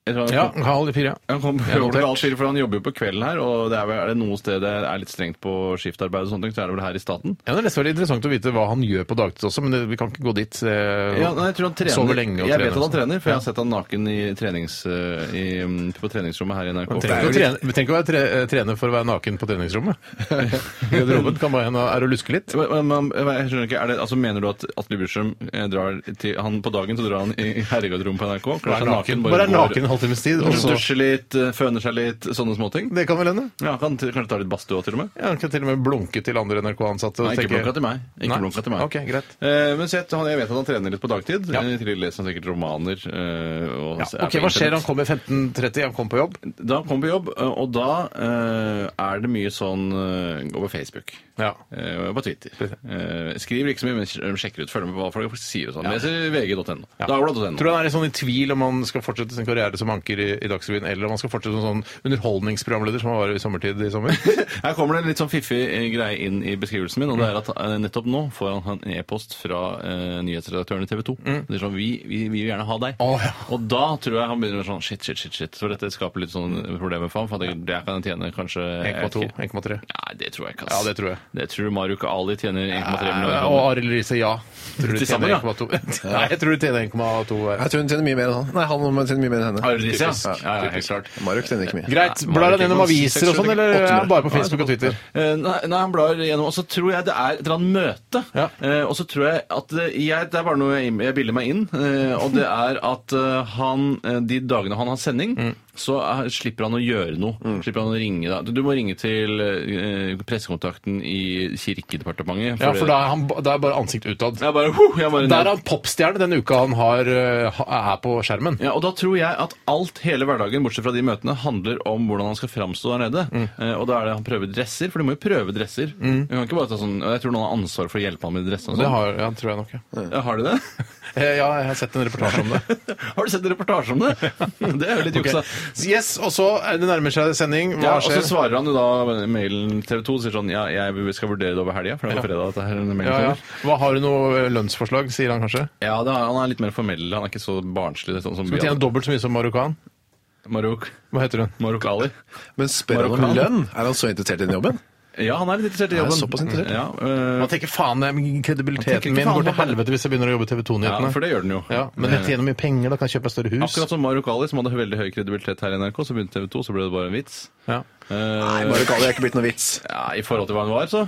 B: Jeg tror han,
A: Ja,
B: kom,
A: halv fire.
B: han kom
A: Jeg
B: på jobb klokka
A: notert.
B: halv fire, for han jobber jo på kvelden her, og det er, vel, er det noe sted det er litt strengt på skiftarbeid og sånne ting, så er det vel her i staten.
A: Ja, det er nesten veldig interessant å vite hva han gjør på dagtid også, men det, vi kan ikke gå dit. eh,
B: Ja, nei, jeg tror han trener.
A: Sover lenge og
B: jeg
A: trener
B: vet at
A: og
B: han
A: sånn.
B: trener, for jeg har sett han naken i trenings, eh, i, mm, på treningsrommet her i NRK.
A: Vi
B: (laughs)
A: trenger ikke å trene- vi trenger ikke å være tre, eh, trener for å være naken på treningsrommet. (laughs) Garderoben kan bare hende er å luske litt.
B: Men, men, men, jeg skjønner ikke, er det, altså Mener du at Atle Bjurstrøm eh, drar til han På dagen så drar han i herregarderoben på NRK? kler
A: Bare
B: seg
A: naken, bare er
B: går-
A: naken en halvtimes tid. Og så,
B: Dusjer litt, eh, føner seg litt, sånne småting?
A: det kan vel hende?
B: Ja, kan til, Kanskje ta litt badstue òg, til og med?
A: Ja, han kan til og med blunke til andre NRK-ansatte. og
B: Nei, ikke
A: tenke-
B: blunka til meg. Ikke
A: Nei?
B: blunka til meg.
A: Ok, greit.
B: Eh, men sett, han, jeg vet at han trener litt på dagtid.
A: Ja.
B: Ja. I tillegg leser han sikkert romaner. eh, og
A: Ja,
B: er
A: ok, Hva
B: på
A: skjer?
B: internett.
A: Han kommer 15.30, han kommer på jobb.
B: Da han kommer på jobb, eh, og da eh, er det mye sånn eh, Gå på Facebook.
A: Ja.
B: eh, og på Twitter. Eh, skriver ikke så mye, men sj- sjekker ut. Følger med på hva folk sier og sånn. Leser vg.no.
A: Ja.
B: Dagbladet.no.
A: Tror du han er litt sånn i tvil om han skal fortsette sin karriere som anker i, i Dagsrevyen, eller om han skal fortsette som sånn underholdningsprogramleder som han var i sommertid i (laughs) sommer?
B: (laughs) Her kommer det en litt sånn fiffig eh, greie inn i beskrivelsen min, og det er at eh, nettopp nå får han- han en e-post fra eh, nyhetsredaktøren i TV 2. Det er sånn, vi, vi, vi vil gjerne ha deg.
A: Mm. Å, ja.
B: Og da tror jeg han begynner med sånn shit, shit, shit, shit. For dette skaper litt sånn problemer for ham, for at jeg, jeg kan tjene kanskje jeg vet
A: 1,2?
B: ikke.
A: 1,3?
B: Nei, det tror jeg ikke.
A: Ja, det tror jeg.
B: Det tror du Maruk Ali tjener 1,3 millioner.
A: Og Arild Riise, ja. Tror du
B: Til sammen,
A: tjener 1,2?
B: ja.
A: (laughs) Nei, jeg tror du tjener 1,2 her.
C: Jeg tror hun tjener mye mer enn han. Nei, han må tjene mye mer enn henne.
B: paradis, ja.
A: Typisk.
B: ja, ja, helt klart.
C: Marek sender ikke mye.
A: Greit.
B: Nei,
A: Blar
B: Marek
A: han gjennom
B: Ekman,
A: aviser og sånn,
C: 600,
A: eller er han bare på
C: 800?
A: Facebook og Twitter?
B: Eh, Nei, nei, han blar gjennom, og så tror jeg det er et eller annet møte.
A: Ja.
B: Eh, og så tror jeg at eh, jeg, Det er bare noe jeg, jeg bilder meg inn, eh, og det er at eh, han eh, de dagene han har sending, så er, slipper han å gjøre noe. Slipper han å ringe deg. Du, du må ringe til eh, pressekontakten i Kirkedepartementet.
A: Ja, for da er, han, ba- da er bare ansikt utad.
B: jeg bare, huh, jeg bare,
A: Der er han popstjerne den uka han har, eh, ha- er på
B: (laughs)
A: skjermen.
B: Ja, og da tror jeg at alt, hele hverdagen, bortsett fra de møtene, handler om hvordan han skal framstå der nede.
A: Mm.
B: Eh, og da er det han prøver dresser, for du må jo prøve dresser. Du kan ikke bare ta sånn, Jeg tror noen har ansvar for å hjelpe ham med dressene. og
A: Det
B: sånn.
A: har, ja, tror jeg nok. Ja.
B: Ja, har de det? (laughs)
A: Eh, ja, jeg har sett en reportasje om det.
B: har du sett en reportasje om det? (laughs) det er jo litt
A: Ok.
B: juksa.
A: Yes, og (laughs) så er det nærmer seg sending.
B: Ja,
A: Hva
B: og så
A: skjer?
B: svarer han jo da mailen TV 2 sier sånn Ja, jeg skal vurdere det over helga, for det var fredag dette her. denne mailen
A: Ja, ja.
B: kommer.
A: Hva Har du noe eh, lønnsforslag, sier han kanskje?
B: ja det er, han er litt mer formell. Han er ikke så barnslig. Sånn som
A: Du tjener dobbelt så mye som marokkan.
B: Marok,
A: Hva heter hun?
B: Marok Ali.
C: Men spør han om
B: Marokkan.
C: lønn? Er han så interessert i den
B: (laughs)
C: jobben?
B: Ja, han er litt interessert i
C: Er
B: jobben.
C: såpass interessert?
B: Ja, eh,
A: Man tenker faen, det er
B: Man tenker
A: kredibiliteten
B: ikke
A: min
B: faen
A: går til
B: på han.
A: helvete hvis jeg begynner å jobbe i TV
B: ja,
A: 2-nyhetene.
B: for det gjør den jo.
A: Ja, men jeg tjener mye penger, da kan jeg kjøpe et større hus.
B: Akkurat som Maruk Ali, som hadde veldig høy kredibilitet her i NRK, så begynte TV 2, så ble det bare en vits.
A: Ja.
B: Eh,
C: Nei, Marek Ali er ikke blitt noe vits.
B: ja, I forhold til hva han var, så.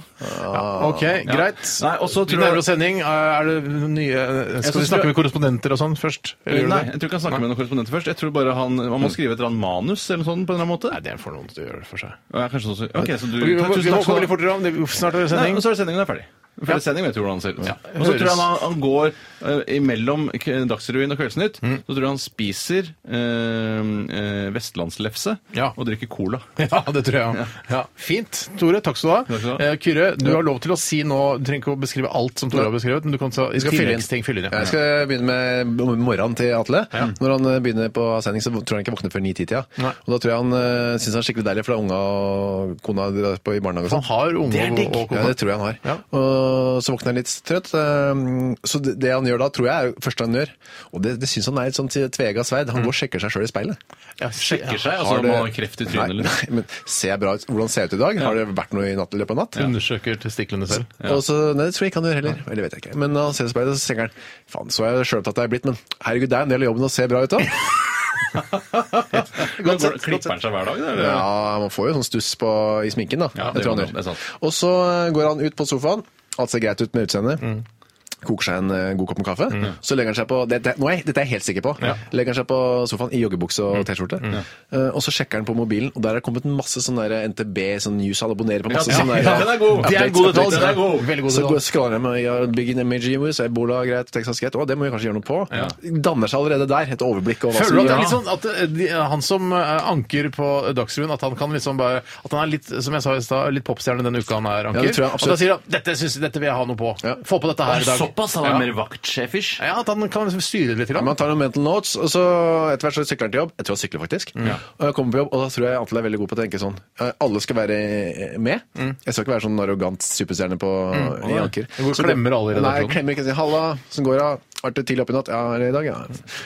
A: Ok, greit.
B: Nei, og så
A: Vi
B: tror jeg-
A: nærmer oss sending. Er det nye Skal
B: så
A: vi snakke
B: tror-
A: med korrespondenter og sånn først? Eller gjør du
B: Nei,
A: det? Mm.
B: jeg tror ikke han snakker med noen korrespondenter først. Jeg tror bare han, Man må skrive et eller annet manus eller noe sånt på en eller annen måte.
A: Nei, det får noen til å gjøre det for seg.
B: Ja, kanskje sånn så- Ok, så du
A: Vi, vi, vi,
B: Tusen
A: må gå
B: takk skal du
A: veldig
B: ha.
A: fortere om. Det- Snart er det
B: Nei,
A: sending.
B: men så er sendingen er ferdig. For sendingen vet jo hvordan han ser ut. Og
A: Høres.
B: så tror jeg han, han går eh, imellom k- Dagsrevyen og Kveldsnytt.
A: Mm.
B: Så tror jeg han spiser eh, eh, vestlandslefse
A: Ja.
B: og drikker cola.
A: (laughs) Ja, det tror jeg òg. Ja. Fint. Tore, takk skal du
B: Takk
A: ha.
B: skal du ha.
A: Eh, Kyrre, du har lov til å si nå Du trenger ikke å beskrive alt som Tore har beskrevet, men du kan ta i
C: skal fylle inn.
A: tilleggsting fylle inn.
C: Jeg
A: Ja.
C: skal begynne med om morgenen til Atle. Når han eh, begynner på sending, så tror jeg han ikke våkner før 9-10-tida.
A: Nei.
C: Og da tror jeg han eh, syns han er skikkelig deilig, for det er unga og kona drar på i barnehage og
A: Han
C: sånn.
A: har unge og, og
C: Ja, det tror jeg han har.
A: Ja.
C: Og så våkner han litt trøtt. eh, Så det det han gjør da, tror jeg er det første han gjør. Og det, det syns han er et sånt tvega sverd. Han går og sjekker seg sjøl i speilet.
A: Ja,
B: Mm. Sjekker seg, altså
C: Har
B: om
C: det-
B: han har kreft i trynet
C: Nei,
B: eller
C: Nei, men ser jeg bra ut? Hvordan ser jeg ut i dag? Har det vært noe i natt i løpet av natt?
A: Undersøker testiklene selv.
C: Og så, nei, det tror jeg ikke han gjør heller. Eller vet jeg ikke. Men når han ser i speilet, så tenker han faen, så er jeg sjølopptatt jeg er blitt, men herregud, det er en del av jobben å se bra ut òg.
B: Men går- Klipper han seg hver dag? da, Eller?
C: Ja, man får jo sånn stuss på, i sminken, da.
B: Ja,
C: Jeg
B: det
C: tror
B: gjør
C: han
B: man,
C: gjør.
B: det er sant.
C: Og så eh, går han ut på sofaen. Alt ser greit ut med utseendet.
B: Mm.
C: Koker seg en eh, god kopp med kaffe. Så legger han seg på dette, nå er, jeg- dette er jeg helt sikker på. Legger han seg på sofaen i joggebukse
B: Mm.
C: og T-skjorte. Eh, og så sjekker han på mobilen, og der er det kommet masse sånn der NTB, sånn news han abonnerer på. masse
B: Ja,
C: sånn der,
B: ja, den er god.
C: updates,
B: Det er en god detalj,
C: updates.
B: den er god.
A: Veldig god
C: Så
A: detalj.
C: går- scroller jeg med ja, Big in Image US, Ebola, greit, Texas, greit. Å, det må vi kanskje gjøre noe på. Danner seg allerede der et overblikk over hva
A: Føler du at det er
C: Ja.
A: litt sånn at eh, de, han som eh, anker på Dagsrevyen, at han kan liksom bare At han er litt, som jeg sa i stad, litt popstjerne den uka han er anker?
C: det tror jeg
A: og da
C: absolutt.
A: sier han dette, synes, jeg- dette vil jeg ha noe på.
C: Ja.
A: Få på dette her i dag.
B: Såpass? Han er
A: ja.
B: mer vaktsjefish?
A: ja, at han kan liksom styre litt. Grann.
C: Man tar noen mental notes, og så etter hvert så sykler han til jobb. Jeg tror han sykler, faktisk. Og jeg kommer på jobb, og da tror jeg Atle er veldig god på å tenke sånn eh, Alle skal være eh, med. Jeg skal ikke være sånn arrogant superstjerne på i anker.
A: Hvor klemmer alle i redaksjonen?
C: Nei, jeg klemmer ikke. Jeg sier, Halla, hvordan går det? Har vært tidlig oppe i natt? Ja, eller i dag, ja.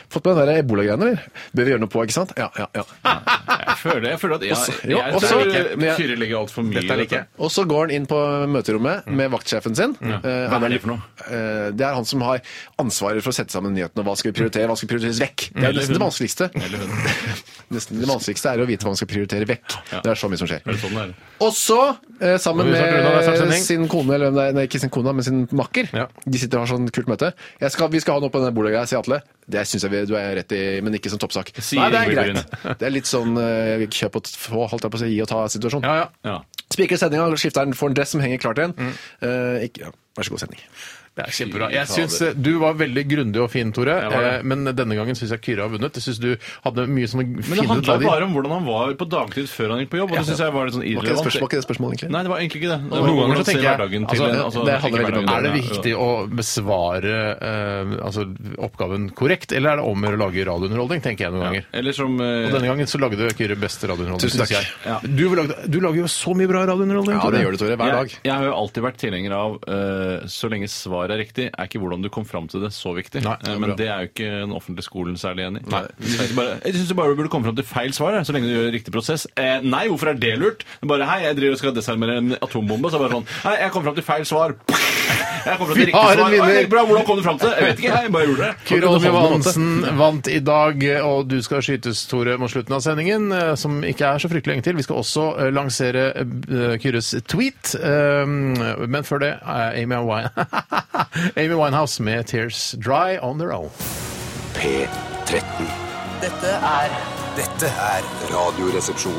C: Fått med den der ebola-greiene, eller? Bør vi gjøre noe på, ikke sant? Ja, ja, ja.
B: Jeg føler, jeg føler at jeg,
C: Også-
B: jeg,
C: jo,
B: jeg,
C: også-
B: tror ikke
C: men jeg-
B: Kyrre legger altfor mye
A: Dette
B: i
A: liker jeg.
C: Og så går han inn på møterommet med vaktsjefen sin. Eh,
B: Hva
C: han
B: er det for noe?
C: eh, Det er han som har ansvaret for å sette sammen nyhetene. Hva skal vi prioritere, hva skal prioriteres vekk? Det er jo nesten det vanskeligste.
B: Eller hun. (laughs)
C: Nesten det vanskeligste er å vite hva man skal prioritere vekk. Det er så mye som
B: Er det
C: skjer.
B: sånn det er?
C: Og så, eh, sammen
A: Nå har vi snart rundet, det er snart
C: med
A: sending.
C: sin kone, eller hvem det er, nei, ikke sin kone, men sin makker,
A: Ja.
C: de sitter og har sånn kult møte. Jeg skal, vi skal ha noe på denne bordlegga, sier Atle. Det syns jeg vi- du er rett i, men ikke som toppsak.
B: Sier
C: Nei, det er
B: Ingrid
C: greit. Det er litt sånn eh, kjøp og t- få, holdt jeg på å si, gi og ta-situasjon.
A: Ja, ja.
B: Ja.
C: Spiker sendinga, skifter den, får en dress som henger klart igjen. Eh, ikke, ja. Vær så god sending.
A: Det er kjempebra. Jeg synes eh, Du var veldig grundig og fin, Tore, eh, men denne gangen syns jeg Kyrre har vunnet. Jeg syns du hadde mye som å
B: Men det
A: finne ut
B: handla
A: av de
B: bare om hvordan han var på dagtid før han gikk på jobb, og det syns jeg var litt sånn
C: Var ikke det
B: irrelevant.
C: spørsmål, var ikke det spørsmål egentlig?
B: Nei, det var egentlig ikke det.
A: Og noen ganger så tenker jeg
B: altså,
A: altså,
C: det handler veldig om-
A: Er det viktig å besvare eh, altså, oppgaven korrekt, eller er det om å gjøre å lage radiounderholdning, tenker jeg noen ganger.
B: Eller som eh,
A: Og denne gangen så lagde Kyrre best radiounderholdning.
C: Tusen takk.
A: synes jeg. Du, lagde, du lager jo så mye bra radiounderholdning.
C: Ja, det gjør du, Tore. Hver
B: jeg,
C: dag.
B: jeg har jo alltid vært tilhenger av eh, så lenge svaret er riktig, er ikke hvordan du kom fram til det, så viktig.
A: Nei, det er
B: Eh, men
A: bra.
B: det er jo ikke den offentlige skolen særlig enig i. Jeg syns bare, jeg synes du bare burde komme fram til feil svar, jeg, så lenge du gjør riktig prosess. Eh, nei, hvorfor er det lurt? Bare hei, jeg driver og skal desarmere en atombombe, så er det bare sånn Nei, jeg kom fram til feil svar. Jeg kommer til å
A: Vi
B: drikke
A: har en
B: svar.
A: vinner.
B: Oi, Bra, hvordan kom du fram til det? Jeg vet ikke, jeg bare gjorde det.
A: Kyrre Holm Johansen vant i dag, og du skal skytes, Tore, mot slutten av sendingen, eh, som ikke er så fryktelig lenge til. Vi skal også eh, lansere eh, Kyrres tweet, eh, men før det eh, Amy, Wine (laughs) Amy Winehouse med 'Tears Dry On Their Own'.
G: P13.
F: Dette er Dette er
G: Radioresepsjon.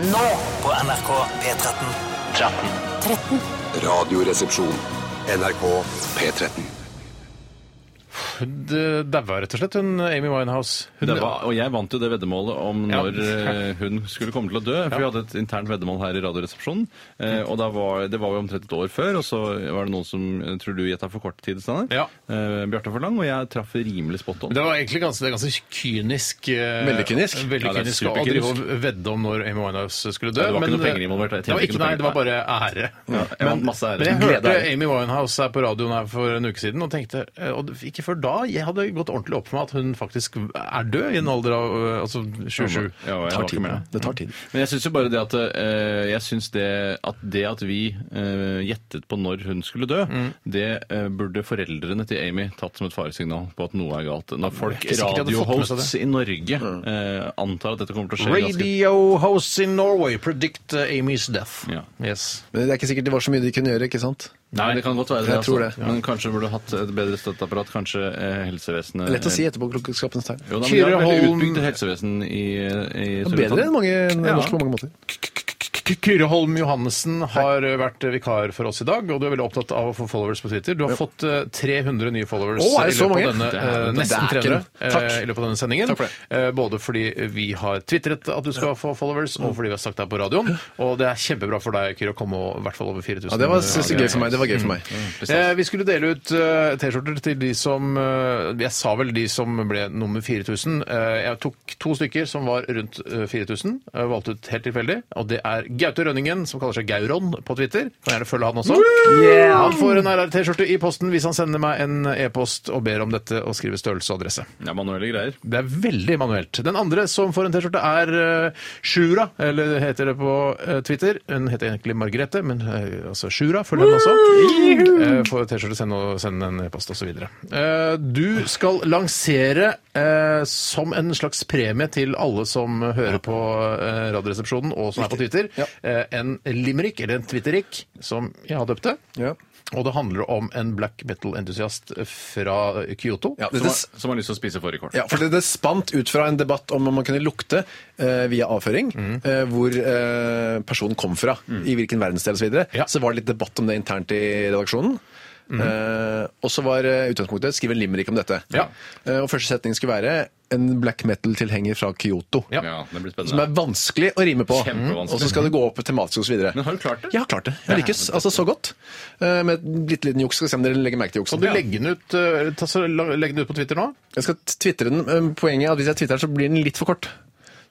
F: nå på NRK P13.
G: Radioresepsjon.
D: NRK P13.
A: Hun eh, daua rett og slett, hun Amy Winehouse. Hun,
B: Det var, og jeg vant jo det veddemålet om
A: Ja.
B: når eh, hun skulle komme til å dø. For vi hadde et internt veddemål her i Radioresepsjonen. eh, og da var, det var jo omtrent et år før, og så var det noen som eh, tror du gjetta for kort tid, Steinar.
A: Ja.
B: Eh, Bjarte for lang, og jeg traff rimelig spot on.
A: det var egentlig ganske, det er ganske kynisk. eh,
C: Veldig kynisk.
A: Veldig
B: Ja, det er
A: kynisk å
B: superkynisk.
A: drive og vedde om når Amy Winehouse skulle dø.
B: Ja, det var ikke
A: men, eh,
B: noe penger involvert, jeg
A: Det var
B: tjente ikke
A: ikke,
B: noe
A: nei, det var
B: penger.
A: bare ære.
B: Ja, jeg vant masse ære.
A: men jeg
B: Glede
A: hørte
B: ære.
A: Amy Winehouse her på radioen her for en uke siden og tenkte eh, og det- Ikke før da jeg hadde gått ordentlig opp for meg at hun faktisk er død i en alder av eh, altså 27.
B: Ja, og jeg var
C: Tar
B: ikke
C: tid,
B: med.
C: ja. Det tar tid.
B: Men jeg syns jo bare det at eh, jeg synes det at det at vi eh, gjettet på når hun skulle dø,
A: Mm.
B: det eh, burde foreldrene til Amy tatt som et faresignal på at noe er galt. Når folk,
A: ikke sikkert de hadde fått med seg Mm.
B: radiohosts i Norge, eh, antar at dette kommer til å skje ganske
A: Radio hosts in Norway predict eh, Amy's death.
B: Ja.
A: Yes.
C: Men det er ikke sikkert det var så mye de kunne gjøre, ikke sant?
B: Nei, det kan godt være det. altså.
C: Jeg tror det.
B: Men kanskje burde du hatt et bedre støtteapparat. Kanskje eh, helsevesenet
C: Lett å si etterpå klokskapens tegn.
B: Jo, da, men de har
A: Kyrre
B: et veldig
A: Holm-
B: utbygd helsevesen i, eh, i
C: Bedre enn mange
B: Ja.
C: norsk på mange måter.
A: Kyrre Holm Johannessen har vært vikar for oss i dag, og du er veldig opptatt av å få followers på Twitter. Du har fått eh, 300 nye followers
C: Å, er det
A: i
C: så
A: løpet av
C: mange?
A: denne,
B: Det
A: eh,
B: er-
A: nesten
C: det er
A: 300
C: ikke- Takk.
A: eh, i løpet av denne sendingen.
C: Takk for det.
A: Eh, Både fordi vi har tvitret at du skal få followers,
C: Mm.
A: og fordi vi har sagt det her på radioen. Og det er kjempebra for deg, Kyrre, å komme og- i hvert fall over 4000.
C: Ja, det var
A: eh,
C: gøy for meg. Det var gøy for meg.
A: Eh, vi skulle dele ut eh, T-skjorter til de som eh, Jeg sa vel de som ble nummer 4000. Eh, jeg tok to stykker som var rundt eh, 4000. eh, valgte ut helt tilfeldig. Og det er Gaute Rønningen, som kaller seg Gauron på Twitter. Kan gjerne følge han også. Han får en RR-T-skjorte i posten hvis han sender meg en e-post og ber om dette og skriver størrelse og adresse.
B: Ja, manuelle greier.
A: Det er veldig manuelt. Den andre som får en T-skjorte, er eh, Sjura, eller heter det på eh, Twitter. Hun heter egentlig Margrethe, men eh, altså Sjura følger henne også. Uh, får T-skjorte, send, og- send en e-post osv. Uh, du skal lansere eh, som en slags premie til alle som hører på eh, Radioresepsjonen og som er på Twitter, eh, en limerick, eller en twitterick, som jeg har døpt det.
C: Ja.
A: Og det handler om en black metal-entusiast fra Kyoto.
C: Ja,
B: Som
C: dette,
B: har, som har lyst til å spise fårikål.
C: Ja, for det, det spant ut fra en debatt om om man kunne lukte eh, via avføring,
A: Mhm.
C: eh, hvor eh, personen kom fra, i hvilken verdensdel osv. Så, videre.
A: Mm. Ja. Mhm.
C: så var det litt debatt om det internt i redaksjonen. Eh, og så var eh, utgangspunktet skriv en limerick om dette.
A: Ja.
C: Eh, og første setning skulle være en black metal-tilhenger fra Kyoto.
A: Ja.
B: Ja, det blir
C: Som
B: spennende.
C: er vanskelig å rime på.
B: Kjempevanskelig.
C: Og så skal det gå opp tematisk osv.
B: Men har du klart det?
C: Jeg har klart det. Jeg lykkes altså så godt. Eh, med et bitte liten juks. Skal vi se om dere legger merke til juksen.
A: Kan du legge den ut, eh, ta, så, la- legge den ut på Twitter nå?
C: Jeg skal twittre den. men Poenget er at hvis jeg twitterer, den, så blir den litt for kort.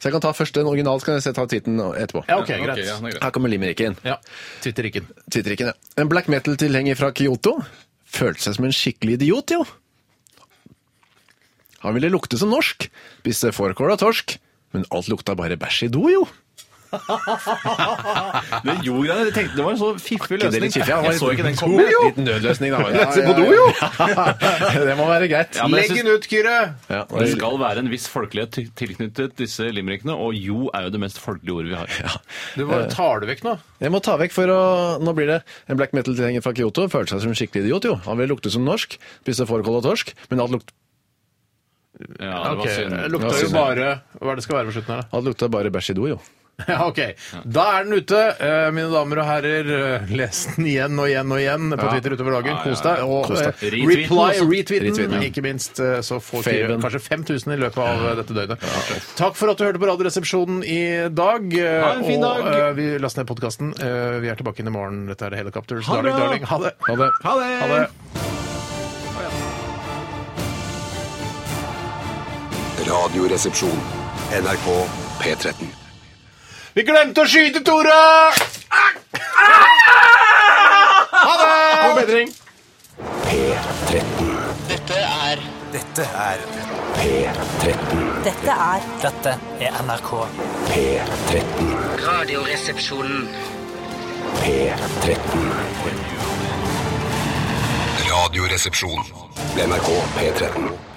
C: Så jeg kan ta først den original, så kan jeg se- ta tweeten etterpå.
A: Ja, ok,
B: Ja, ok,
A: greit.
B: ja, det er greit.
C: Her kommer limericken.
A: Ja, Twitter-rikken.
C: Twitterikken, ja. En black metal-tilhenger fra Kyoto følte seg som en skikkelig idiot, jo. Han ville lukte som norsk, spiste fårikål og torsk, men alt lukta bare bæsj i do, jo.
B: Det gjorde jeg, jeg tenkte det var en så fiffig
C: Ikke det
B: løsning.
C: litt fiffig, han var
B: Jeg så
C: litt-
B: ikke den
C: Jo,
B: komme.
C: jo. Liten nødløsning,
B: (laughs)
C: da.
A: Lette på do, jo.
C: det må være greit.
B: Ja, men jeg
A: Legg
B: synes-
A: den ut, Kyrre!
C: Ja,
B: Det skal være en viss folkelighet til- tilknyttet disse limerickene, og jo er jo det mest folkelige ordet vi har.
A: Du bare tar det vekk nå.
C: Jeg må ta vekk for å Nå blir det en black metal-tilhenger fra Kyoto. Følte seg som en skikkelig idiot, jo. Han ville lukte som norsk. Spiste fårikål og torsk. Men alt lukt,
B: Ja,
A: Ok,
B: det var
A: det
B: synd. Det var
A: Lukta jo
B: synd.
A: bare Hva er det skal være på slutten her, da?
C: alt lukta bare bæsj i do, jo.
A: (laughs) Ja, ok. Da er den ute. Eh, Mine damer og herrer, eh, les den igjen og igjen og igjen på Twitter utover dagen.
B: Ja, ja, ja.
A: Kos deg. Og
C: Kos deg.
A: eh,
B: Retweeten
A: reply,
B: også.
A: retweeten,
C: Retweeten, ja.
A: ikke minst. eh, Så får Kyrre
C: Faven.
A: kanskje 5000 i løpet av eh, dette døgnet. Takk for at du hørte på Radioresepsjonen i dag. eh,
B: Ha en fin
A: og,
B: dag.
A: eh, vi laster ned podkasten. Vi er tilbake inn i morgen. Dette er The Helicopters.
B: Ha det
A: Darling, darling.
B: bra.
A: Ha det.
C: Ha det.
B: Ha det!
A: Ha det.
G: Radioresepsjon.
D: NRK P13.
A: Vi glemte å skyte, Tore! Ah! Ah! Ha det! God bedring.
F: Dette er
G: P13.
H: Dette er
F: Dette er NRK.
G: P13.
I: Radioresepsjonen.
G: P13.
J: Radioresepsjon.
D: NRK P13.